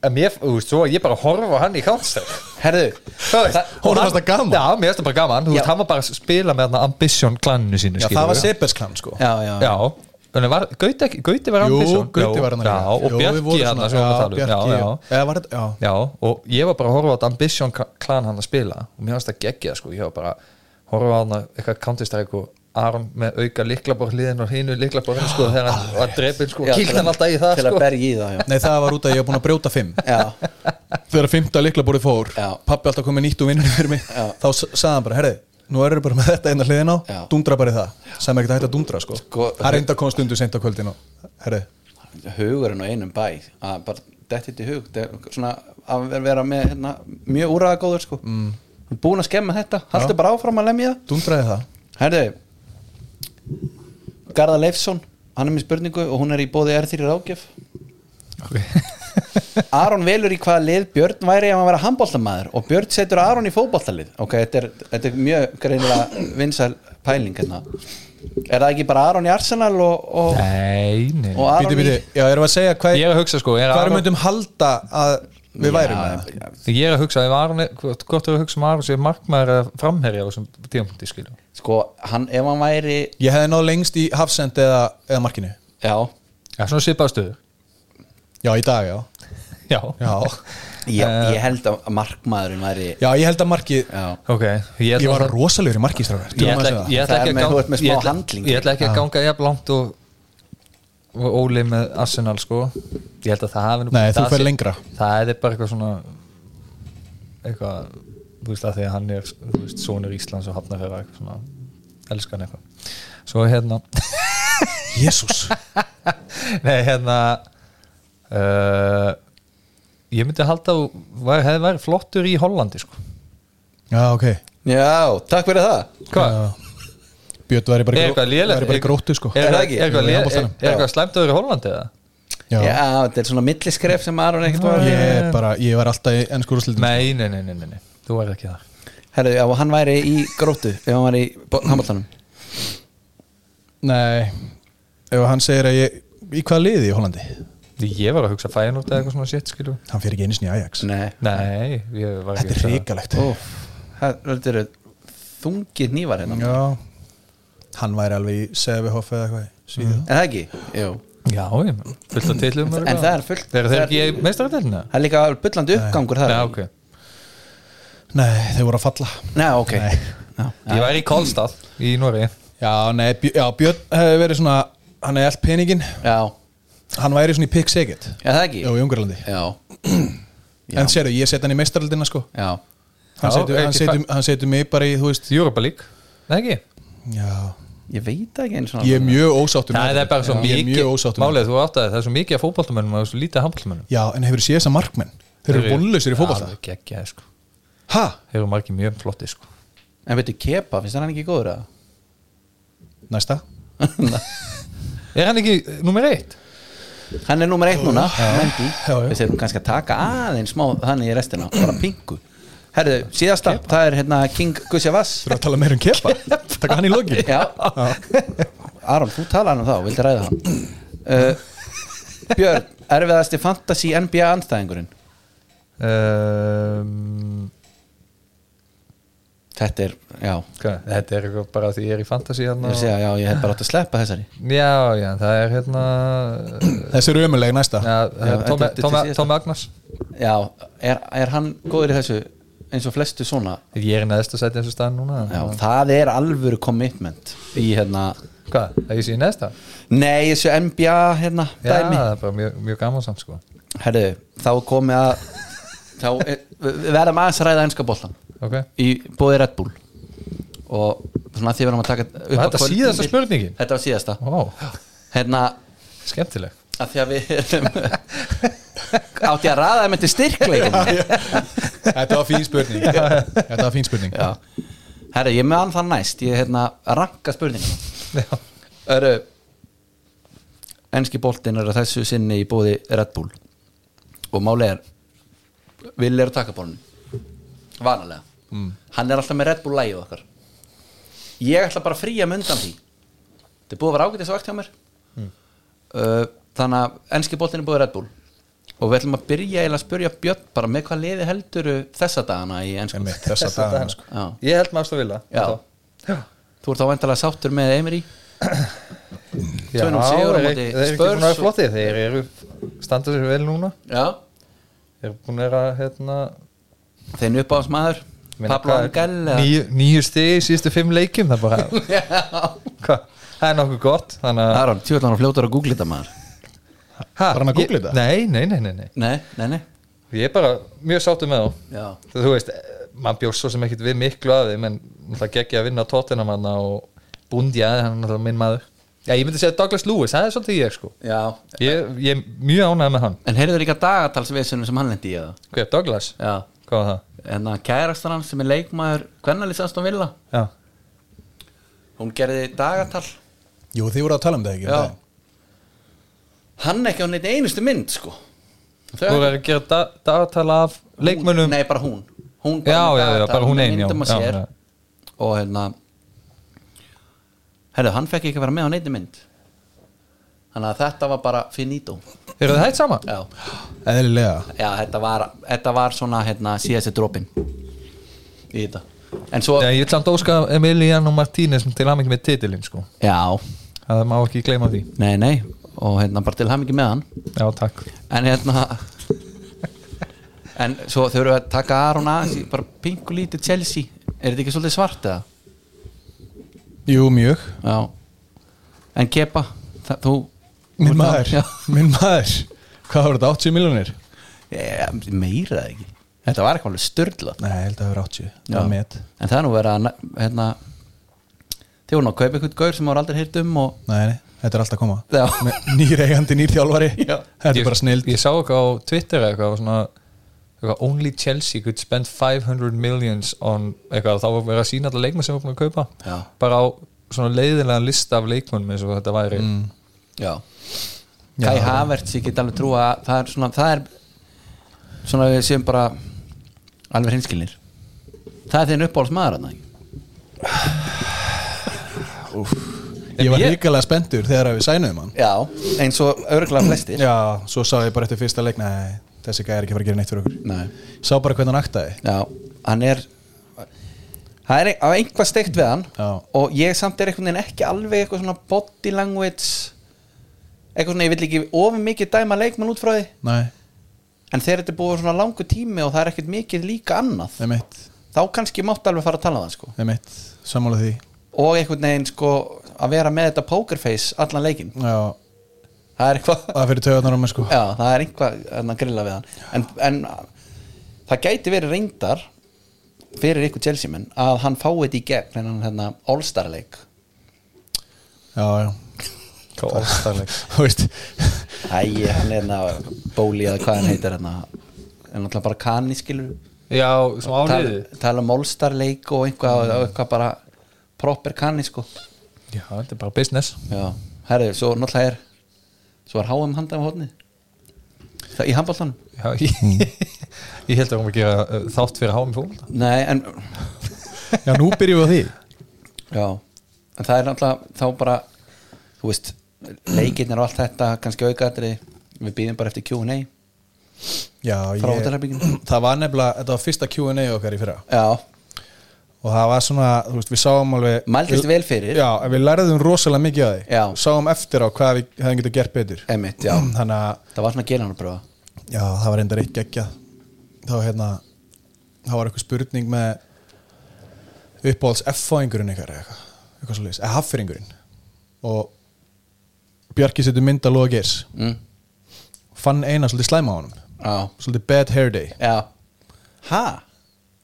[SPEAKER 5] að mér, þú veist, svo var ég bara að horfa á hann í Counter-Strike
[SPEAKER 4] Herðu,
[SPEAKER 5] Þú veist,
[SPEAKER 4] Það-
[SPEAKER 5] og
[SPEAKER 6] honum
[SPEAKER 5] hann-
[SPEAKER 6] fannst það gaman.
[SPEAKER 5] Já, mér finnst það bara gaman, þú veist, hann var bara að spila með hann Ambition klanninu sínu
[SPEAKER 6] Já,
[SPEAKER 5] skilurðu.
[SPEAKER 6] það var Sebersklan sko
[SPEAKER 4] já, já,
[SPEAKER 5] Já, þannig var, Gauti, ekki- Gauti var
[SPEAKER 6] Jú,
[SPEAKER 5] Ambition
[SPEAKER 6] Gauti var hann
[SPEAKER 5] Já, og Björki hann sem við vorum að tala um. Já, já.
[SPEAKER 6] Eða var þetta, já
[SPEAKER 5] Já, og ég var bara að horfa á þetta Ambition klan hann að spila og mér fannst það geggja sko, ég var bara að horfa á hann að eitthvað counterstrike og Aron með auka liklabor hliðin og hínu liklabor hinn sko þegar hann var drepin sko,
[SPEAKER 4] Já,
[SPEAKER 5] kýlt
[SPEAKER 4] til
[SPEAKER 5] hann
[SPEAKER 4] að-
[SPEAKER 5] alltaf í það
[SPEAKER 4] Til að
[SPEAKER 5] sko
[SPEAKER 4] berja í það, já
[SPEAKER 6] Nei, það var út að ég var búin að brjóta fimm
[SPEAKER 4] Já,
[SPEAKER 6] Þegar fymta liklaborið fór
[SPEAKER 4] Já.
[SPEAKER 6] Pappi alltaf komið nýtt og vinnur fyrir mig
[SPEAKER 4] Já.
[SPEAKER 6] Þá s- sagði hann bara, herri, nú erum við bara með þetta einna hliðin á
[SPEAKER 4] Já.
[SPEAKER 6] Dundra bara í það Sem ekki hægt að dundra sko
[SPEAKER 4] Sko-
[SPEAKER 6] Það reynda kom stundu seint á kvöldin og Herri,
[SPEAKER 4] hugurinn á einum bæ að bara dettið í hug þetta er svona að ver- vera með hérna, mjög úræðagóður sko mm. búin að skemma þetta, haltu bara áfram að lemja
[SPEAKER 6] dundraði það
[SPEAKER 4] það herðu Garðar Leifsson, hann er með spurningu og hún er í bóði R3 Rákjöf Aron velur í hvaða lið Björn væri ef hann vera handbóltamaður og Björn setur Aron í fótbóltalið ok, þetta er, þetta er mjög greinilega vinsæl pæling hérna er það ekki bara Aron í Arsenal og, og,
[SPEAKER 5] Nei, nei
[SPEAKER 4] og Aron
[SPEAKER 6] Bíti, bíti, já, erum við að segja hvað
[SPEAKER 5] Ég er að hugsa sko, er
[SPEAKER 6] Hvað
[SPEAKER 5] Aron,
[SPEAKER 6] við myndum halda að við værum með það
[SPEAKER 4] í já,
[SPEAKER 5] ég er að hugsa ef Aron, er- hvort hvort er að hugsa um Aron sem markmaður eða framherja á þessum tímapunkti skilu
[SPEAKER 4] sko, hann, ef hann væri
[SPEAKER 6] Ég hefði náð lengst í hafsend eða, eða markinu
[SPEAKER 4] já,
[SPEAKER 5] Já, svona svipað stöður
[SPEAKER 6] Já, í dag, já
[SPEAKER 5] Já,
[SPEAKER 6] Já,
[SPEAKER 4] ég, ég held að markmaðurinn væri já,
[SPEAKER 6] já ég held að markið
[SPEAKER 5] ok Ég,
[SPEAKER 6] Ég
[SPEAKER 5] ætla
[SPEAKER 6] var
[SPEAKER 5] að-
[SPEAKER 6] rosalegur í markistrákar
[SPEAKER 5] ég ætla
[SPEAKER 6] Ég,
[SPEAKER 5] ég ætla
[SPEAKER 4] Það er
[SPEAKER 5] ekki að
[SPEAKER 4] með-
[SPEAKER 5] ganga-
[SPEAKER 4] þú ert með smá
[SPEAKER 5] ég ætla-
[SPEAKER 4] handling.
[SPEAKER 5] ég ætla ekki að ganga jafn langt og, og Óli með Arsenal sko ég held að það hafi nú-
[SPEAKER 6] Nei, þú
[SPEAKER 5] það
[SPEAKER 6] fer
[SPEAKER 5] sé-
[SPEAKER 6] lengra.
[SPEAKER 5] það er bara eitthvað svona eitthvað þú veist að því að hann er þú veist, sonur Íslands og hafnafjara eitthvað svona elskan eitthvað svo hérna
[SPEAKER 6] Jésús
[SPEAKER 5] Nei, hérna uh, Ég myndi halda að þú væri- hefði væri flottur í Hollandi sko.
[SPEAKER 6] Já, ok
[SPEAKER 4] takk fyrir það
[SPEAKER 5] Hvað?
[SPEAKER 6] Björn væri bara,
[SPEAKER 5] Er
[SPEAKER 6] gró,
[SPEAKER 5] eitthvað lélegt?
[SPEAKER 6] væri bara í gróttu sko
[SPEAKER 5] Er,
[SPEAKER 4] Er það
[SPEAKER 5] er,
[SPEAKER 4] ekki?
[SPEAKER 5] er, eitthvað
[SPEAKER 6] Jú, í
[SPEAKER 5] lé- er,
[SPEAKER 6] handboltanum.
[SPEAKER 5] er eitthvað slæmt að vera í Hollandi eða?
[SPEAKER 6] Já,
[SPEAKER 4] já, þetta er svona milliskref sem Aron ekkert var
[SPEAKER 6] Ég er bara, ég var alltaf í ennsku úrslitum
[SPEAKER 5] Nei, nei, nei, nei, nei, nei. þú væri ekki þar
[SPEAKER 4] herðu, ef hann væri í gróttu ef hann væri í handbóltanum
[SPEAKER 6] Nei Ef hann segir að ég, í hvaða liði í Hollandi?
[SPEAKER 5] Því Ég var að hugsa fæðinótt eða eitthvað svona shit skilur
[SPEAKER 6] Hann fyrir ekki einu sinni í Ajax
[SPEAKER 4] nei,
[SPEAKER 5] Nei, ég var ekki að
[SPEAKER 6] Þetta er
[SPEAKER 5] hugsa það.
[SPEAKER 6] ríkalegt
[SPEAKER 4] Ó, það þetta eru þungið nývar hérna
[SPEAKER 6] Já Hann væri alveg í Sevihoff eða eitthvað í Svíþjóð
[SPEAKER 5] Mm.
[SPEAKER 4] er það ekki? Jú.
[SPEAKER 5] Já, ég fullt af titlum
[SPEAKER 4] En það er fullt-
[SPEAKER 5] Þeir
[SPEAKER 4] það
[SPEAKER 5] eru
[SPEAKER 4] er-
[SPEAKER 5] ekki í meistardelina?
[SPEAKER 4] það er líka bullandi uppgangur
[SPEAKER 5] Já,
[SPEAKER 4] það
[SPEAKER 5] ok
[SPEAKER 6] Nei, þeir voru að falla
[SPEAKER 4] Nei, ok
[SPEAKER 6] Nei.
[SPEAKER 5] Ég væri í Kolstad í Noregi
[SPEAKER 6] Já, nei, bjö, já, Björn hefði verið svona Hann hefði allt peningin
[SPEAKER 4] Já,
[SPEAKER 6] Hann væri svona í pick segit
[SPEAKER 4] já það ekki
[SPEAKER 6] Jó, í Ungarlandi
[SPEAKER 4] Já,
[SPEAKER 6] En sérðu, ég seti hann í meistaraldina sko
[SPEAKER 4] já
[SPEAKER 6] Hann
[SPEAKER 5] Já,
[SPEAKER 6] setur- hann
[SPEAKER 5] ekki
[SPEAKER 6] setur hann setur mig bara í, þú veist
[SPEAKER 5] Europa League, Nei, ekki?
[SPEAKER 6] Já,
[SPEAKER 4] Ég veit það ekki eins og
[SPEAKER 6] ég er mjög ósáttum
[SPEAKER 5] Nei, það er bara svo
[SPEAKER 6] Ég er mjög
[SPEAKER 5] mikið
[SPEAKER 6] ósáttum
[SPEAKER 5] Málið, þú áttaði, það er svo mikið af fótballtamönnum og svo lítið af handballtamönnum
[SPEAKER 6] Já, en hefur séð þess að markmenn Þeir eru vonlausir í fótballta
[SPEAKER 5] Alveg geggjaði, sko
[SPEAKER 6] Ha?
[SPEAKER 5] Þeir eru margir mjög flotti, sko
[SPEAKER 4] En veitu, Kepa, finnst þér hann ekki góður að?
[SPEAKER 6] Næsta
[SPEAKER 5] Er hann ekki nummer eitt?
[SPEAKER 4] Hann er nummer eitt núna, Mendy
[SPEAKER 6] Já, já.
[SPEAKER 4] Við þurfum kannski að taka aðeins smá þannig í restina, bara pingu Herðu, síðasta, það er hérna King Gussjavas
[SPEAKER 6] Þú eru að tala meira um kepa Takk hann í lokin
[SPEAKER 4] Já Aron, þú talaði hann um þá, vildi ræða hann uh, Björn, erfiðasti fantasy NBA anstæðingurinn
[SPEAKER 5] Um,
[SPEAKER 4] Þetta er, já
[SPEAKER 5] hvað? Þetta er eitthvað bara því ég er í fantasy
[SPEAKER 4] Ég
[SPEAKER 5] hérna
[SPEAKER 4] vil segja, já, ég hef bara átt að sleppa þessari
[SPEAKER 5] Já, já, það er hérna
[SPEAKER 6] Þessi eru ömuleg næsta
[SPEAKER 5] Já, það
[SPEAKER 4] Já,
[SPEAKER 5] er Tommy-
[SPEAKER 4] þetta er til
[SPEAKER 5] Tommy-
[SPEAKER 4] síðasta.
[SPEAKER 5] Tommy Agnars
[SPEAKER 4] Já, er, er hann góður í þessu eins og flestu svona
[SPEAKER 5] Ég er í neðsta sæti eins og staðan núna
[SPEAKER 4] Já, það er alvöru commitment í hérna
[SPEAKER 5] Hvað, að ég sé í neðsta?
[SPEAKER 4] Nei, þessu NBA hérna
[SPEAKER 5] Já,
[SPEAKER 4] dæmi
[SPEAKER 5] það er bara mjög, mjög gaman samt sko
[SPEAKER 4] Herðu, þá er komið að þá er, við verðum aðeins að ræða einska bollan
[SPEAKER 5] Ok,
[SPEAKER 4] í bóði Red Bull og svona því verðum að taka upp
[SPEAKER 5] Var
[SPEAKER 4] á
[SPEAKER 5] þetta
[SPEAKER 4] kvöldin
[SPEAKER 5] síðasta
[SPEAKER 4] til-
[SPEAKER 5] spurningin?
[SPEAKER 4] Þetta var síðasta
[SPEAKER 5] ó,
[SPEAKER 4] Hérna,
[SPEAKER 5] skemmtileg
[SPEAKER 4] að því að við erum átti ég að ræða þeim eftir styrkleikum
[SPEAKER 6] Þetta var fín spurning Þetta var fín spurning
[SPEAKER 4] Já Herru, ég er með hann það næst Ég er hérna að ranka spurningum Herru Enski boltinn er að þessu sinni í bóði Red Bull Og máli er Vil er að taka bólun Vanalega
[SPEAKER 6] Mm.
[SPEAKER 4] Hann er alltaf með Red Bull lægið okkar Ég ætla bara að fría mig undan því Þetta er búið að vera ágætis vakt hjá mér
[SPEAKER 6] Mm.
[SPEAKER 4] uh, Þannig að enski boltinn er búið Red Bull Og við ætlum að byrja eiginlega að spyrja Björn bara með hvað liði heldur þessa dagana í ensku
[SPEAKER 6] Einmitt, Þessa dagana sko
[SPEAKER 4] Já.
[SPEAKER 5] Ég held maður að vilja
[SPEAKER 4] Já. Þú ert þá vandalega sáttur með Emery
[SPEAKER 5] Já,
[SPEAKER 4] 2-0 sigur á
[SPEAKER 5] þeir-
[SPEAKER 4] móti
[SPEAKER 5] þeir eru ekki
[SPEAKER 4] Spurs
[SPEAKER 5] búin að
[SPEAKER 4] og-
[SPEAKER 5] vera flottið Þeir eru, standa sér vel núna
[SPEAKER 4] Já
[SPEAKER 5] Þeir eru búin að vera, hérna
[SPEAKER 4] Þeir eru upp á hans maður
[SPEAKER 5] meina,
[SPEAKER 4] Pablo
[SPEAKER 5] hvað er-
[SPEAKER 4] Angel eða-
[SPEAKER 5] Níu, níu stegi í síðustu fimm leikjum Það er bara,
[SPEAKER 4] Já.
[SPEAKER 5] hvað, það er nokkuð gott Þannig að
[SPEAKER 4] Aron, tjóðlan og fljótar að googla þetta maður
[SPEAKER 5] Var
[SPEAKER 6] hann að googla þetta?
[SPEAKER 5] Nei, nei, nei, nei, nei
[SPEAKER 4] Nei, nei, nei
[SPEAKER 5] Ég er bara mjög sáttu með þá
[SPEAKER 4] Já,
[SPEAKER 5] þú þú veist, maður bjóst svo sem ekkit við miklu að þeim en náttúrulega geggja að vinna tóttinamanna og búndja, hann er náttúrulega minn maður Já, ég myndi segja Douglas Lewis, það er svolítið ég sko
[SPEAKER 4] já
[SPEAKER 5] Ég, ég er mjög ánægð með hann
[SPEAKER 4] En heyrðu líka dagatalsvesunum sem hann lendi í eða
[SPEAKER 5] Hver, Douglas?
[SPEAKER 4] Já
[SPEAKER 5] Hvað var það?
[SPEAKER 4] En að kærastan hans sem er leikmaður Kvennalýsast og vilja
[SPEAKER 5] Já,
[SPEAKER 4] Hún gerði dagatal
[SPEAKER 6] Jú, þið voru að tala um það ekki um daginn.
[SPEAKER 4] Hann ekki á neitt einustu mynd sko Þau
[SPEAKER 5] þú er að gera da- dagatala af leikmönnum
[SPEAKER 4] Nei, bara hún Hún
[SPEAKER 5] Já,
[SPEAKER 4] með
[SPEAKER 5] já, já,
[SPEAKER 4] dagatal,
[SPEAKER 5] bara hún
[SPEAKER 4] með
[SPEAKER 5] ein, já,
[SPEAKER 4] myndum að
[SPEAKER 5] já,
[SPEAKER 4] sér
[SPEAKER 5] já.
[SPEAKER 4] Og hérna Herðu, hann fekk ekki að vera með á neitt mynd Þannig að þetta var bara finito
[SPEAKER 5] Eru það hægt saman?
[SPEAKER 4] Já,
[SPEAKER 6] Eðlilega
[SPEAKER 4] já þetta, var, þetta var svona hérna, síðast dropin Í þetta En svo,
[SPEAKER 5] Nei, ég ætla að óska Emilian og Martínez til hann ekki með titilinn sko
[SPEAKER 4] já,
[SPEAKER 5] Það má ekki gleyma því
[SPEAKER 4] nei, nei Og hérna bara til hamingi með hann
[SPEAKER 5] Já, takk
[SPEAKER 4] En hérna En svo þau eru að taka Aron aðeins í Bara pingu lítið Chelsea Er þetta ekki svolítið svart eða?
[SPEAKER 6] Jú, mjög
[SPEAKER 4] Já En Kepa, það, þú
[SPEAKER 6] Minn
[SPEAKER 4] þú-
[SPEAKER 6] maður
[SPEAKER 4] Já.
[SPEAKER 6] Minn maður Hvað voru þetta, 80 miljonir?
[SPEAKER 4] Eh, Meira eða ekki Þetta var eitthvað alveg styrla
[SPEAKER 6] Nei, ég held að það voru 80 Það var met
[SPEAKER 4] En það er nú verið að na- hérna, Þið voru nú að kaupa eitthvað gaur sem voru aldrei heyrt um og
[SPEAKER 6] Nei, nei, þetta er alltaf að koma
[SPEAKER 4] Já.
[SPEAKER 6] Me- Nýr eigandi, nýr þjálfari Þetta er
[SPEAKER 5] Ég-
[SPEAKER 6] bara snild
[SPEAKER 5] Ég sá eitthvað á Twitter eitthvað, svona, eitthvað Only Chelsea could spend 500 millions on eitthvað, þá var verið að sína alla leikmenn sem var búin að kaupa
[SPEAKER 4] Já.
[SPEAKER 5] bara á svona leiðilega lista af leikmennum eins og þetta væri
[SPEAKER 6] Mm.
[SPEAKER 4] Já Kai Havertz, ég get alveg trúa að það er svona, það er svona við séum bara alveg hinskilnir Það er þinn uppáhalds maður hann
[SPEAKER 6] Ég var
[SPEAKER 5] ég-
[SPEAKER 6] ríkalega spendur þegar við sænum hann
[SPEAKER 4] Já, eins og örgulega flestir
[SPEAKER 6] Já, svo sá ég bara eftir fyrsta leik Nei, þessi gæði er ekki að fara að gera neitt fyrir okkur
[SPEAKER 4] Nei.
[SPEAKER 6] Sá bara hvernig hann aktaði
[SPEAKER 4] Já, hann er það er á einhvað steikt við hann
[SPEAKER 6] Já.
[SPEAKER 4] og ég samt er einhvern veginn ekki alveg eitthvað svona body language eitthvað svona, ég vill ekki ofin mikið dæma leikmann út frá því
[SPEAKER 6] Nei,
[SPEAKER 4] en þegar þetta er búið svona langu tími og það er ekkert mikið líka annað
[SPEAKER 6] það er mitt
[SPEAKER 4] þá kannski mátt alveg fara að tala um það sko
[SPEAKER 6] Þeim eitt, sammála því
[SPEAKER 4] og einhvern veginn sko að vera með þetta pokerface allan leikinn
[SPEAKER 6] Já,
[SPEAKER 4] það er eitthvað
[SPEAKER 6] það fyrir taugarnar á mig sko
[SPEAKER 4] Já, það er einhvað að grilla við hann en, en það gæti verið reyndar fyrir ykkur Chelsea menn að hann fái þetta í gegn en hann hérna All-Star leik
[SPEAKER 6] Já, já
[SPEAKER 5] Hvað óstarleik
[SPEAKER 6] Þú veist
[SPEAKER 4] Æ, hann er hérna Bóli eða hvað hann heitir hérna en náttúrulega bara kanni skilur
[SPEAKER 5] Já, sem áliði
[SPEAKER 4] tala, tala um All-Star leik og eitthvað, og eitthvað bara proper kanni sko
[SPEAKER 5] Já, þetta er bara business
[SPEAKER 4] Já, herðu, svo náttúrulega er svo var HM handað á hóðni í handbóltanum
[SPEAKER 5] Já, ég,
[SPEAKER 6] Mm.
[SPEAKER 5] ég held að hún var að gera uh, þátt fyrir hámi fólk
[SPEAKER 4] Nei, en
[SPEAKER 6] Já, nú byrjum við á því
[SPEAKER 4] Já, en það er náttúrulega þá bara, þú veist leikirnir og allt þetta, kannski aukaðri við býðum bara eftir Q&A
[SPEAKER 6] Já,
[SPEAKER 4] Frá hótelherberginu.
[SPEAKER 6] Það var nefnilega, þetta var fyrsta Q&A okkar í fyrra
[SPEAKER 4] Já,
[SPEAKER 6] Og það var svona, þú veist, við sáum alveg
[SPEAKER 4] Mældist vel fyrir.
[SPEAKER 6] Já, en við læriðum rosalega mikið að því
[SPEAKER 4] Já.
[SPEAKER 6] Sáum eftir á hvað við hefðum getað gert betur
[SPEAKER 4] emitt, já
[SPEAKER 6] Þannig að
[SPEAKER 4] það var svona gelanarbröða
[SPEAKER 6] Já, það var reyndar eitt geggjað þá hérna þá var eitthvað spurning með uppáhalds F-fáingurinn ykkar eða eitthvað, eitthvað svo eða haffyringurinn og Bjarki setur mynd að loga geirs
[SPEAKER 4] mm.
[SPEAKER 6] fann eina svolítið slæma á honum
[SPEAKER 4] Já,
[SPEAKER 6] svolítið bad hair day
[SPEAKER 4] já Ha?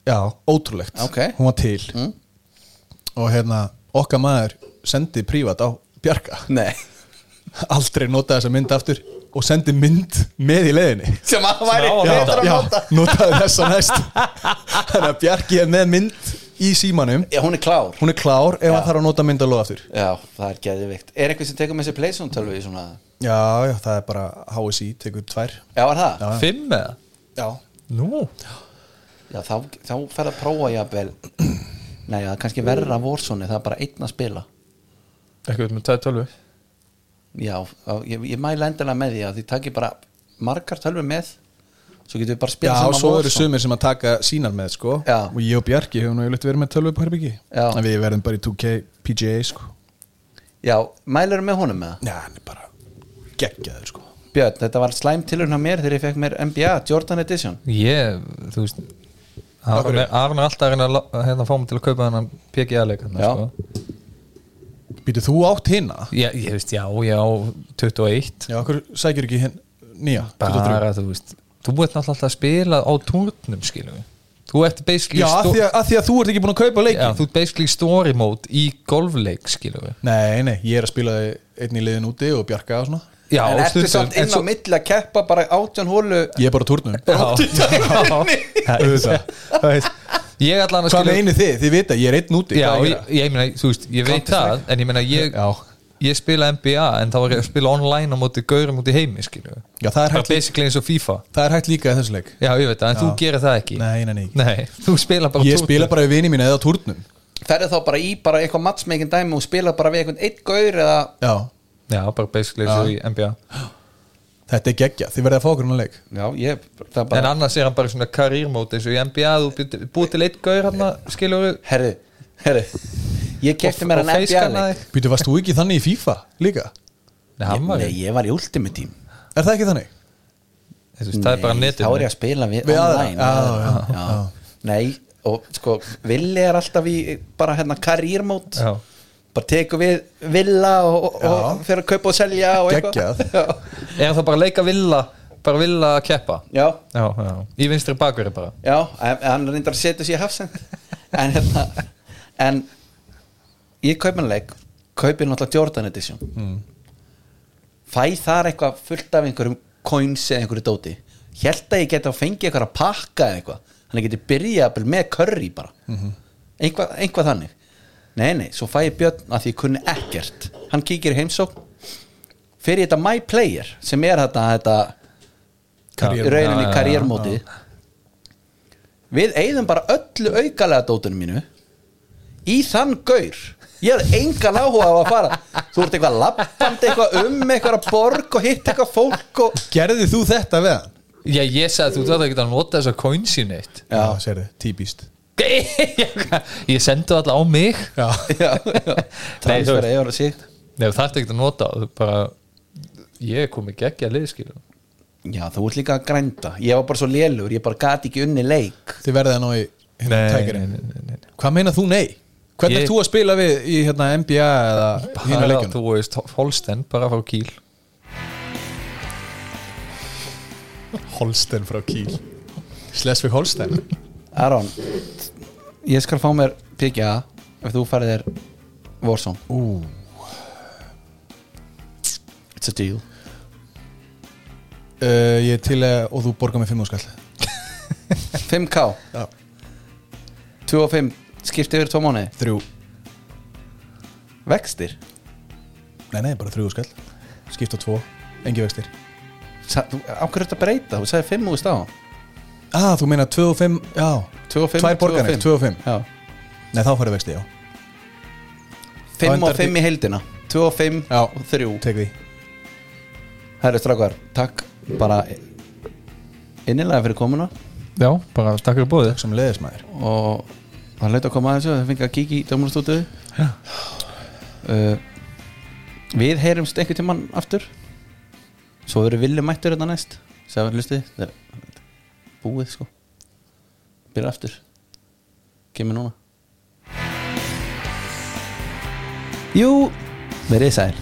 [SPEAKER 6] já, ótrúlegt,
[SPEAKER 4] Ok.
[SPEAKER 6] hún var til
[SPEAKER 4] Mm.
[SPEAKER 6] og hérna okkar maður sendi prívat á Bjarka
[SPEAKER 4] Nei
[SPEAKER 6] aldrei notaði þessa mynd aftur og sendi mynd með í leiðinni
[SPEAKER 4] Sem að væri
[SPEAKER 5] Já,
[SPEAKER 4] betra að
[SPEAKER 6] já,
[SPEAKER 4] nota
[SPEAKER 6] notaði þessa næst þannig að Bjarki er með mynd í símanum
[SPEAKER 4] Já, hún er klár
[SPEAKER 6] hún er klár ef
[SPEAKER 4] Já.
[SPEAKER 6] hann þarf að nota myndalóð aftur
[SPEAKER 4] Já, það er geðvikt Er eitthvað sem tekur með sér Playzone tölvu í svona
[SPEAKER 6] já, já, það er bara HSI, tekur tvær
[SPEAKER 4] Já, er það?
[SPEAKER 6] Já.
[SPEAKER 5] Fimm eða?
[SPEAKER 6] já,
[SPEAKER 5] Nú?
[SPEAKER 4] Já, þá, þá fer að prófa jafnvel Nei, það er kannski verra vorsoni Það er bara einn að spila
[SPEAKER 5] Ekkert með 212
[SPEAKER 4] Já, á- ég, ég mæla endilega með því að því takir bara margar tölvur með svo getum við bara að
[SPEAKER 6] já
[SPEAKER 4] spila saman
[SPEAKER 6] svo eru
[SPEAKER 4] Warzone.
[SPEAKER 6] sumir sem að taka sínar með sko.
[SPEAKER 4] Já.
[SPEAKER 6] og ég og Bjarki hefum nú yfirleitt verið með tölvu upp herbyggi
[SPEAKER 4] Já.
[SPEAKER 6] en við verðum bara í 2K PGA sko.
[SPEAKER 4] Já, mælar með honum með það
[SPEAKER 6] já, hann er bara geggjaður sko.
[SPEAKER 4] Björn, þetta var slæm tilurinn á mér þegar ég fekk mér NBA Jordan Edition
[SPEAKER 5] Ég, þú veist Aron er Aron er alltaf að reyna að lá- hérna, fá mig til að kaupa hennan PGA-leik
[SPEAKER 4] Já.
[SPEAKER 5] sko.
[SPEAKER 6] býtu þú átt hinna?
[SPEAKER 5] ég, ég veist, já, já, 21
[SPEAKER 6] já, okkur sækir ekki hinn nýja 23.
[SPEAKER 5] Bara, þú veist Þú ert náttúrulega alltaf að spila á turnum, skiljum við Þú ert basically
[SPEAKER 6] já, að
[SPEAKER 5] sto-
[SPEAKER 6] því að, að því að þú ert ekki búin að kaupa leikin
[SPEAKER 5] já, þú ert basically story mode í golfleik, skiljum við
[SPEAKER 6] Nei, nei, ég er að spila einn í liðin úti og bjarga og svona
[SPEAKER 5] Já,
[SPEAKER 4] En ertu
[SPEAKER 5] stundum,
[SPEAKER 4] samt inn
[SPEAKER 5] en
[SPEAKER 4] á milli að keppa bara átján hólu
[SPEAKER 6] Ég er bara á turnum
[SPEAKER 5] Já, já Ég allan að
[SPEAKER 6] Hvað
[SPEAKER 5] skilja
[SPEAKER 6] meinu þið? Þið vita, ég er einn úti
[SPEAKER 5] Já,
[SPEAKER 6] Hvað
[SPEAKER 5] ég,
[SPEAKER 6] er að gera?
[SPEAKER 5] ég meina, þú veist, ég veit það En ég meina, ég,
[SPEAKER 6] Já.
[SPEAKER 5] ég spila NBA En þá var ég að spila online á móti Gaurum út í heimi, skilju
[SPEAKER 6] Já, það er
[SPEAKER 5] Bara
[SPEAKER 6] hægt líka-
[SPEAKER 5] basically eins og FIFA
[SPEAKER 6] það er hægt líka í þessu leik
[SPEAKER 5] Já, ég veit það, en þú gerir það ekki
[SPEAKER 6] Nei, nei, nei,
[SPEAKER 5] þú spila bara
[SPEAKER 6] Ég
[SPEAKER 5] túr-
[SPEAKER 6] spila bara við vini mína eða á turnum
[SPEAKER 4] ferði þá bara í bara eitthvað matchmaking dæmi og spila bara við eitthvað eitt gaur eða
[SPEAKER 6] Já,
[SPEAKER 5] Já, bara basically eins og í NBA
[SPEAKER 6] þetta er geggja, þið verðið að fá okkur hann leik
[SPEAKER 4] Já, ég, það er
[SPEAKER 5] En
[SPEAKER 4] bara
[SPEAKER 5] annars er hann bara svona karýrmóti eins og í NBA, þú býtir- búið til eitt gaur hann skilur við
[SPEAKER 4] Herri, herri Ég kefti mér hann NBA leik
[SPEAKER 6] Býtu, varst þú ekki þannig í FIFA líka?
[SPEAKER 5] Nei, hann var
[SPEAKER 4] Nei, ég var í Ultimate Team
[SPEAKER 6] Er það ekki þannig?
[SPEAKER 5] Þú veist, Það er bara
[SPEAKER 4] Nei,
[SPEAKER 5] netið
[SPEAKER 4] þá er ég að spila við,
[SPEAKER 6] Við aðra,
[SPEAKER 4] online
[SPEAKER 6] já,
[SPEAKER 4] aðra,
[SPEAKER 6] já,
[SPEAKER 4] nei og sko Villi er alltaf í bara hérna karýrmót
[SPEAKER 5] Já.
[SPEAKER 4] bara tekur við Villa og, og, og
[SPEAKER 6] Já.
[SPEAKER 4] fyrir að kaupa og selja og eitthvað
[SPEAKER 6] Geggjað.
[SPEAKER 4] já,
[SPEAKER 5] Er hann þá bara að leika villa bara villa að keppa
[SPEAKER 4] já,
[SPEAKER 5] Já, já, í vinstri bakverði bara
[SPEAKER 4] já en, en hann reyndar að setja sér í hafsend en hérna en ég kaup hann leik kaupir náttúrulega Jordan Edition fæ þar eitthvað fullt af einhverjum coins eða einhverju dóti held að ég geta að fengi eitthvað að pakka eða eitthvað þannig að ég geti byrjað jafnvel með curry bara eitthvað, eitthvað þannig nei nei, svo fæ ég Björn að því ég kunni ekkert hann kíkir í heimsókn fyrir þetta my player sem er þetta, þetta
[SPEAKER 5] Karriérmótið.
[SPEAKER 4] í rauninni
[SPEAKER 5] Já, já, já,
[SPEAKER 4] karriérmótið við eigðum bara öllu aukalega dótinu mínu í þann gaur ég hafði engan áhuga á að fara þú ert eitthvað lappandi eitthvað um eitthvað að borg og hitt eitthvað fólk og...
[SPEAKER 6] Gerðið þú þetta við hann?
[SPEAKER 5] Já, ég sagði að þú þarf ekki að nota þess að coinsi neitt
[SPEAKER 6] Já,
[SPEAKER 4] já,
[SPEAKER 6] sérðu, típist
[SPEAKER 5] Ég sendi það alla á mig
[SPEAKER 6] Já,
[SPEAKER 4] já, já.
[SPEAKER 5] Nei, þú
[SPEAKER 4] transfer
[SPEAKER 5] veist.
[SPEAKER 4] eða sítt
[SPEAKER 5] Nei, það er ekki að nota það, þú bara, Ég er komið geggja lið, skilur
[SPEAKER 4] já, þú ert líka að grænda ég var bara svo lélur, ég bara gati ekki unni leik
[SPEAKER 6] þið verðið að ná í hérna tækirinn
[SPEAKER 5] nei, nei, nei.
[SPEAKER 6] Hvað meina þú nei?
[SPEAKER 5] Ég-
[SPEAKER 6] Hvernig ert þú að spila við í hérna, NBA eða hínu
[SPEAKER 5] Bara,
[SPEAKER 6] leikjunum?
[SPEAKER 5] þú veist, Holsten, bara frá Kíl
[SPEAKER 6] Holsten frá Kíl Slesvig Holsten
[SPEAKER 4] Aron Ég skal fá mér PGA ef þú færið þér Warzone Ú. It's a deal
[SPEAKER 6] uh, Ég er til að, og þú borgar mig 5 áskall
[SPEAKER 4] 5K
[SPEAKER 6] Já.
[SPEAKER 4] 2 og 5 skipti yfir 2 mánuði
[SPEAKER 6] 3,
[SPEAKER 4] Vextir
[SPEAKER 6] nei nei, bara 3 áskall Skipt á 2, engi vextir
[SPEAKER 4] Sa- þú- Á hverju er þetta að breyta? Þú sagði 5 úr stafan
[SPEAKER 6] Ah, þú meina 2 og 5, já
[SPEAKER 4] 2 og 5
[SPEAKER 6] Tvær borganir, 2 og 5
[SPEAKER 4] Já
[SPEAKER 6] Nei, þá færðu vexti, já
[SPEAKER 4] 5
[SPEAKER 6] endar
[SPEAKER 4] og 5 í heildina 2 og 5
[SPEAKER 6] Já.
[SPEAKER 4] og 3
[SPEAKER 6] Tek því
[SPEAKER 4] Herri strákar, takk bara innilega fyrir komuna
[SPEAKER 5] Já, bara takk fyrir bóðið
[SPEAKER 6] Takk sem leðis maður
[SPEAKER 4] og hann leita að koma að þessu það fengi að kíkja í dömurstútið uh, við heyrumst einhvern tímann aftur svo verður villi mættur þetta næst sem við lustið þetta er búið sko byrja aftur kemur núna jú verið sæl